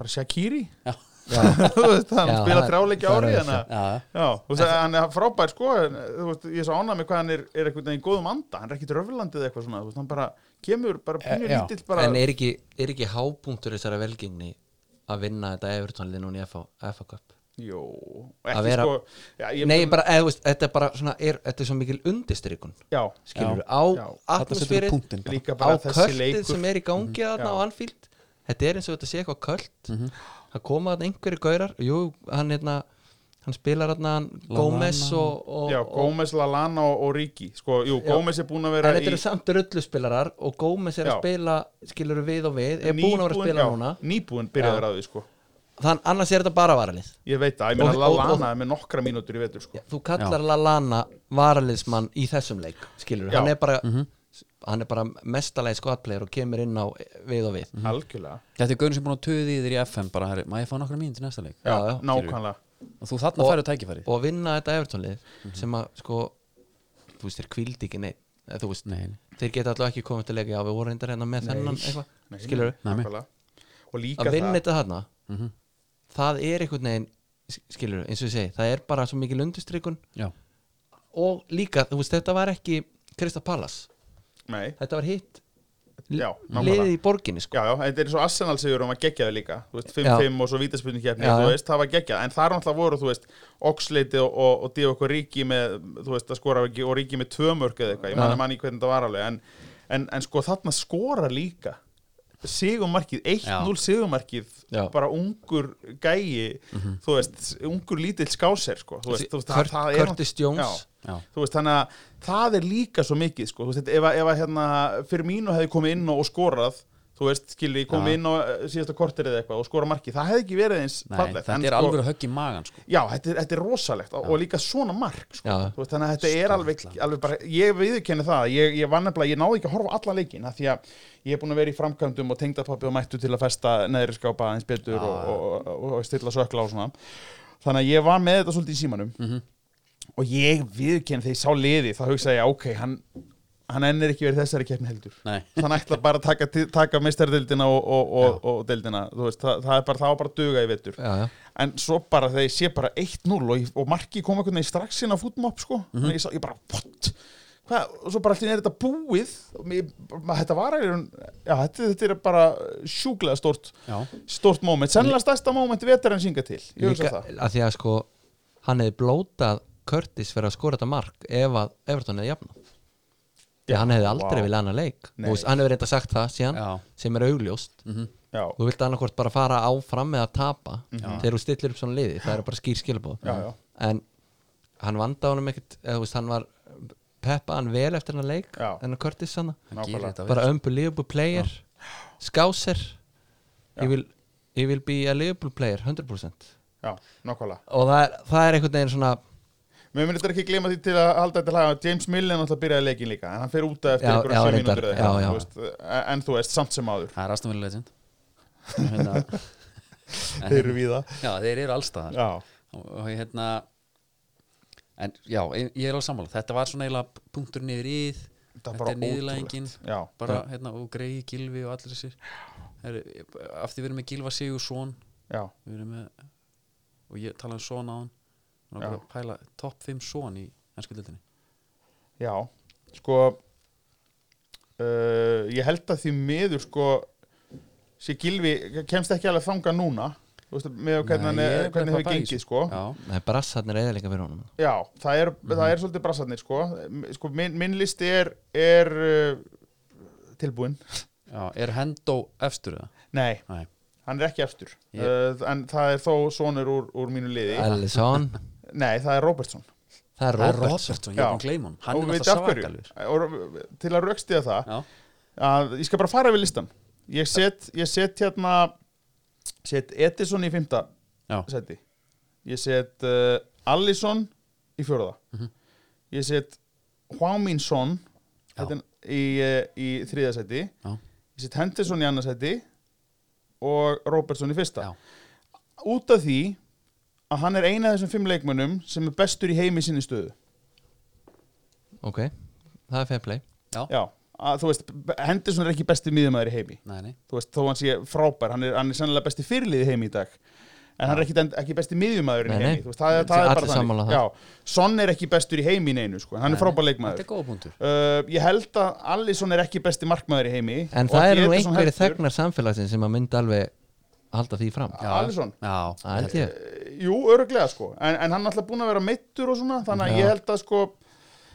[SPEAKER 4] Bara Shakiri
[SPEAKER 2] Já,
[SPEAKER 4] Þú veist, hann
[SPEAKER 3] Já,
[SPEAKER 4] spila
[SPEAKER 3] það er-
[SPEAKER 4] þrjáleiki
[SPEAKER 3] það er
[SPEAKER 4] ári
[SPEAKER 3] öðruvísi.
[SPEAKER 4] hana
[SPEAKER 2] Já,
[SPEAKER 4] hérna. Já, þú veist, hann er frábær sko en, þú veist, ég er svo ánað með hvað hann er, er einhvern veginn í góðum anda, hann er ekkit röflandið eða eitthvað svona, þú veist, hann bara kemur bara pínur
[SPEAKER 2] Já,
[SPEAKER 4] lítill bara
[SPEAKER 3] Eh, en er ekki, er ekki hápunktur þessara velgengni að vinna þetta Evertónlið núna í FA, FA Cup
[SPEAKER 4] Jó,
[SPEAKER 3] Að
[SPEAKER 4] ekki
[SPEAKER 3] vera-
[SPEAKER 4] sko já, ég,
[SPEAKER 3] Nei, bara, eða, þú veist, þetta er bara svona er, þetta er svo mikil undirstrykun
[SPEAKER 4] Já,
[SPEAKER 3] skilur
[SPEAKER 2] Já.
[SPEAKER 3] á
[SPEAKER 4] Já.
[SPEAKER 2] Þarna setur við
[SPEAKER 3] atmosférið
[SPEAKER 2] punktinn bara.
[SPEAKER 4] líka
[SPEAKER 3] á
[SPEAKER 4] bara þessi
[SPEAKER 3] költið
[SPEAKER 4] leikur Mm-hmm.
[SPEAKER 3] sem er í gangi þarna
[SPEAKER 4] Já.
[SPEAKER 3] á Anfield þetta er eins og þetta sé eitthvað költ
[SPEAKER 2] Mhm.
[SPEAKER 3] það koma þarna einhverju gaurar jú, hann hérna hann spilar þarna hann Gómez og, og,
[SPEAKER 4] Já,
[SPEAKER 3] og
[SPEAKER 4] Gómez, Lallana og, og Ríki sko, Jú,
[SPEAKER 3] Já.
[SPEAKER 4] Gómez er búin að
[SPEAKER 3] en
[SPEAKER 4] vera
[SPEAKER 3] þetta eru samt rulluspilarar og Gómez er
[SPEAKER 4] Já.
[SPEAKER 3] að spila skilur við og við, er búin að vera að spila
[SPEAKER 4] já,
[SPEAKER 3] núna
[SPEAKER 4] Nýbúin byrjaður
[SPEAKER 3] Já.
[SPEAKER 4] að því sko
[SPEAKER 3] þannig annars er þetta bara varalið
[SPEAKER 4] Ég veit það, ég meina
[SPEAKER 3] Og- og- og-
[SPEAKER 4] Lallana er með nokkra mínútur í vetur sko.
[SPEAKER 3] þú kallar Lallana varaliðsmann í þessum leik skilur,
[SPEAKER 4] Já.
[SPEAKER 3] hann er bara
[SPEAKER 2] Mhm.
[SPEAKER 3] hann er bara mestalegi skvatplegar og kemur inn á við og við
[SPEAKER 4] Algjörlega
[SPEAKER 2] Þetta er gaurin sem búin að töði þér í FM bara, herri, maður ég fá nokkra mínútur í næsta leik
[SPEAKER 3] Já, já.
[SPEAKER 4] Nákvæmlega
[SPEAKER 2] og þú þarna
[SPEAKER 3] Og-
[SPEAKER 2] færðu tækifæri
[SPEAKER 3] og vinna þetta Evertónlið
[SPEAKER 4] Mhm.
[SPEAKER 3] sem að sko þú veist, þeir kvildi ekki neitt eða, þú veist,
[SPEAKER 2] Nei, nei.
[SPEAKER 3] þeir geta alltaf ekki komið til leika já, við vorum reyndar hérna með þennan eitthvað,
[SPEAKER 4] Nei,
[SPEAKER 3] skilur við,
[SPEAKER 2] Nei, nei.
[SPEAKER 4] nákvæmlega. Og líka
[SPEAKER 3] að vinna
[SPEAKER 4] það
[SPEAKER 3] þetta þarna
[SPEAKER 2] Mhm.
[SPEAKER 3] það er einhvern veginn skilur við, eins og ég segi, það er bara svo mikil undirstrykun
[SPEAKER 2] Já,
[SPEAKER 3] og líka, þú veist, þetta var ekki Krista Pallas,
[SPEAKER 4] Nei,
[SPEAKER 3] þetta var hitt
[SPEAKER 4] já, nákvæmlega
[SPEAKER 3] liðið í borginni sko.
[SPEAKER 4] Já, já, þetta er svo Arsenal sigur um að gegja þau líka Þú veist, 5-5 og svo vítaspilnum keppni
[SPEAKER 3] Já,
[SPEAKER 4] Þú
[SPEAKER 3] já.
[SPEAKER 4] veist, það var gegja En það er náttúrulega voru, þú veist, Oxleiti og, og, og Díokko Ríki með Þú veist, að skora ekki Og Ríki með tvö mörk eða eitthvað Ég man
[SPEAKER 3] Já.
[SPEAKER 4] að manni hvernig þetta var alveg en, en, en sko, þarna skora líka Sigumarkið, 1-0 sigumarkið
[SPEAKER 3] Já. Mhm.
[SPEAKER 4] Bara ungur gæi Þú veist, ungur lítill skáser sko. Þú veist, þú veist,
[SPEAKER 3] Kurt-
[SPEAKER 4] það, það er
[SPEAKER 3] Curtis
[SPEAKER 4] náttúrulega-
[SPEAKER 3] Jones.
[SPEAKER 4] Já
[SPEAKER 2] já,
[SPEAKER 4] þú veist, þannig að það er líka svo mikið, sko, þú veist, ef, að- ef að hérna fyrir mínu hefði komið inn og og skorað þú veist, skilji, komið inn og síðasta kortir eða eitthvað og skora markið, það hefði ekki verið eins
[SPEAKER 2] nei,
[SPEAKER 4] fallegt, sko-
[SPEAKER 2] þetta er alveg að högg í magan sko.
[SPEAKER 4] já, þetta er, þetta er rosalegt og, og líka svona mark, sko,
[SPEAKER 3] Já.
[SPEAKER 4] þú veist, þannig að þetta er alveg, alveg bara, ég viðurkenni það ég, ég var nefnilega, ég náði ekki að horfa á alla leikin af því að ég er búin að vera í framkvæmdum og tengdapappi og mættu til að festa neðri skápa eins betur og, og, og, og stilla sökla og svona þannig að ég var með þetta svolítið í símanum og ég viðkenn þegar ég sá liði þá hugsaði ég, ok, hann hann ennir ekki verið í þessari keppni heldur
[SPEAKER 2] Nei.
[SPEAKER 4] hann ætla bara að taka, taka meistardildina og, og, og, og dildina veist, það, það er bara, það var bara að duga í vettur
[SPEAKER 3] Já, já.
[SPEAKER 4] en svo bara þegar ég sé bara 1-0 og, ég- og marki kom einhvern veginn strax inn á fútmop sko,
[SPEAKER 3] Mhm.
[SPEAKER 4] mm ég, sá, ég bara, what? Hvað? og svo bara allir er þetta búið og mér, ma- þetta var einu, já, þetta, þetta er bara sjúklega stort
[SPEAKER 2] Já.
[SPEAKER 4] stort moment, sennilega stærsta moment vetur en synga til, ég hugsa
[SPEAKER 3] líka
[SPEAKER 4] það
[SPEAKER 3] að því að sko hann hefði blótað Curtis fyrir að skora þetta mark ef að Everton hefði jafna því hann hefði aldrei
[SPEAKER 4] vá.
[SPEAKER 3] viljað annað leik
[SPEAKER 4] Nei. Mhm.
[SPEAKER 3] Þú veist, hann hefur reynda sagt það síðan
[SPEAKER 2] Já.
[SPEAKER 3] sem er augljóst
[SPEAKER 4] já,
[SPEAKER 3] þú vilt annarkvort bara fara áfram eða tapa þegar þú stillir upp svona liði það eru bara skýr skilabóð
[SPEAKER 4] Mhm. Já, já.
[SPEAKER 3] en hann vanda honum ekkert eða, þú veist, hann var peppa hann vel eftir hennar leik
[SPEAKER 4] Já.
[SPEAKER 3] hennar Curtis hann
[SPEAKER 2] Hann gerir
[SPEAKER 4] Nákvæmlega.
[SPEAKER 2] þetta vel.
[SPEAKER 3] bara unbelievable player skáser ég vil, ég vil be a livable player 100%
[SPEAKER 4] já, nákvæmlega
[SPEAKER 3] og það er, það er einhvern veginn svona
[SPEAKER 4] Mér myndi þetta ekki gleyma því til að halda þetta lag að James Millen alltaf byrjaði leikin líka en hann fer út eftir
[SPEAKER 3] Já,
[SPEAKER 4] einhverja
[SPEAKER 3] já,
[SPEAKER 4] sjö
[SPEAKER 3] reyndar,
[SPEAKER 4] mínútur eða
[SPEAKER 3] já,
[SPEAKER 4] eitthvað,
[SPEAKER 3] já.
[SPEAKER 4] þú veist, en- en þú veist samt sem áður
[SPEAKER 2] Það er Aston Villa legend hérna,
[SPEAKER 4] þeir eru víða
[SPEAKER 2] Já, þeir eru allstaðar
[SPEAKER 4] Já,
[SPEAKER 2] og og hérna en já, ég ég er alveg sammála þetta var svona eiginlega punktur niður í
[SPEAKER 4] Þetta var
[SPEAKER 2] þetta
[SPEAKER 4] bara
[SPEAKER 2] er niðurlægingin
[SPEAKER 4] ótrúlegt. Já.
[SPEAKER 2] bara hérna og greiði Gilvi og allir þessir Heru, af því við erum með Gilva Sigursson
[SPEAKER 4] já,
[SPEAKER 2] við erum með og ég talaði um son á hann og
[SPEAKER 4] Já.
[SPEAKER 2] bara að pæla topp 5 son í ennsku dildinni
[SPEAKER 4] já Sko uh, Ég held að því miður sko sé Gilvi kemst ekki alveg þanga núna þú veist, með hvernig, hann
[SPEAKER 2] Nei, ég
[SPEAKER 4] er-
[SPEAKER 2] er
[SPEAKER 4] hvernig
[SPEAKER 2] bara að
[SPEAKER 4] hefur
[SPEAKER 2] pæla í
[SPEAKER 4] gengið
[SPEAKER 2] þessu.
[SPEAKER 4] sko
[SPEAKER 2] Já, Mhm.
[SPEAKER 3] það er brassarnir eðalega fyrir honum
[SPEAKER 4] Já, það er, það er svolítið brassarnir sko, sko minn, minn listi er, er uh, tilbúinn
[SPEAKER 2] já, er Hendo efstur það?
[SPEAKER 4] Nei,
[SPEAKER 2] Nei,
[SPEAKER 4] hann er ekki efstur
[SPEAKER 2] Ég-
[SPEAKER 4] uh, en það er þó sonur úr, úr mínu liði
[SPEAKER 3] Alisson,
[SPEAKER 4] nei, það er Robertson
[SPEAKER 2] það
[SPEAKER 3] það er
[SPEAKER 2] er
[SPEAKER 3] Robert
[SPEAKER 2] Robertson, ég er
[SPEAKER 4] Já.
[SPEAKER 2] búin að gleyma honum hann
[SPEAKER 4] Og
[SPEAKER 2] er
[SPEAKER 4] veit af
[SPEAKER 2] alltaf
[SPEAKER 4] hverju?
[SPEAKER 2] svakalur
[SPEAKER 4] Og til að raukstiða það
[SPEAKER 2] Já,
[SPEAKER 4] að, ég skal bara fara við listan ég set, ég set hérna set Edison í fymta
[SPEAKER 2] já,
[SPEAKER 4] seti ég set uh, Allison í fjórða
[SPEAKER 2] Mhm.
[SPEAKER 4] ég set Hwaminsson
[SPEAKER 2] Já.
[SPEAKER 4] þetta er í, uh, í þriða seti
[SPEAKER 2] já,
[SPEAKER 4] ég set Henderson í annað seti og Robertson í fyrsta
[SPEAKER 2] já.
[SPEAKER 4] út af því að hann er eina af þessum fimm leikmönnum sem er bestur í heimi sinni stöðu
[SPEAKER 3] ok, það er fair play
[SPEAKER 4] já, að, þú veist, Henderson er ekki besti miðumæður í heimi
[SPEAKER 2] Nei, nei,
[SPEAKER 4] þú veist, þó hann sé frábær, hann er, hann er sennilega besti fyrirlið í heimi í dag en hann er ekki, ekki besti miðjumæður
[SPEAKER 3] Nei,
[SPEAKER 4] í
[SPEAKER 3] nei.
[SPEAKER 4] heimi, þú veist, það, er- það er
[SPEAKER 3] Allir
[SPEAKER 4] bara
[SPEAKER 3] sammála það.
[SPEAKER 4] þannig Já, Son er ekki bestur í heimi í neinu, sko, hann er frábær leikmaður
[SPEAKER 2] Þetta er góða punktur
[SPEAKER 4] uh, Ég held að Allison er ekki besti markmaður í heimi
[SPEAKER 3] En það eru nú einhverju þegnar samfélagsin sem að mynda alveg halda því fram
[SPEAKER 4] Já. Alisson?
[SPEAKER 2] Já,
[SPEAKER 3] Það held ég
[SPEAKER 4] Jú, öruglega, sko, en, en hann er alltaf búin að vera meittur og svona, þannig að
[SPEAKER 3] Já.
[SPEAKER 4] ég held að, sko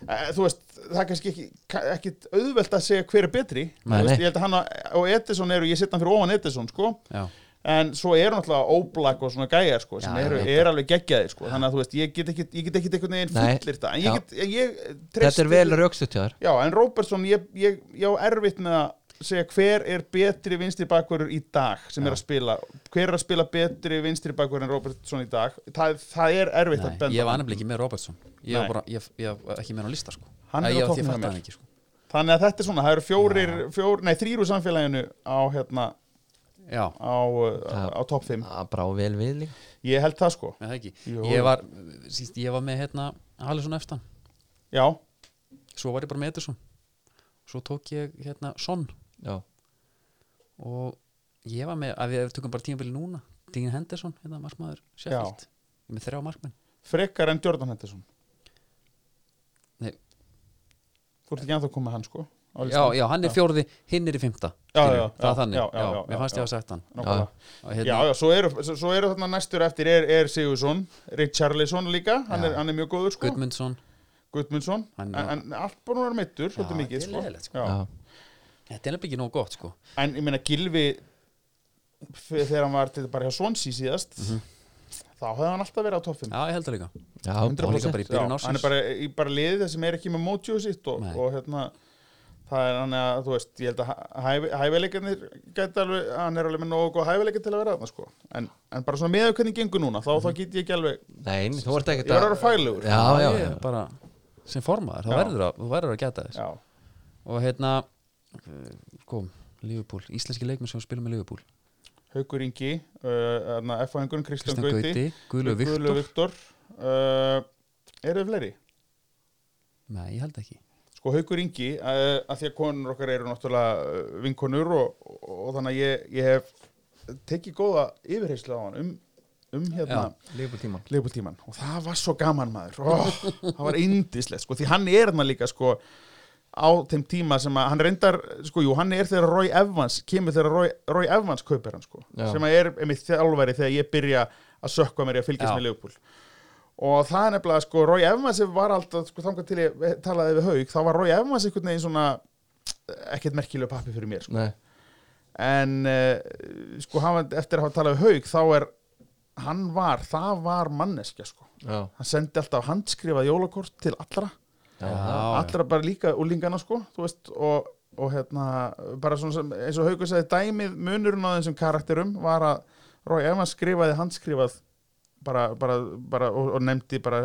[SPEAKER 4] eh, Þú veist, það er kannski ekki, ka- ekki auðvelt að segja hver er betri Þú
[SPEAKER 3] Nei,
[SPEAKER 4] veist,
[SPEAKER 3] nei.
[SPEAKER 4] Ég held að hann og- og Edison eru, ég setja hann fyrir ofan Edison, sko
[SPEAKER 2] já,
[SPEAKER 4] en svo eru náttúrulega óblak og svona gæjar sko, sem
[SPEAKER 2] Já, ég
[SPEAKER 4] eru,
[SPEAKER 2] veit
[SPEAKER 4] er alveg geggjaðir sko. þannig að þú veist, ég get ekki, ég get ekki einhvern veginn
[SPEAKER 3] Nei.
[SPEAKER 4] fullir það, en ég
[SPEAKER 3] Já.
[SPEAKER 4] get ég,
[SPEAKER 3] Þetta
[SPEAKER 4] treysti-
[SPEAKER 3] er vel raukstutt hjá þér
[SPEAKER 4] Já, en Robertson, ég, ég, ég á erfitt með að segja hver er betri vinstri bakverður í dag sem er að spila hver er að spila betri vinstri bakverður en Robertson í dag, það, það er erfitt að
[SPEAKER 2] nei,
[SPEAKER 4] benda
[SPEAKER 2] ég var
[SPEAKER 4] á.
[SPEAKER 2] nefnilega ekki með Robertson Ég var
[SPEAKER 4] Nei.
[SPEAKER 2] bara, ég, ég var ekki með hann á lista sko
[SPEAKER 4] Hann
[SPEAKER 2] Æ,
[SPEAKER 4] er á
[SPEAKER 2] ég- ég
[SPEAKER 4] toppnum hjá
[SPEAKER 2] fattaði
[SPEAKER 4] mér.
[SPEAKER 2] hann ekki, sko.
[SPEAKER 4] þannig að þetta er svona, það eru fjórir fjór, nei, þrýru samfélaginu á hérna,
[SPEAKER 2] Já,
[SPEAKER 4] á, uh, á topp þeim,
[SPEAKER 3] Það brá vel við líka
[SPEAKER 4] ég held það sko
[SPEAKER 2] með það ekki
[SPEAKER 4] Jú.
[SPEAKER 2] Ég var, síst, ég var með hérna Alisson efstan,
[SPEAKER 4] já,
[SPEAKER 2] svo var ég bara með Edison Svo tók ég hérna Son
[SPEAKER 3] Já,
[SPEAKER 2] og ég var með, að við tökum bara tímabili núna Dean Henderson, hérna markmaður Sheffield, ég er með þrjá markmenn
[SPEAKER 4] frekar en Jordan Henderson
[SPEAKER 2] Nei,
[SPEAKER 4] þú ert ekki ennþá að koma með hann sko á
[SPEAKER 2] já,
[SPEAKER 4] listanum.
[SPEAKER 2] já, hann er fjórði, hinn er í fymta
[SPEAKER 4] Já,
[SPEAKER 2] skilur,
[SPEAKER 4] já,
[SPEAKER 2] það
[SPEAKER 4] já,
[SPEAKER 2] er þannig,
[SPEAKER 4] já, já, já,
[SPEAKER 2] mér fannst
[SPEAKER 4] já.
[SPEAKER 2] ég að sagt hann
[SPEAKER 4] Nákvæmlega.
[SPEAKER 2] Og hérna,
[SPEAKER 4] já, já, svo eru, svo- svo eru þarna næstur eftir er, er Sigurðsson, Richarlison líka hann
[SPEAKER 2] Já.
[SPEAKER 4] er, hann er mjög góður sko,
[SPEAKER 2] Gudmundsson
[SPEAKER 4] Gudmundsson
[SPEAKER 2] Hann
[SPEAKER 4] en,
[SPEAKER 2] er-
[SPEAKER 4] en allt bara hann er meittur, svolítið mikið
[SPEAKER 2] þetta er
[SPEAKER 4] sko.
[SPEAKER 2] leiðilegt, sko.
[SPEAKER 4] Já.
[SPEAKER 3] já,
[SPEAKER 2] Þetta er nefnilega ekki nóg gott sko
[SPEAKER 4] en ég meina Gilvi f- þegar hann var til bara hjá Svonsi síðast
[SPEAKER 2] Mhm.
[SPEAKER 4] þá hefði hann alltaf verið á toffum
[SPEAKER 2] Já, ég held það líka
[SPEAKER 3] já
[SPEAKER 2] Og líka bara í byrjun
[SPEAKER 4] hann er
[SPEAKER 2] ársins
[SPEAKER 4] bara í bara liðið sem er ekki með mótjóð sitt og,
[SPEAKER 2] Nei.
[SPEAKER 4] og hérna það er hann að, þú veist, ég held að hæ- hæfi- hæfileikarnir gæti alveg, hann er alveg með nógu góð hæfileikar til að vera þarna sko en, en bara svona meðu hvernig gengur núna, þá,
[SPEAKER 2] Mhm.
[SPEAKER 4] þá get ég ekki alveg
[SPEAKER 3] Nei, þú ert
[SPEAKER 4] ég
[SPEAKER 3] ekkert
[SPEAKER 4] verður að vera fælugur
[SPEAKER 3] Já, já,
[SPEAKER 2] Ég
[SPEAKER 3] já
[SPEAKER 2] er bara sem formaður, þá
[SPEAKER 4] Já.
[SPEAKER 2] verður að, þú verður að geta þess
[SPEAKER 4] Já.
[SPEAKER 2] Og hérna eh, kom, Liverpool, íslenski leikmenn sem spila með Liverpool
[SPEAKER 4] Haukur Ingi uh, F-fæðingurinn Kristján
[SPEAKER 2] Kristján
[SPEAKER 4] Gauti
[SPEAKER 2] Gauti, Guðlaug
[SPEAKER 4] Guðlaug
[SPEAKER 2] Viktor
[SPEAKER 4] Viktor uh, eru þið fleiri?
[SPEAKER 2] Nei, ég held ekki
[SPEAKER 4] Sko Haukur Ingi, uh, að því að konur okkar eru náttúrulega eh, vinkonur og, og, og þannig að ég, ég hef tekið góða yfirheyslu á hann um, um hérna
[SPEAKER 2] Já.
[SPEAKER 3] Leifbúl tíman
[SPEAKER 4] leifbúltíman og það var svo gaman maður oh, það var indislegt sko því hann er hann líka sko á þeim tíma sem að hann reyndar sko jú hann er þegar Roy Evans kemur þegar Roy, Roy Evans kaupir hann sko
[SPEAKER 3] Já.
[SPEAKER 4] sem að er einmitt þjálfari þegar ég byrja að sökka mér í að fylgjast
[SPEAKER 2] Já.
[SPEAKER 4] með leifbúl og það er nefnilega sko Roy Evans var alltaf sko þangar til ég talaði við haug þá var Roy Evans einhvern veginn svona eh, ekkert merkilega pappi fyrir mér sko
[SPEAKER 3] Nei,
[SPEAKER 4] en uh, sko hann, var- eftir að hafa talað við haug þá er hann var, það var manneskja sko
[SPEAKER 3] já,
[SPEAKER 4] hann sendi alltaf handskrifað jólakort til allra
[SPEAKER 3] já,
[SPEAKER 4] allra bara líka úlingana sko þú veist og, og hérna bara svona sem, eins og Haukur sagði dæmið munurinn á þessum karakterum var að Rói Evans skrifaði handskrifað bara, bara, bara og, og nefndi bara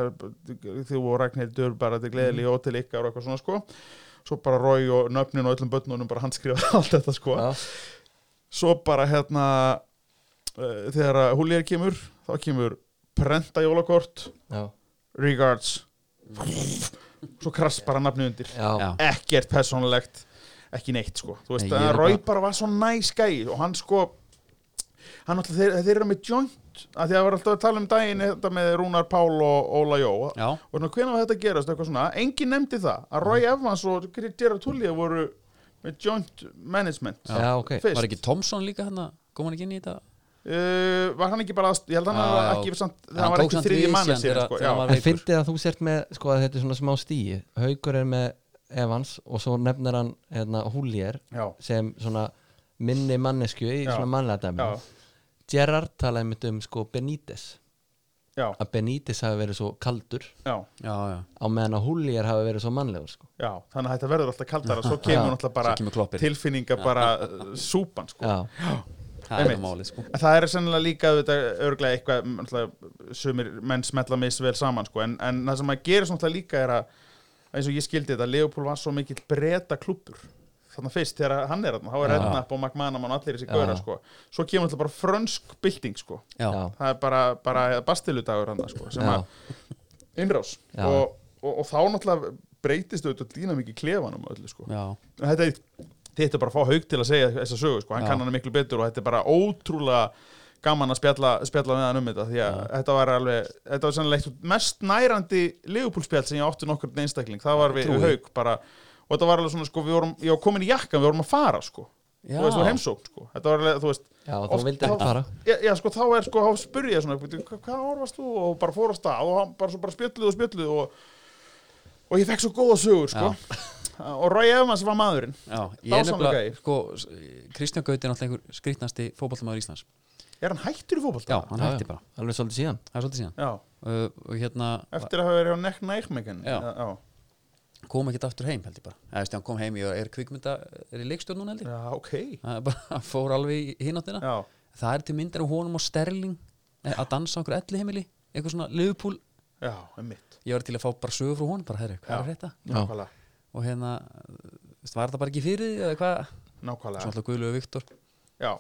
[SPEAKER 4] þú og Ragnhildur bara til
[SPEAKER 3] Mhm.
[SPEAKER 4] gleðili og til ykkar og eitthvað svona sko svo bara Rói og nöfnin og öllum börnunum bara handskrifaði allt þetta sko
[SPEAKER 3] já,
[SPEAKER 4] svo bara hérna uh, þegar að Húlíðar kemur þá kemur prenta jólakort
[SPEAKER 3] já,
[SPEAKER 4] regards svo krass bara nafni undir
[SPEAKER 3] já,
[SPEAKER 2] Já,
[SPEAKER 4] ekkert persónulegt ekki neitt sko, þú veist
[SPEAKER 2] Nei, ég
[SPEAKER 4] að
[SPEAKER 2] er
[SPEAKER 4] Rói
[SPEAKER 2] bara-
[SPEAKER 4] bara var svo næs gæi og hann sko hann alltaf, þeir, þeir eru með joint að því að það var alltaf að tala um daginn þetta með Rúnar Pál og Óla Jó
[SPEAKER 2] já,
[SPEAKER 4] og svona, hvenær var þetta að gerast, eitthvað svona engin nefndi það, að
[SPEAKER 2] Mhm.
[SPEAKER 4] Rói Evans og Gerard Tullia voru með joint management
[SPEAKER 3] já, ok
[SPEAKER 4] Fyrst.
[SPEAKER 2] var ekki Thompson líka hérna kom hann ekki inn í þetta
[SPEAKER 4] uh, var hann ekki bara aðst, ég held að hann
[SPEAKER 2] Já,
[SPEAKER 4] var
[SPEAKER 2] já.
[SPEAKER 4] ekki samt,
[SPEAKER 2] Hann
[SPEAKER 4] hann var
[SPEAKER 2] tók
[SPEAKER 4] ekki
[SPEAKER 2] samt
[SPEAKER 4] þriðji
[SPEAKER 2] við
[SPEAKER 4] mannið
[SPEAKER 2] síðan
[SPEAKER 4] sér
[SPEAKER 2] þegar-
[SPEAKER 4] sko,
[SPEAKER 2] þegar
[SPEAKER 4] já.
[SPEAKER 2] hann var-
[SPEAKER 3] En
[SPEAKER 2] veikur.
[SPEAKER 3] fyndið að þú sért með, sko, að þetta er svona smá stíi Haukur er með Evans og svo nefnir hann, hérna, Húljer
[SPEAKER 4] já,
[SPEAKER 3] sem svona minni mannesku í
[SPEAKER 4] Já.
[SPEAKER 3] svona mannlega dæmi
[SPEAKER 4] já,
[SPEAKER 3] Gerard talaði mitt um, sko, Benítez
[SPEAKER 4] já,
[SPEAKER 3] að Benítez hafi verið svo kaldur
[SPEAKER 4] já,
[SPEAKER 2] Já, já,
[SPEAKER 3] á meðan að Húljer hafi verið svo mannlegur, sko
[SPEAKER 4] já þannig að þetta verður alltaf kaldara svo kemur náttúrulega bara
[SPEAKER 2] Svo kemur kloppin.
[SPEAKER 4] tilfinninga bara uh, súpan sko.
[SPEAKER 3] Já,
[SPEAKER 2] það er
[SPEAKER 4] Einmitt.
[SPEAKER 2] það málið sko
[SPEAKER 4] En það er sennilega líka auðvitað, örglega eitthvað náttúrulega, sumir menn smetla mis vel saman sko. en, en það sem að gera svona líka er að eins og ég skildi þetta, Leopold var svo mikill breyta klúppur þannig fyrst þegar hann er þarna, þá er
[SPEAKER 2] Já.
[SPEAKER 4] Rednap og McManaman og allir þessi góra sko. svo kemur alltaf bara frönsk bylting sko.
[SPEAKER 2] Já,
[SPEAKER 3] já,
[SPEAKER 4] það er bara, bara bastiludagur hann sko, sem
[SPEAKER 3] já,
[SPEAKER 4] að innrás
[SPEAKER 3] Já.
[SPEAKER 4] og, og, og þá náttúrulega breytist auðvitað dýna mikið klefanum og öllu sko.
[SPEAKER 2] já,
[SPEAKER 4] En þetta, er- þetta er bara að fá haug til að segja þessa sögu, sko. hann
[SPEAKER 2] Já.
[SPEAKER 4] kann hann miklu betur og þetta er bara ótrúlega gaman að spjalla, spjalla með hann um þetta því að þetta var alveg, þetta var sannlega eitt mest nærandi legupúlspjall sem ég átti nokkur einstakling, það var við
[SPEAKER 2] Trúi.
[SPEAKER 4] haug bara, og þetta var alveg svona, sko, við vorum ég var komin í jakkan, við vorum að fara, sko
[SPEAKER 2] Já.
[SPEAKER 4] þú veist, þú heimsókn, sko, þetta var alveg, þú veist
[SPEAKER 3] Já, þú
[SPEAKER 4] oft-
[SPEAKER 3] vildir ekki
[SPEAKER 4] þá-
[SPEAKER 3] fara.
[SPEAKER 4] já, já, sko, þá er, sko, þá spurði ég svona "Bíddu, hva- hvað ár varst þú, og bara fór á stað og hann bara, svo bara spjölluð og spjölluð og, og ég fekk svo góða sögur, sko og Roy Evans var maðurinn
[SPEAKER 2] Já, ég er
[SPEAKER 4] Dásamlegur
[SPEAKER 2] nefnilega,
[SPEAKER 4] gæi.
[SPEAKER 2] sko, s- Kristján Gauti er náttúrulega einhver skrýtnasti fótballtamaður Íslands
[SPEAKER 4] er hann hættur í fótbolta?
[SPEAKER 2] Já, hann
[SPEAKER 3] Já,
[SPEAKER 2] hætti
[SPEAKER 3] já.
[SPEAKER 2] bara,
[SPEAKER 3] Alveg svolítið síðan
[SPEAKER 2] það er svolítið síðan
[SPEAKER 4] Já,
[SPEAKER 2] uh, og hérna
[SPEAKER 4] eftir að hafa verið á Neck Nijmegen
[SPEAKER 2] Já.
[SPEAKER 4] já.
[SPEAKER 2] kom ekki aftur heim held ég bara eða veist, hann kom heim, ég er kvikmynda er í leikstjórn núna held ég,
[SPEAKER 4] já, ok
[SPEAKER 2] það er bara hann fór alveg í hináttina,
[SPEAKER 4] Já,
[SPEAKER 2] það er til myndir af honum og Sterling eh, að dansa á einhverju elli heimili, eitthvað svona lögupúl
[SPEAKER 4] já, einmitt
[SPEAKER 2] ég var til að fá bara sögur frá honum, bara herri, hvað er
[SPEAKER 4] Já.
[SPEAKER 2] þetta
[SPEAKER 4] Nákvæmlega,
[SPEAKER 2] og hérna, þú veist, var það bara ekki fyrir því eða hvað, svo
[SPEAKER 4] nákvæmlega
[SPEAKER 2] alltaf Guðlögu Viktor
[SPEAKER 4] Já,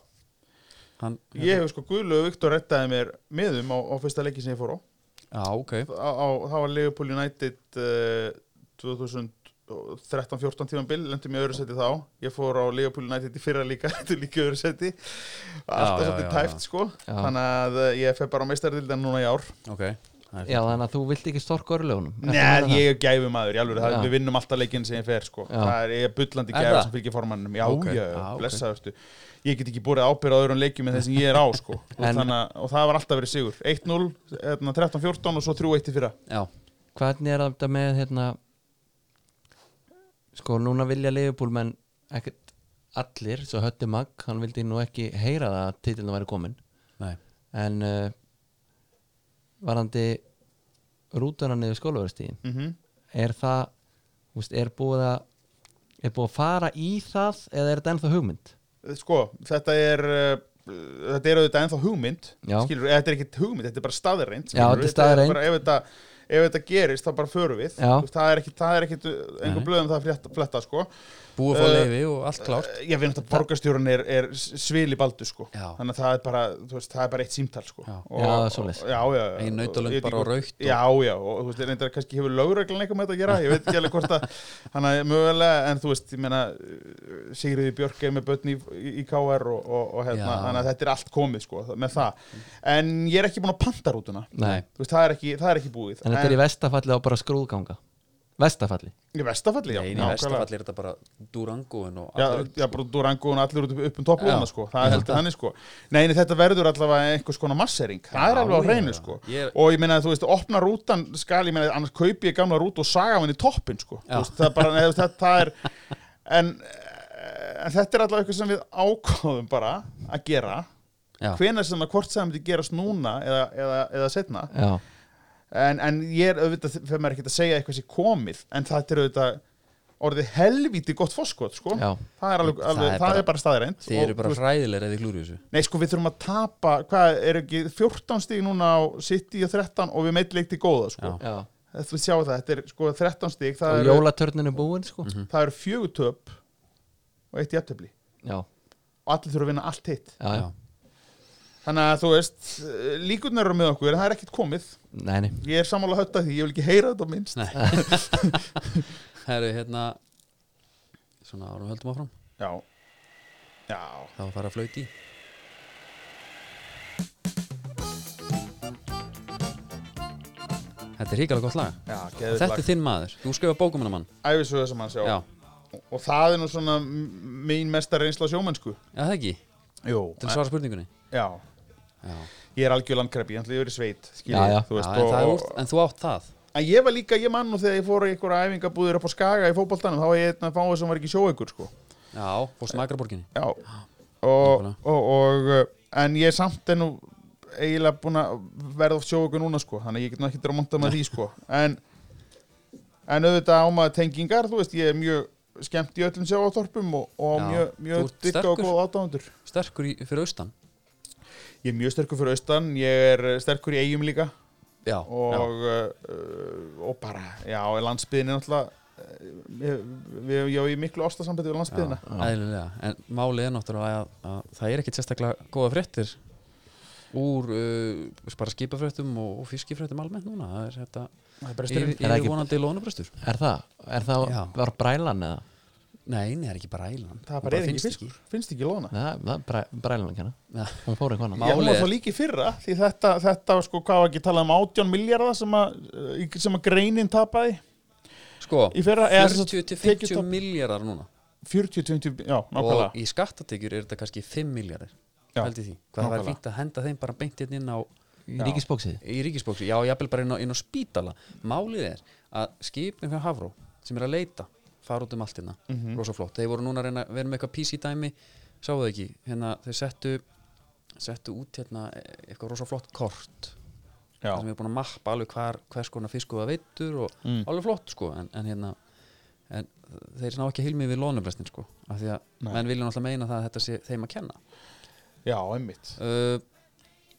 [SPEAKER 2] hann,
[SPEAKER 4] ég hef sko Guðlaug Viktor rettaði mér miðum á, á fyrsta leiki sem ég fór á,
[SPEAKER 2] já, ok
[SPEAKER 4] á, á Það var Liverpool United uh, 2013-14 tíman bil lendi mér í öðru seti þá Ég fór á Liverpool United í fyrra líka Þetta er líka í öðru seti Alltaf
[SPEAKER 2] já,
[SPEAKER 4] svolítið
[SPEAKER 2] já, já.
[SPEAKER 4] tæft sko
[SPEAKER 3] Já.
[SPEAKER 4] Þannig að eh, ég fer bara á meistarðildan núna í ár
[SPEAKER 2] ok, það er
[SPEAKER 3] Já, þannig að þú vilt ekki storka örlögunum
[SPEAKER 4] Nei, ég er gæfi maður, alveg, það,
[SPEAKER 3] Já.
[SPEAKER 4] við vinnum alltaf leikinn sem ég fer sko.
[SPEAKER 3] Já.
[SPEAKER 4] það er, ég er bullandi
[SPEAKER 2] Er
[SPEAKER 4] gæfi
[SPEAKER 2] það?
[SPEAKER 4] sem fylgir formannum já,
[SPEAKER 2] Ok.
[SPEAKER 4] já, já,
[SPEAKER 2] Já, ok.
[SPEAKER 4] blessaðurstu ég get ekki búið ábyrð á öðrum leikjum en þeir sem ég er á sko. og,
[SPEAKER 3] En-
[SPEAKER 4] þannig, að- og það var alltaf verið sigur 1-0, hérna, 13-14 og svo 3-1 í fyrra
[SPEAKER 2] Já,
[SPEAKER 3] Hvernig er þetta með hérna Sko, núna vilja Leifupúl menn ekkert allir, svo Hötti Magg hann vildi nú ekki heyra það að titilin væri komin
[SPEAKER 2] nei
[SPEAKER 3] en uh, varandi rútuna niður skólaverðstíðin
[SPEAKER 4] mm
[SPEAKER 3] er það, þú veist, er búið að er búið að fara í það eða er þetta ennþá hugmynd?
[SPEAKER 4] sko, þetta er uh, þetta er auðvitað ennþá hugmynd
[SPEAKER 3] Já.
[SPEAKER 4] skilur, eða þetta er ekki hugmynd, þetta er bara staðreind
[SPEAKER 3] Já, þetta er staðreynd.
[SPEAKER 4] bara, ef, þetta, ef þetta gerist, þá bara förum við
[SPEAKER 3] Já.
[SPEAKER 4] Þú veist, það er ekki, það er ekki einhver blöðum það að fletta, fletta sko.
[SPEAKER 2] Búið að fá
[SPEAKER 4] Eh,
[SPEAKER 2] leifi og allt klárt
[SPEAKER 4] Eh, Ég veit að borgarstjórun er, er svili baldu sko
[SPEAKER 2] Já.
[SPEAKER 4] Þannig að það er bara, þú veist, það er bara eitt símtal sko
[SPEAKER 2] Já.
[SPEAKER 4] og,
[SPEAKER 3] Já,
[SPEAKER 4] og-
[SPEAKER 3] svoleiðis.
[SPEAKER 4] Já, já, já
[SPEAKER 2] Ein nautalönd
[SPEAKER 4] Ég veit
[SPEAKER 2] bara
[SPEAKER 4] ekki
[SPEAKER 2] á rautt og-
[SPEAKER 4] Já, já, og þú veist, reyndar kannski hefur lögreglan eitthvað með þetta að gera Ég veit ekki alveg hvort að Þannig að mögulega, en þú veist, ég meina uh, Sigriði Björk er með börn í, í- í KR og, og, og hérna,
[SPEAKER 2] Já.
[SPEAKER 4] þannig að þetta er allt komið sko með það En ég er ekki búin að panta rútuna
[SPEAKER 3] Nei,
[SPEAKER 4] Þú veist, það er ekki, það er ekki búið
[SPEAKER 3] en þetta er í vestafalli á bara skrúðganga Vestafalli
[SPEAKER 4] í vestafalli, já
[SPEAKER 2] Nei, í
[SPEAKER 4] nákvæmlega.
[SPEAKER 2] vestafall er þetta bara Durangoen og
[SPEAKER 4] Já,
[SPEAKER 2] allt
[SPEAKER 4] já, bara Durango og allir út upp, upp um topplóðuna
[SPEAKER 2] Já.
[SPEAKER 4] sko, það er heldur þannig sko Nei, en þetta verður allavega einhvers konar massering það er
[SPEAKER 2] Já,
[SPEAKER 4] alveg á
[SPEAKER 2] já.
[SPEAKER 4] hreinu sko
[SPEAKER 2] Ég-
[SPEAKER 4] og ég meina að þú veist, opna rútan skal, ég meina, annars kaupi ég gamla rút og saga hann í toppin sko, Þú veist, það er bara neðu, það, það er, en, eh, en þetta er allavega eitthvað sem við ákváðum bara að gera
[SPEAKER 2] Já.
[SPEAKER 4] hvenær sem að hvort sem það myndi gerast núna eða, eða, eða setna
[SPEAKER 3] Já,
[SPEAKER 4] en, en ég er auðvitað, fyrir maður ekkert að segja eitthvað sem komið, en þetta er auðvitað orðið helvíti gott fórskot sko.
[SPEAKER 3] Já.
[SPEAKER 4] það er, alveg,
[SPEAKER 2] Það
[SPEAKER 4] alveg,
[SPEAKER 2] er
[SPEAKER 4] það
[SPEAKER 2] bara-
[SPEAKER 4] er bara staðreind
[SPEAKER 2] Þið eru bara hræðilegir eða glúrið þessu
[SPEAKER 4] nei sko við þurfum að tapa hvað er ekki 14 stíg núna á City og 13 og við meitt leikti góða sko.
[SPEAKER 3] já
[SPEAKER 4] þú sjá það, þetta er sko 13 stíg það,
[SPEAKER 3] Og
[SPEAKER 4] eru-
[SPEAKER 3] jólatörnin er búin sko
[SPEAKER 4] það eru fjögur töp og eitt jafntöfli
[SPEAKER 3] Já,
[SPEAKER 4] og allir þurfum að vinna allt hitt
[SPEAKER 3] já, já,
[SPEAKER 2] Já.
[SPEAKER 4] þannig að þú veist, líkurnar eru með okkur en það er ekkert komið,
[SPEAKER 3] nei, nei
[SPEAKER 4] ég er sammála að hötta því, ég vil ekki heyra þetta minnst
[SPEAKER 2] Nei Herru, hérna Svona árum höldum áfram
[SPEAKER 4] já, já
[SPEAKER 2] Það var að fara að flauti í Þetta er ríkalega gott lag
[SPEAKER 4] Já,
[SPEAKER 2] Og
[SPEAKER 4] geðið
[SPEAKER 2] Þetta
[SPEAKER 4] lag.
[SPEAKER 2] er þinn maður, þú skrifa bókum hennar mann
[SPEAKER 4] Æfisöðu sem hans, já.
[SPEAKER 2] Já,
[SPEAKER 4] Og það er nú svona m- mín mesta reynsla á sjómennsku.
[SPEAKER 2] já það ekki,
[SPEAKER 4] Jó.
[SPEAKER 2] til að svara spurningunni
[SPEAKER 4] Já.
[SPEAKER 2] Já,
[SPEAKER 4] Ég er algjör landkreppi, ég ætla yfir í sveit, skiljið,
[SPEAKER 3] Já, já.
[SPEAKER 4] þú
[SPEAKER 2] já
[SPEAKER 4] veist.
[SPEAKER 2] en, það er
[SPEAKER 4] og,
[SPEAKER 2] úr, en þú átt það
[SPEAKER 4] en ég var líka, ég mann nú þegar ég fór í einhverja æfingabúðir upp á Skaga í fótboltanum, þá var ég einn að fáið sem var ekki sjóaukur, sko.
[SPEAKER 2] Já, fórstu magra borginni
[SPEAKER 4] Já. Og,
[SPEAKER 2] Nákvæmlega.
[SPEAKER 4] og, og, uh, en ég samt er nú eiginlega búin að verða oft sjóaukur núna, sko, þannig að ég get nú ekkert að monta með því, sko. En, en auðvitað á maður tengingar, þú veist, ég er mjög skemmt í öllum sjávartorpum og, og
[SPEAKER 2] Já.
[SPEAKER 4] mjög,
[SPEAKER 2] Þú
[SPEAKER 4] mjög
[SPEAKER 2] ert
[SPEAKER 4] digga og
[SPEAKER 2] sterkur.
[SPEAKER 4] góð aðdáðundur.
[SPEAKER 2] Sterkur í, fyrir austan
[SPEAKER 4] Ég er mjög sterkur fyrir austan, ég er eh, sterkur í eigum líka
[SPEAKER 2] Já, já,
[SPEAKER 4] og, uh, og bara, já, landsbyðin er náttúrulega eh, ég- við, já, ég er miklu ástasambandi við landsbyðina
[SPEAKER 2] já, eðlilega En málið er náttúrulega að, að það er ekkit sérstaklega góða fréttir úr uh, bara skipafréttum og, og fiskifréttum almennt núna Það er þetta
[SPEAKER 4] Það er bara
[SPEAKER 2] yfir,
[SPEAKER 4] styrn
[SPEAKER 3] Er það
[SPEAKER 2] yfir
[SPEAKER 3] ekki-
[SPEAKER 2] vonandi lónubrestur
[SPEAKER 3] Er það, er það,
[SPEAKER 2] Já.
[SPEAKER 3] var brælan eða?
[SPEAKER 2] Nei, nei, það er ekki bara æland
[SPEAKER 4] það bara er ekki fiskur, finnst ekki lóna
[SPEAKER 3] það, það er bræ- brælan hérna
[SPEAKER 2] Já.
[SPEAKER 3] hún fór einhvern
[SPEAKER 4] Já, hún
[SPEAKER 2] Málið
[SPEAKER 4] var
[SPEAKER 2] er-
[SPEAKER 4] þá líki fyrra því þetta, þetta var sko, hvað var ekki talað um 18 miljardar sem að, eh, sem að greinin tapaði
[SPEAKER 2] Sko,
[SPEAKER 4] Í fyrra- eða sem sagt,
[SPEAKER 2] 40 til 50
[SPEAKER 4] tekjutap-
[SPEAKER 2] miljardar núna
[SPEAKER 4] 40-20, já, nákvæmlega
[SPEAKER 2] Og í skattatekjur er þetta kannski 5 miljardar
[SPEAKER 4] Já,
[SPEAKER 2] Hældi því, hvað það var
[SPEAKER 4] nákvæmlega.
[SPEAKER 2] fínt að henda þeim bara beint hérna inn á
[SPEAKER 3] veginn ríkisbóksið
[SPEAKER 2] í ríkisbóksi, já, jafnvel bara inn á, inn á spítala Málið er að skipin fyrir Hafró sem er að leita, fara út um allt hérna
[SPEAKER 4] Mhm.
[SPEAKER 2] rosa flott, þeir voru núna að reyna að vera með eitthvað PC dæmi, sáu það ekki hérna, þeir settu, settu út hérna e- eitthvað rosa flott kort
[SPEAKER 4] Já,
[SPEAKER 2] þar sem við erum búin að mappa alveg hvar, hvers konar fiskur það veitur og
[SPEAKER 4] Mm.
[SPEAKER 2] alveg flott sko en, en hérna en þeir ná ekki hilmið við lónumrestin sko af því að
[SPEAKER 4] Nei.
[SPEAKER 2] menn vilja náttúrulega meina það að þetta sé þeim að kenna
[SPEAKER 4] já, einmitt
[SPEAKER 2] uh,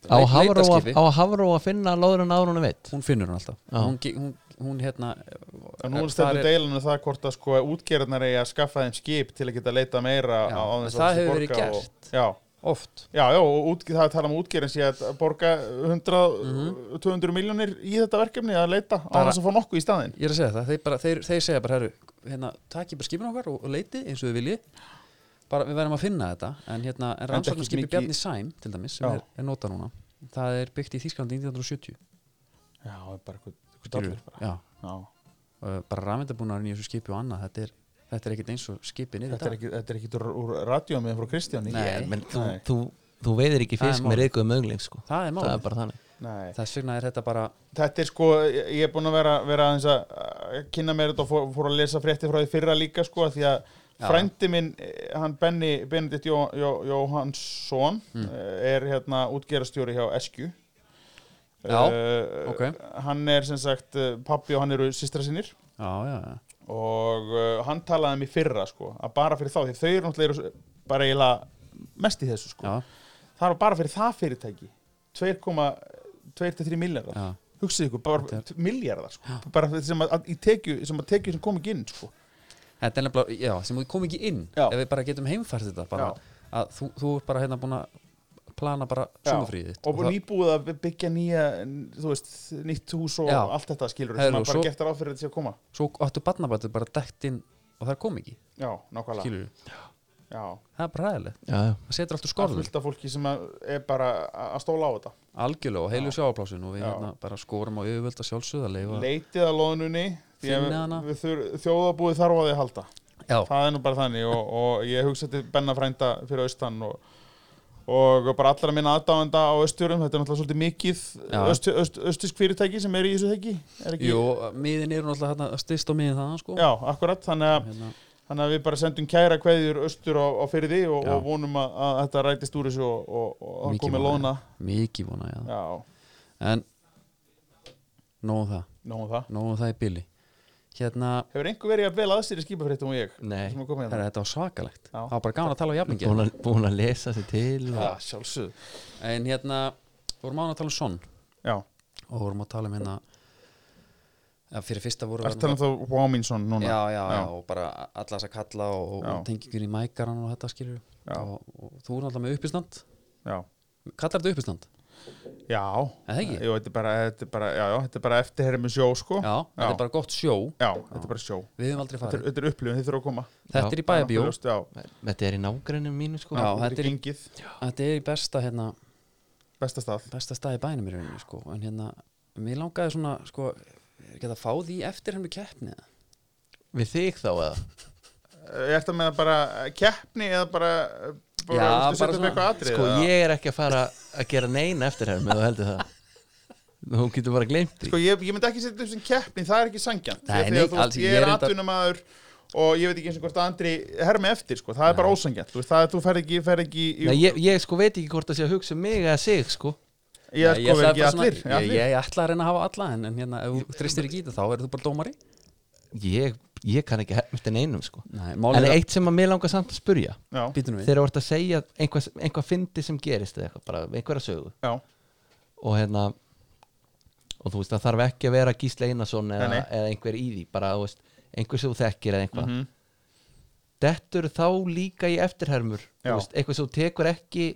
[SPEAKER 3] á
[SPEAKER 2] leit-
[SPEAKER 3] Hafró að-
[SPEAKER 2] leitarskipi,
[SPEAKER 3] á Hafró að finna lóður en áður hún veit
[SPEAKER 2] hún finnur hún alltaf
[SPEAKER 3] Já.
[SPEAKER 2] hún, ge- hún, hún hérna
[SPEAKER 4] En nú
[SPEAKER 2] eh,
[SPEAKER 4] er stendur
[SPEAKER 2] þar er-
[SPEAKER 4] deilinu það hvort að sko útgerðnar eigi að skaffa þeim skip til að geta leita meira
[SPEAKER 2] Já,
[SPEAKER 4] á á þess að
[SPEAKER 2] það
[SPEAKER 4] sé
[SPEAKER 2] hefur verið
[SPEAKER 4] borgað
[SPEAKER 2] gert.
[SPEAKER 4] Já,
[SPEAKER 2] oft
[SPEAKER 4] já, já, og út, það er talað um útgerðin sé að borga 100, 200 miljónir í þetta verkefni að leita á
[SPEAKER 2] Mhm. Bara-
[SPEAKER 4] þess að fá nokkuð í staðinn
[SPEAKER 2] ég er að segja það, þeir, bara, þeir, þeir segja bara herru, hérna, takk ég bara skipin okkar og, og leiti eins og þið viljið bara við verðum að finna þetta en hérna, en
[SPEAKER 4] Enda ekki
[SPEAKER 2] rannsóknarskipi
[SPEAKER 4] mikið-
[SPEAKER 2] Bjarni Sæm til dæmis, sem
[SPEAKER 4] Já.
[SPEAKER 2] er, er nota núna það er byggt í Þýskalandi 1970
[SPEAKER 4] Já, bara eitthvað, eitthvað
[SPEAKER 2] skilur,
[SPEAKER 4] dallur bara
[SPEAKER 2] já,
[SPEAKER 4] Já,
[SPEAKER 2] uh, bara rafendabúnaðurinn í þessu skipi og annað þetta er, þetta er ekkit eins og skipin er í
[SPEAKER 4] þetta er
[SPEAKER 2] dag
[SPEAKER 4] ekki, þetta er ekki úr, úr radiomiðan frá Kristjáni
[SPEAKER 2] Nei.
[SPEAKER 3] Ég- menn þú,
[SPEAKER 4] Nei.
[SPEAKER 3] þú, þú veiðir ekki
[SPEAKER 2] Það er
[SPEAKER 3] fisk með
[SPEAKER 2] málið.
[SPEAKER 3] reykuðum ögling sko.
[SPEAKER 2] það er
[SPEAKER 3] það er
[SPEAKER 2] málið,
[SPEAKER 3] bara þannig
[SPEAKER 4] Nei.
[SPEAKER 2] þess vegna er þetta bara
[SPEAKER 4] Þetta er sko, ég ég er búinn að vera, vera aðeins að að kynna mér þetta og fór, fór að lesa frétti frá því fyrra líka sko að því að
[SPEAKER 2] Já.
[SPEAKER 4] frændi minn, eh, hann Benny Benedikt Jó, Jó, Jóhansson
[SPEAKER 2] Hmm.
[SPEAKER 4] eh, er hérna útgerastjóri hjá Eskju
[SPEAKER 2] Já,
[SPEAKER 4] Eh,
[SPEAKER 2] ok.
[SPEAKER 4] Hann er sem sagt eh, pabbi og hann eru systra sinir
[SPEAKER 2] já, já, já,
[SPEAKER 4] og uh, hann talaði um í fyrra sko að bara fyrir þá, því þau eru náttúrulega eru s- bara eiginlega mest í þessu sko
[SPEAKER 2] já,
[SPEAKER 4] það var bara fyrir það fyrirtæki 2,2-3 miljardar
[SPEAKER 2] Já.
[SPEAKER 4] hugsið ykkur, bara
[SPEAKER 2] Þetta
[SPEAKER 4] miljardar sko. bara þetta sem að, að, í tekju sem að tekju sem kom ekki inn sko.
[SPEAKER 2] þetta er nefnilega, já, sem við komum ekki inn
[SPEAKER 4] Já.
[SPEAKER 2] ef við bara getum heimfært þetta bara,
[SPEAKER 4] Já.
[SPEAKER 2] að þú, þú er bara hérna búin að plana bara sumafríðið
[SPEAKER 4] og nýbúið að byggja nýja þú veist, nýtt hús og
[SPEAKER 2] Já.
[SPEAKER 4] allt þetta skilur
[SPEAKER 2] Heyrðu,
[SPEAKER 4] sem að bara
[SPEAKER 2] svo-
[SPEAKER 4] gett ráð fyrir þetta sé að koma
[SPEAKER 2] svo áttu barnabættu bara dætt inn og það kom ekki,
[SPEAKER 4] já, nákvæmlega
[SPEAKER 2] skilur
[SPEAKER 4] já,
[SPEAKER 2] það er bara ræðilegt,
[SPEAKER 3] já, já.
[SPEAKER 2] það setur alltaf
[SPEAKER 4] það er
[SPEAKER 2] skorður
[SPEAKER 4] fullt af fólki sem að er bara að að stóla á þetta
[SPEAKER 2] algjörlega og heilu sjáaplásin og við
[SPEAKER 4] Já.
[SPEAKER 2] hérna bara skorum á yfirvölda sjálfsögða leifa,
[SPEAKER 4] leitið að loðnunni því að
[SPEAKER 2] Sko. Finna hana.
[SPEAKER 4] við þur, þjóðabúið þarf á því að halda
[SPEAKER 2] já,
[SPEAKER 4] það er nú bara þannig og, og ég hugsa til Benna frænda fyrir austan og, og bara allra minna aðdáenda á östjurum, þetta er náttúrulega svolítið mikið
[SPEAKER 2] Já.
[SPEAKER 4] öst, öst, östisk fyrirtæki sem er í þessu þeggi er ekki?
[SPEAKER 2] jú, miðin eru náttúrulega hérna styrst á miðin það, sko
[SPEAKER 4] Já, akkurat, þannig að,
[SPEAKER 2] hérna,
[SPEAKER 4] þannig að við bara sendum kæra kveðjur östur á, á fyrir því og,
[SPEAKER 2] Já.
[SPEAKER 4] og vonum að, að þetta rætist úr þessu og, og, og það
[SPEAKER 2] Mikið
[SPEAKER 4] komi
[SPEAKER 2] vona,
[SPEAKER 4] lóna
[SPEAKER 2] mikið vona, já,
[SPEAKER 4] Já,
[SPEAKER 2] en nóðum það,
[SPEAKER 4] nóg um það
[SPEAKER 2] nóðum það í bili hérna,
[SPEAKER 4] Hefur einhver verið að vel að sér í skipafréttum og ég?
[SPEAKER 3] Nei.
[SPEAKER 4] Sem er komið
[SPEAKER 2] herra,
[SPEAKER 4] hérna?
[SPEAKER 2] þetta var svakalegt
[SPEAKER 4] Já.
[SPEAKER 2] það var bara gaman að tala á jafningi
[SPEAKER 3] búin, að, búin að lesa sér til
[SPEAKER 4] Já,
[SPEAKER 3] og,
[SPEAKER 4] sjálfsög
[SPEAKER 2] en hérna, vorum án að tala um sonn
[SPEAKER 4] Já,
[SPEAKER 2] og vorum að tala um hérna ja, fyrir fyrsta voru
[SPEAKER 4] ertu talað um þá Waminsson núna?
[SPEAKER 2] já, já, já,
[SPEAKER 4] Já.
[SPEAKER 2] og bara alla þess að kalla og,
[SPEAKER 4] Já.
[SPEAKER 2] og tengingur í mækaran og þetta skilur
[SPEAKER 4] Já.
[SPEAKER 2] og, og þú er náttúrulega með uppistand
[SPEAKER 4] já.
[SPEAKER 2] kallar þetta uppistand?
[SPEAKER 4] Já,
[SPEAKER 2] Er það ekki?
[SPEAKER 4] Jú, þetta er bara, þetta er bara, já, já, þetta er bara eftirhermi sjó sko.
[SPEAKER 2] Já, þetta er bara gott sjó
[SPEAKER 4] Já, þetta er bara sjó
[SPEAKER 2] við höfum aldrei
[SPEAKER 4] Þetta
[SPEAKER 2] farið,
[SPEAKER 4] er, þetta er upplifun, þið þurfa að koma
[SPEAKER 2] þetta er í bæjabíó
[SPEAKER 4] Það er náttúrulega ljóst,
[SPEAKER 3] þetta er í nágrænum mínu sko
[SPEAKER 2] Já,
[SPEAKER 4] Já, já þetta er
[SPEAKER 2] í-
[SPEAKER 4] gengið,
[SPEAKER 2] þetta er í besta hérna
[SPEAKER 4] besta stað
[SPEAKER 2] besta stað í bænum í rauninni sko. en hérna, mér langaði svona sko, er ekki hægt að fá því eftir henni keppni eða?
[SPEAKER 3] við þig þá eða
[SPEAKER 4] Ég ætti að meina bara eh, keppni eða bara eh, bara,
[SPEAKER 2] Já, bara
[SPEAKER 4] viltu setja upp
[SPEAKER 2] svona-
[SPEAKER 4] eitthvað atrið
[SPEAKER 3] sko ég er ekki að fara að gera neina eftir hér með þú heldur það þú getur bara gleymt því
[SPEAKER 4] Sko, ég, ég myndi ekki setja upp sem keppni, það er ekki sangjant
[SPEAKER 2] Nei, nei, alls-
[SPEAKER 4] Ég
[SPEAKER 2] ég
[SPEAKER 4] er
[SPEAKER 2] er enda-
[SPEAKER 4] atvinnamaður og ég veit ekki eins og hvort að Andri hermi eftir, sko, það er bara ósangjant Þú veist, það er, þú fer ekki, fer ekki í-
[SPEAKER 3] Nei, ég, ég sko veit ekki hvort það sé að hugsa um mig eða sig sko
[SPEAKER 4] Ég er
[SPEAKER 2] Nei,
[SPEAKER 4] sko
[SPEAKER 2] sagði
[SPEAKER 4] verið ekki
[SPEAKER 2] bara svona-
[SPEAKER 4] allir
[SPEAKER 2] ég,
[SPEAKER 4] allir.
[SPEAKER 2] ég, ætla að reyna að hafa alla en, en hérna, ef þú tristir ekki í þetta þá verður þú bara dómari
[SPEAKER 3] ég, ég kann ekki hefna eftir neinum sko
[SPEAKER 2] Nei,
[SPEAKER 3] en
[SPEAKER 2] málið er
[SPEAKER 3] eitt sem að mér langar samt að spurja
[SPEAKER 4] Já,
[SPEAKER 2] býtum við
[SPEAKER 3] þegar þú ert að segja einhvað, einhvað fyndi sem gerist eða eitthvað, bara einhverja sögu
[SPEAKER 4] já,
[SPEAKER 3] og hérna og þú veist það þarf ekki að vera Gísle Einarsson eða,
[SPEAKER 4] Nei, nei.
[SPEAKER 3] eða einhver í því bara þú veist, einhver sem þú þekkir eða eitthvað dettur þá líka í eftirhermur þú
[SPEAKER 4] Já.
[SPEAKER 3] veist, eitthvað sem þú tekur ekki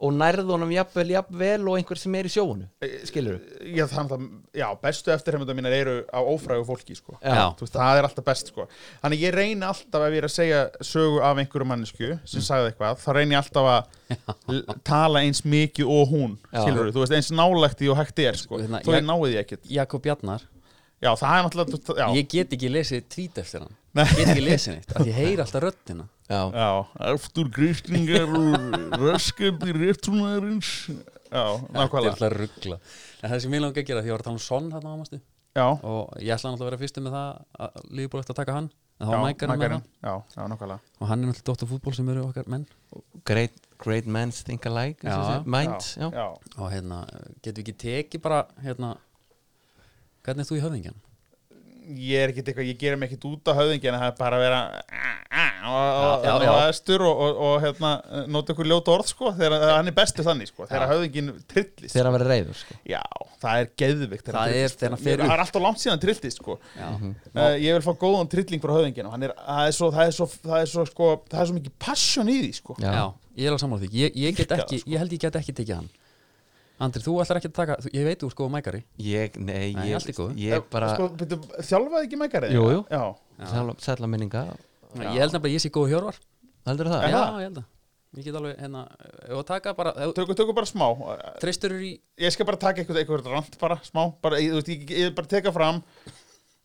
[SPEAKER 3] og nærð honum jafnvel, jafnvel og einhver sem er í sjóunu skilur du?
[SPEAKER 4] já, þannig að, já, bestu eftirheimundar mínar eru á ófrægu fólki, sko
[SPEAKER 2] Já.
[SPEAKER 4] Þú veist, það er alltaf best, sko Þannig að ég reyni alltaf ef ég er að segja sögu af einhverju mannesku
[SPEAKER 2] Mm.
[SPEAKER 4] sem sagði eitthvað, þá reyni ég alltaf að l- tala eins mikið og hún
[SPEAKER 3] Já.
[SPEAKER 4] skilur þú veist, eins nálægt í og hægt er, sko
[SPEAKER 2] Hérna,
[SPEAKER 4] þó
[SPEAKER 2] ég-
[SPEAKER 4] ég náði því ekkert
[SPEAKER 2] Jakob Bjarnar,
[SPEAKER 4] Já, það er náttúrulega, já,
[SPEAKER 2] ég get ekki lesið tvít eftir hann
[SPEAKER 4] Nei.
[SPEAKER 2] Ég get ekki lesið neitt, af því ég heyri alltaf röddina
[SPEAKER 3] Já.
[SPEAKER 4] já Eftir grísningar og röskandi réttunarins Já,
[SPEAKER 2] Þetta er
[SPEAKER 4] nákvæmlega
[SPEAKER 2] alltaf ruggla En það sem ég langa að gera, því ég var að tala um Son hérna ámastu
[SPEAKER 4] Já,
[SPEAKER 2] og ég ætla alltaf að vera fyrstu með það að Lífból eftir að taka hann en þá var mækarinn með
[SPEAKER 4] mækarinn.
[SPEAKER 2] hann
[SPEAKER 4] Já, já, nákvæmlega
[SPEAKER 2] og hann er náttúrulega dóttur fútból sem eru okkar menn
[SPEAKER 3] Great, great men think alike eins og
[SPEAKER 2] Já.
[SPEAKER 3] þessi- minds, já,
[SPEAKER 4] já.
[SPEAKER 2] og hérna, getum við ekki tekið bara hérna, hvernig ert þú í höfðingjan?
[SPEAKER 4] ég er ekkert eitthvað, ég gerum ekkert út á höfðingin en það er bara að vera "Ah, og-
[SPEAKER 2] Já,
[SPEAKER 4] og-
[SPEAKER 2] já,
[SPEAKER 4] og
[SPEAKER 2] já.
[SPEAKER 4] aðstur og, og, og hérna, nota ykkur ljóta orð sko, þegar að- hann er bestið þannig sko, þegar höfðingin trillist
[SPEAKER 3] þegar að vera reyður sko.
[SPEAKER 4] já, það er geðvikt
[SPEAKER 2] Það er þegar hann fer upp.
[SPEAKER 4] það er alltaf langt síðan hann trillist sko.
[SPEAKER 2] Já,
[SPEAKER 4] uh, ég vil fá góðan trilling frá höfðingin og hann er, það er svo, það er svo, það er svo sko, það er svo mikið passion í því sko.
[SPEAKER 3] Já.
[SPEAKER 2] Já, ég er alveg sammála því ég, ég, get
[SPEAKER 4] Virkar
[SPEAKER 2] ekki,
[SPEAKER 4] það, sko.
[SPEAKER 2] ég held ég get ekki tekið hann Andri, þú ætlar ekki að taka þú- ég veit þú sko mækari
[SPEAKER 3] ég, nei,
[SPEAKER 2] Nei, allt í
[SPEAKER 3] ég,
[SPEAKER 2] góðu.
[SPEAKER 3] ég bara
[SPEAKER 4] sko, byrju, þjálfaði ekki mækarið
[SPEAKER 3] Jú, jú.
[SPEAKER 4] já,
[SPEAKER 3] sæla, sæla minninga
[SPEAKER 2] ég held nefnilega að ég sé góð hjörvar
[SPEAKER 3] heldur það?
[SPEAKER 2] Já,
[SPEAKER 4] Er það?
[SPEAKER 2] ég held að ég get alveg hérna, ef að taka bara ef-
[SPEAKER 4] tökum, tökum bara smá eh,
[SPEAKER 2] treystur eru í
[SPEAKER 4] ég skal bara taka eitthvað, eitthvað rand bara, smá, bara, ég, þú veist, ég, ég bara teka fram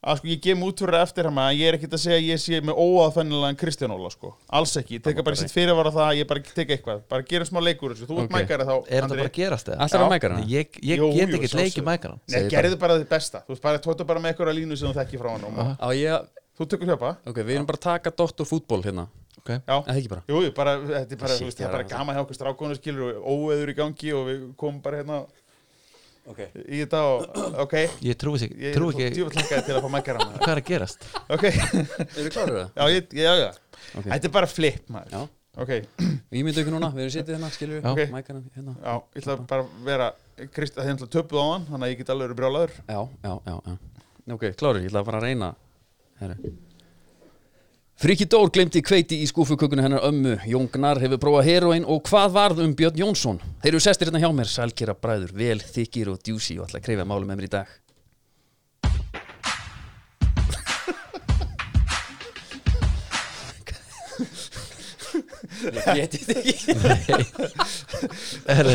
[SPEAKER 4] að sko, ég gem út fyrir eftir hana, ég er ekkert að segja að ég sé með óaðfennilegan Kristján Óla, sko, alls ekki, ég teka bara sitt fyrirvara það, ég bara teka eitthvað, bara gera smá leikur þessu, þú
[SPEAKER 2] Ok.
[SPEAKER 4] ert okay. mækari þá,
[SPEAKER 3] er það bara að gerast eða?
[SPEAKER 2] allar á
[SPEAKER 4] Já.
[SPEAKER 2] mækarinn
[SPEAKER 3] ég, ég
[SPEAKER 4] Jú,
[SPEAKER 3] get
[SPEAKER 4] jú,
[SPEAKER 3] ekki
[SPEAKER 4] sjálfsögðu.
[SPEAKER 3] leikið mækaran
[SPEAKER 4] Nei,
[SPEAKER 2] Segðu
[SPEAKER 4] gerðu bara þið besta, þú veist, bara tóta bara með eitthvað línu sem þú þekki frá hann og
[SPEAKER 2] á ég,
[SPEAKER 4] þú tökur hljópa,
[SPEAKER 2] ok, við erum bara að taka dottor fútból hérna,
[SPEAKER 3] okay.
[SPEAKER 4] já,
[SPEAKER 2] eða ekki bara
[SPEAKER 4] jú, jú, bara, þetta er bara,
[SPEAKER 2] Shit,
[SPEAKER 4] þú veist,
[SPEAKER 2] já,
[SPEAKER 4] það er bara
[SPEAKER 2] það-
[SPEAKER 4] gaman hjá okkur strákónu skilur og óveður í gangi og við komum bara hérna
[SPEAKER 2] okay.
[SPEAKER 4] í þetta og, ok,
[SPEAKER 3] ég trúi sig,
[SPEAKER 4] ég
[SPEAKER 3] trúi
[SPEAKER 4] er
[SPEAKER 3] ekki
[SPEAKER 4] djúvel hlakaði til að fá mækari hana,
[SPEAKER 3] hvað er að gerast
[SPEAKER 4] ok,
[SPEAKER 2] Eru klárir það?
[SPEAKER 4] Já, ég, já, já
[SPEAKER 2] Ok.
[SPEAKER 4] Þetta er bara flip, maður
[SPEAKER 2] Já.
[SPEAKER 4] Ok,
[SPEAKER 2] Við myndum ykkur núna, við erum sittið hérna, skilur við
[SPEAKER 3] Já.
[SPEAKER 4] Ok.
[SPEAKER 2] Mækarinn hérna
[SPEAKER 4] já, ég ætla bara að vera Krist, það er náttúrulega töpuð á hann Þannig að ég get alveg verið brjálaður
[SPEAKER 2] Já, já, já, já Ok, klárir, ég ætla bara að reyna Herru Friki Dór glemti kveiti í skúfukökunu hennar ömmu Jóngnar hefur prófað heroin og hvað varð um Björn Jónsson? Þeir eru sestir hérna hjá mér, sælkera bræður, vel þykir og djúsi og ætla að kreyfa málum með mér í dag Ég geti þetta ekki
[SPEAKER 3] er,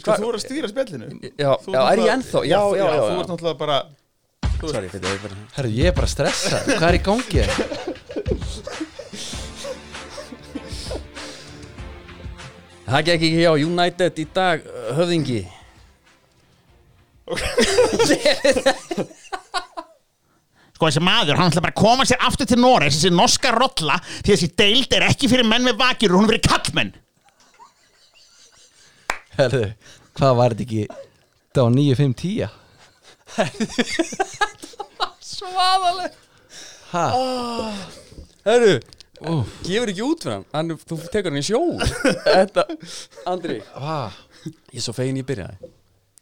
[SPEAKER 4] Sko, þú voru að stýra spjallinu
[SPEAKER 2] Já,
[SPEAKER 4] Þú ert
[SPEAKER 2] já, er ég
[SPEAKER 4] náttúrulega-
[SPEAKER 2] ennþá?
[SPEAKER 4] Já, já,
[SPEAKER 2] já,
[SPEAKER 4] þú ert náttúrulega bara
[SPEAKER 2] Sorry, þetta er bara
[SPEAKER 3] herru, ég er bara að stressa hvað er í gangi hérna?
[SPEAKER 2] Það gekk ekki hjá United í dag, höfðingi
[SPEAKER 5] Sko þessi maður, hann ætla bara að koma sér aftur til Noregs, þessi norska rolla, því þessi deild er ekki fyrir menn með vakir, hún er fyrir kallmenn.
[SPEAKER 3] herru, hvað var þetta ekki það var 9-5-10
[SPEAKER 2] Svaðaleg
[SPEAKER 3] ha,
[SPEAKER 4] Ah.
[SPEAKER 2] Herru,
[SPEAKER 3] Úff.
[SPEAKER 2] gefur ekki út fyrir hann, hann Þú tekur hann í sjó Þetta, Andri
[SPEAKER 3] ha,
[SPEAKER 2] Ég er svo fegin ég byrjaði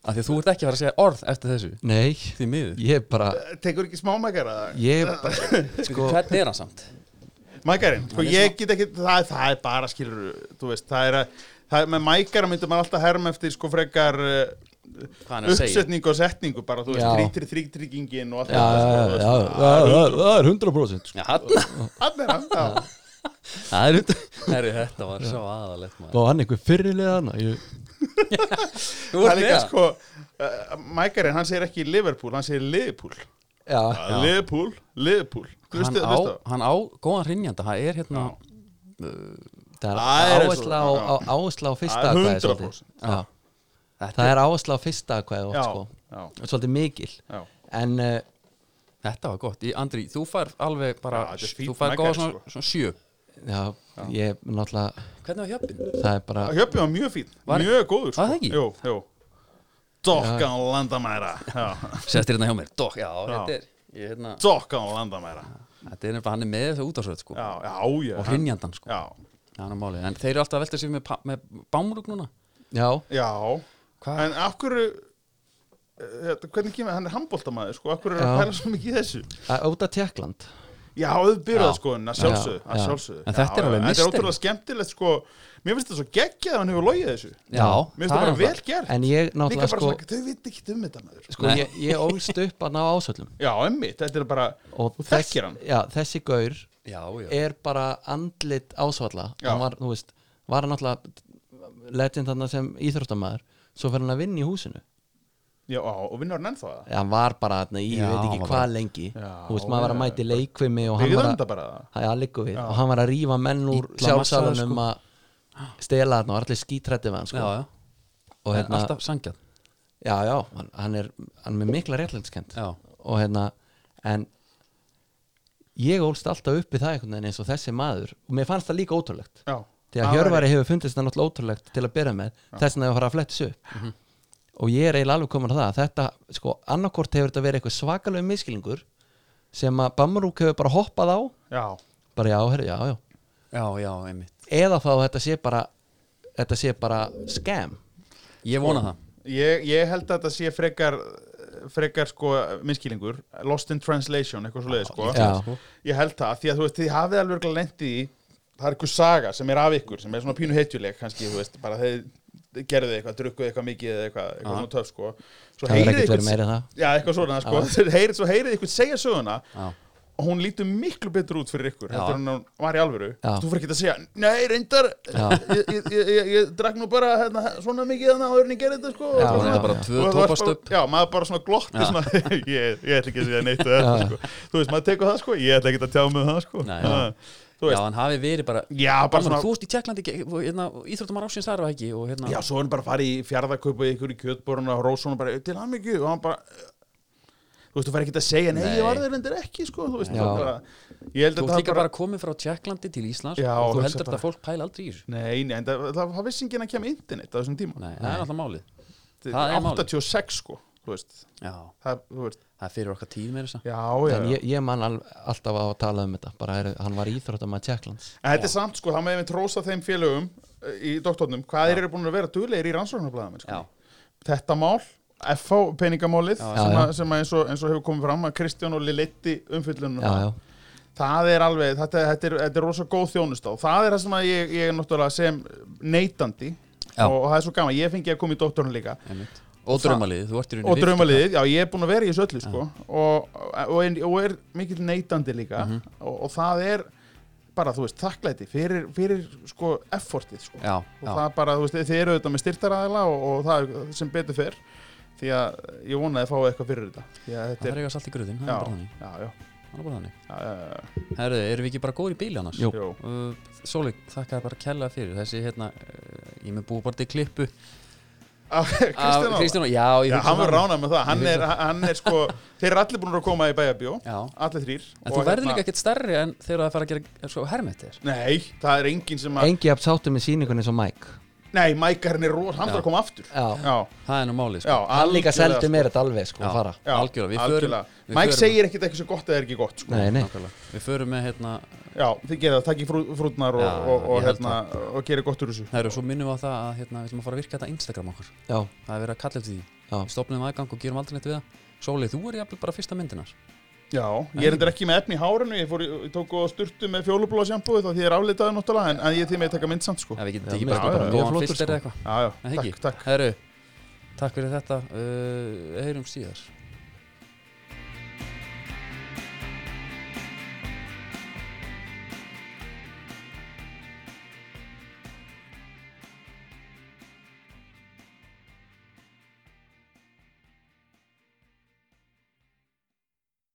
[SPEAKER 2] Af því að þú ert ekki að fara að segja orð eftir þessu
[SPEAKER 3] nei
[SPEAKER 2] Því miður
[SPEAKER 3] ég er bara
[SPEAKER 4] Tekur ekki smá mækara
[SPEAKER 3] ég er bara, sko,
[SPEAKER 2] Hvernig er hann samt?
[SPEAKER 4] Mækarinn, sko, ég get ekki Það, það er bara, skilur, þú veist Það er að, það er með mækara myndum maður alltaf herma eftir Sko, frekar uh,
[SPEAKER 2] Hvað hann er að segja?
[SPEAKER 4] Uppsetningu og setningu bara, þú
[SPEAKER 3] Já.
[SPEAKER 4] veist Þrítri, þrítryggingin og allt sko,
[SPEAKER 3] já, já, já, það það- það er 100% sko.
[SPEAKER 2] Já, hann
[SPEAKER 4] Allt er hann, já
[SPEAKER 2] Það er út Herru, þetta var svo aðalegt maður
[SPEAKER 3] var hann einhver fyrirlið hann ég,
[SPEAKER 2] Þú
[SPEAKER 4] Það er
[SPEAKER 2] ert með
[SPEAKER 4] líka,
[SPEAKER 2] það
[SPEAKER 4] sko uh, Mækarinn, hann segir ekki Liverpool, hann segir Liverpool Uh,
[SPEAKER 3] já,
[SPEAKER 4] Liverpool, Liverpool
[SPEAKER 2] Hann
[SPEAKER 4] Hlustu-
[SPEAKER 2] á,
[SPEAKER 4] hlustu á-
[SPEAKER 2] hann á góðan hrynjanda, það er hérna
[SPEAKER 3] það
[SPEAKER 4] Það
[SPEAKER 3] er
[SPEAKER 4] er
[SPEAKER 3] áhersla á,
[SPEAKER 4] svo-
[SPEAKER 3] á, áhersla á fyrsta
[SPEAKER 4] Það er
[SPEAKER 3] aðkvæði
[SPEAKER 4] 100%.
[SPEAKER 3] já
[SPEAKER 2] þetta,
[SPEAKER 3] það er áhersla á fyrsta aðkvæði
[SPEAKER 4] Já,
[SPEAKER 3] sko.
[SPEAKER 4] já.
[SPEAKER 3] svolítið mikil
[SPEAKER 4] Já.
[SPEAKER 3] en uh,
[SPEAKER 2] þetta var gott Í- Andri, þú fær alveg bara
[SPEAKER 4] Já, þetta er fínt
[SPEAKER 2] Þú fær góða
[SPEAKER 4] mækari,
[SPEAKER 2] svona,
[SPEAKER 4] sko.
[SPEAKER 2] svona sjö
[SPEAKER 3] já, ég náttúrulega
[SPEAKER 2] Hvernig var hjöppin?
[SPEAKER 3] það er bara
[SPEAKER 4] Hjöppi var mjög fín,
[SPEAKER 2] Var-
[SPEAKER 4] mjög góður sko.
[SPEAKER 2] Var það ekki?
[SPEAKER 4] Jú, jú Dokkan landamæra Já.
[SPEAKER 2] Sestir hérna hjá mér, dokk, já, þetta er ég, hérna,
[SPEAKER 4] Dokkan landamæra
[SPEAKER 2] Þetta er nefnilega, hann er með þess að útásöð sko.
[SPEAKER 4] Já, já, já
[SPEAKER 2] Og hrynjandan, sko
[SPEAKER 4] Já,
[SPEAKER 2] Það er nú málið, en þeir eru alltaf að velta sér með, pa- með bámrúk núna
[SPEAKER 3] já,
[SPEAKER 4] já
[SPEAKER 2] Hvað?
[SPEAKER 4] En af hverju hérna, eh, þetta- Hvernig kemur, hann er handbóltamaður sko, af hverju er
[SPEAKER 3] Já.
[SPEAKER 4] að pæla svo mikið í þessu
[SPEAKER 3] að- út af Tjekkland
[SPEAKER 4] Já, auðbyrða
[SPEAKER 2] Já.
[SPEAKER 4] sko, en að
[SPEAKER 3] Já,
[SPEAKER 4] sjálfsögðu, að
[SPEAKER 3] já.
[SPEAKER 4] sjálfsögðu.
[SPEAKER 2] En þetta er
[SPEAKER 4] Já,
[SPEAKER 2] alveg
[SPEAKER 4] Þetta
[SPEAKER 2] misteri.
[SPEAKER 4] er ótrúlega skemmtilegt sko, mér finnst þetta svo geggjað að hann hefur logið þessu.
[SPEAKER 2] Já,
[SPEAKER 4] Mér finnst það bara
[SPEAKER 2] er
[SPEAKER 4] vel
[SPEAKER 2] það.
[SPEAKER 4] gert.
[SPEAKER 3] En ég náttúrulega
[SPEAKER 4] Líka bara
[SPEAKER 3] sko,
[SPEAKER 4] svona, þau veit ekki um þetta maður.
[SPEAKER 3] sko ég, ég ólst upp að ná ásöllum
[SPEAKER 4] Já, emmitt, þetta er bara,
[SPEAKER 3] og
[SPEAKER 4] þú þekkir hann.
[SPEAKER 3] já, þessi gaur
[SPEAKER 2] Já, já,
[SPEAKER 3] er bara andlit ásvalla
[SPEAKER 4] Já.
[SPEAKER 3] hann var, þú veist, var hann náttúrulega legend þarna sem íþróttamæður svo fer hann að vinna í húsinu
[SPEAKER 4] Já, á, og vinnur hann ennþá það.
[SPEAKER 3] Eða hann var bara þarna í,
[SPEAKER 2] Já,
[SPEAKER 3] ég veit
[SPEAKER 2] hann var
[SPEAKER 3] ekki
[SPEAKER 2] bara-
[SPEAKER 3] hvað lengi
[SPEAKER 4] Já,
[SPEAKER 3] þú veist, maður var að
[SPEAKER 4] já,
[SPEAKER 3] mæti leikvimi og hann
[SPEAKER 4] Við
[SPEAKER 3] var
[SPEAKER 4] vönda
[SPEAKER 3] að,
[SPEAKER 4] bara það.
[SPEAKER 3] að, að liggu við
[SPEAKER 4] Já.
[SPEAKER 3] og hann var að rífa menn úr
[SPEAKER 2] Illa massaður,
[SPEAKER 3] sjálfsáðum
[SPEAKER 2] sko.
[SPEAKER 3] um að stela þarna og var allir skítrætti við hann
[SPEAKER 2] já,
[SPEAKER 3] sko.
[SPEAKER 2] já.
[SPEAKER 3] og
[SPEAKER 2] En
[SPEAKER 3] hérna,
[SPEAKER 2] alltaf sangjað
[SPEAKER 3] já, já, hann, hann er hann er með mikla réttlætskend
[SPEAKER 2] Já.
[SPEAKER 3] og hérna, en ég ólst alltaf upp í það einhvern veginn eins og þessi maður og mér fannst það líka ótrúlegt
[SPEAKER 4] Já.
[SPEAKER 3] því að
[SPEAKER 4] Það var-
[SPEAKER 3] Hjörvari hefur fundist það náttúrulega ótrúlegt til að byrja með þess vegna að fara að flettis upp
[SPEAKER 4] Mhm.
[SPEAKER 3] og ég er eiginlega alveg komin að það að þetta, sko, annarkort hefur þetta verið eitthvað svakalegu miskilingur sem að Bamrúk hefur bara hoppað á
[SPEAKER 4] Já,
[SPEAKER 3] bara já, herri, já, já
[SPEAKER 2] Já, já, einmitt
[SPEAKER 3] eða þá að þetta sé bara þetta sé bara scam
[SPEAKER 2] Ég vona það
[SPEAKER 4] ég, ég held að þetta sé frekar, frekar sko, minnskýlingur, lost in translation, eitthvað svo sko.
[SPEAKER 3] Já.
[SPEAKER 4] Ég held það, því að þú veist, þið hafið alveg örugglega lent í því, það er einhver saga sem er af ykkur, sem er svona pínu heitjuleg, kannski, þú veist, bara þeir gerðu eitthvað, drukkuðu eitthvað mikið eða eitthvað, eitthvað svona töf, sko. Svo
[SPEAKER 3] það hefur
[SPEAKER 4] heyrið
[SPEAKER 3] ekkert verið
[SPEAKER 4] eitthvað,
[SPEAKER 3] meira en það
[SPEAKER 4] já, eitthvað svona, sko, þeir heyrið, svo heyrið eitthvað segja söguna
[SPEAKER 2] Já.
[SPEAKER 4] og hún lítur miklu betur út fyrir ykkur,
[SPEAKER 2] Já.
[SPEAKER 4] heldur en hún var í alvöru.
[SPEAKER 3] Já.
[SPEAKER 4] Þú fyrir ekki að segja, nei, reyndar, ég, ég, ég, ég, ég drakk nú bara hérna, svona mikið þannig að hörni gerði þetta, sko.
[SPEAKER 3] Já,
[SPEAKER 4] og
[SPEAKER 2] Það
[SPEAKER 4] svona.
[SPEAKER 2] er bara
[SPEAKER 3] já.
[SPEAKER 2] tvö
[SPEAKER 4] Og það var
[SPEAKER 2] tópastöp
[SPEAKER 4] bara- Já, maður bara svona glotti svona, ég, ég ætla ekki að segja neitt að þetta, sko. Þú veist, maður tekur það sko, ég ætla ekki að tjá með það sko.
[SPEAKER 2] Nei,
[SPEAKER 4] Ha,
[SPEAKER 2] já.
[SPEAKER 4] Þú
[SPEAKER 2] Já,
[SPEAKER 4] veist,
[SPEAKER 2] hann hafi verið bara
[SPEAKER 4] já,
[SPEAKER 2] Alveg,
[SPEAKER 4] bara
[SPEAKER 2] Þú
[SPEAKER 4] svona
[SPEAKER 2] ert í Tjekklandi, hérna, íþróttumar ásins þar var ekki og hérna
[SPEAKER 4] Já, svo er hann bara að fara í fjarðakaupa í ykkur í kjötborun og rósa hann bara til hann mikið og hann bara Þú veist, þú fær ekki að segja, nei,
[SPEAKER 2] Nei.
[SPEAKER 4] ég var þeir endur ekki, sko, þú veist,
[SPEAKER 3] Já.
[SPEAKER 4] það bara, ég held
[SPEAKER 2] Þú
[SPEAKER 4] að
[SPEAKER 2] ert
[SPEAKER 4] það
[SPEAKER 2] líka
[SPEAKER 4] bara,
[SPEAKER 2] bara komið frá Tjekklandi til Íslands
[SPEAKER 4] Já,
[SPEAKER 2] og þú
[SPEAKER 4] hugsa
[SPEAKER 2] heldur þetta
[SPEAKER 4] bara-
[SPEAKER 2] að fólk pæla aldrei í þessu
[SPEAKER 4] nei, nei, en það, það, það vissi enginn að kemja internet á þessum tíma,
[SPEAKER 2] Nei, það er alltaf málið það er málið.
[SPEAKER 4] 86, sko, þú veist,
[SPEAKER 2] Já,
[SPEAKER 4] það, þú veist,
[SPEAKER 2] það er fyrir okkar tíð meira þess
[SPEAKER 4] já, já,
[SPEAKER 3] en ég, ég man al, alltaf á að tala um þetta bara er, hann var íþróttamæð Tjekklands
[SPEAKER 4] En þetta er samt sko, það með einmitt rósa þeim félögum eh, í doktornum, hvað þeir eru búin að vera duglegir í rannsóknarblæðum sko.
[SPEAKER 2] Já,
[SPEAKER 4] þetta mál, FH peningamálið
[SPEAKER 2] Já,
[SPEAKER 4] sem,
[SPEAKER 3] já.
[SPEAKER 4] að, sem að eins, og, eins og hefur komið fram að Kristján og Liletti umfyllunum
[SPEAKER 3] já, já,
[SPEAKER 4] það er alveg, þetta, þetta, er, þetta er rosa góð þjónustá það er það sem að ég, ég er náttúrulega sem neytandi
[SPEAKER 2] Já.
[SPEAKER 4] og, og það er svo gaman, ég fengi að koma í doktornum líka
[SPEAKER 2] einmitt Og draumalið, þú ert í rauninni
[SPEAKER 4] og
[SPEAKER 2] fyrst-
[SPEAKER 4] draumaliðið, já ég er búin að vera í þessu öllu sko, og, og, og, og er mikill neytandi líka
[SPEAKER 2] Mhm.
[SPEAKER 4] og, og það er bara, þú veist, þakklæti fyrir, fyrir sko, effortið sko.
[SPEAKER 2] Já,
[SPEAKER 4] og
[SPEAKER 2] já,
[SPEAKER 4] það er bara, þú veist, þið eru auðvitað með styrtaræðila og, og það er sem betur fer því að ég vonaði að fá eitthvað fyrir þetta því að þetta
[SPEAKER 2] það er
[SPEAKER 4] er,
[SPEAKER 2] eitthvað salt í gruðin, það
[SPEAKER 4] já,
[SPEAKER 2] er bara þannig
[SPEAKER 4] já, já,
[SPEAKER 2] Það er bara þannig
[SPEAKER 4] já, já,
[SPEAKER 2] Herðu, erum við ekki bara góðir í bíli annars?
[SPEAKER 3] Jú.
[SPEAKER 4] já,
[SPEAKER 2] Uh, Sólik, þakka þér bara kella fyrir þessi hérna, uh, ég er með búið bara til klippu
[SPEAKER 4] Ah, Kristján Ára
[SPEAKER 2] Kristján Óla, já, ég
[SPEAKER 4] Já,
[SPEAKER 2] hugsa um
[SPEAKER 4] hann var
[SPEAKER 2] það.
[SPEAKER 4] ránað með það, hann
[SPEAKER 2] Ég
[SPEAKER 4] er, hann er sko, þeir eru allir búin að koma í bæjabjó,
[SPEAKER 2] Já,
[SPEAKER 4] allir þrýr
[SPEAKER 2] en þú
[SPEAKER 4] hérna.
[SPEAKER 2] verður líka ekkert stærri en þegar það fara að gera svo hermet þér
[SPEAKER 4] Nei, það er enginn sem að,
[SPEAKER 3] engi jafn sáttu með síningunni eins og Mike
[SPEAKER 4] nei, Mækarinn er rosa, hann
[SPEAKER 2] Já.
[SPEAKER 4] þarf að koma aftur
[SPEAKER 3] já,
[SPEAKER 4] Já,
[SPEAKER 2] Það er nú málið,
[SPEAKER 4] já,
[SPEAKER 2] sko
[SPEAKER 3] hann líka
[SPEAKER 4] algjörlega,
[SPEAKER 3] seldi mér þetta alveg sko,
[SPEAKER 2] Já.
[SPEAKER 3] að fara
[SPEAKER 4] Já,
[SPEAKER 2] Algjörlega, við förum-
[SPEAKER 4] algjörlega.
[SPEAKER 2] við
[SPEAKER 4] Mike
[SPEAKER 2] förum-
[SPEAKER 4] segir ekkert eitthvað sem gott eða er ekki gott sko.
[SPEAKER 3] nei, nei,
[SPEAKER 2] Nákvæmlega. Við förum með hérna
[SPEAKER 4] Já, þið gerir það, takk í frú, frútnar og,
[SPEAKER 2] Já,
[SPEAKER 4] og, og,
[SPEAKER 2] ég held
[SPEAKER 4] hérna, og gerir gott úr þessu
[SPEAKER 2] Það eru, svo minnum við á það að hérna, við ætlum að fara að virka þetta Instagram okkar
[SPEAKER 3] já,
[SPEAKER 2] Það er verið að kalla eftir því
[SPEAKER 3] já
[SPEAKER 2] Við stopnum aðgang og gerum aldrei neitt við það Sóli, þú er jafnvel bara fyrsta myndinar
[SPEAKER 4] Já, ég er endur ekki með efni í hárinu, ég, fór, í- ég tók og sturtu með fjólubláa sjambúið þá því ég er aflitaði náttúrulega en, en ég er því með að taka mynd samt sko.
[SPEAKER 2] Já, við getum
[SPEAKER 3] Já,
[SPEAKER 2] tekið
[SPEAKER 3] mér
[SPEAKER 2] bara
[SPEAKER 4] finnst
[SPEAKER 2] bara
[SPEAKER 4] það
[SPEAKER 3] mjög
[SPEAKER 2] góðan
[SPEAKER 3] flottur,
[SPEAKER 2] fyrst eða
[SPEAKER 3] sko.
[SPEAKER 2] eitthvað
[SPEAKER 4] Já, já,
[SPEAKER 2] Nei,
[SPEAKER 4] takk,
[SPEAKER 2] ekki.
[SPEAKER 4] takk.
[SPEAKER 2] Herru, takk fyrir þetta uh, Heyrum síðar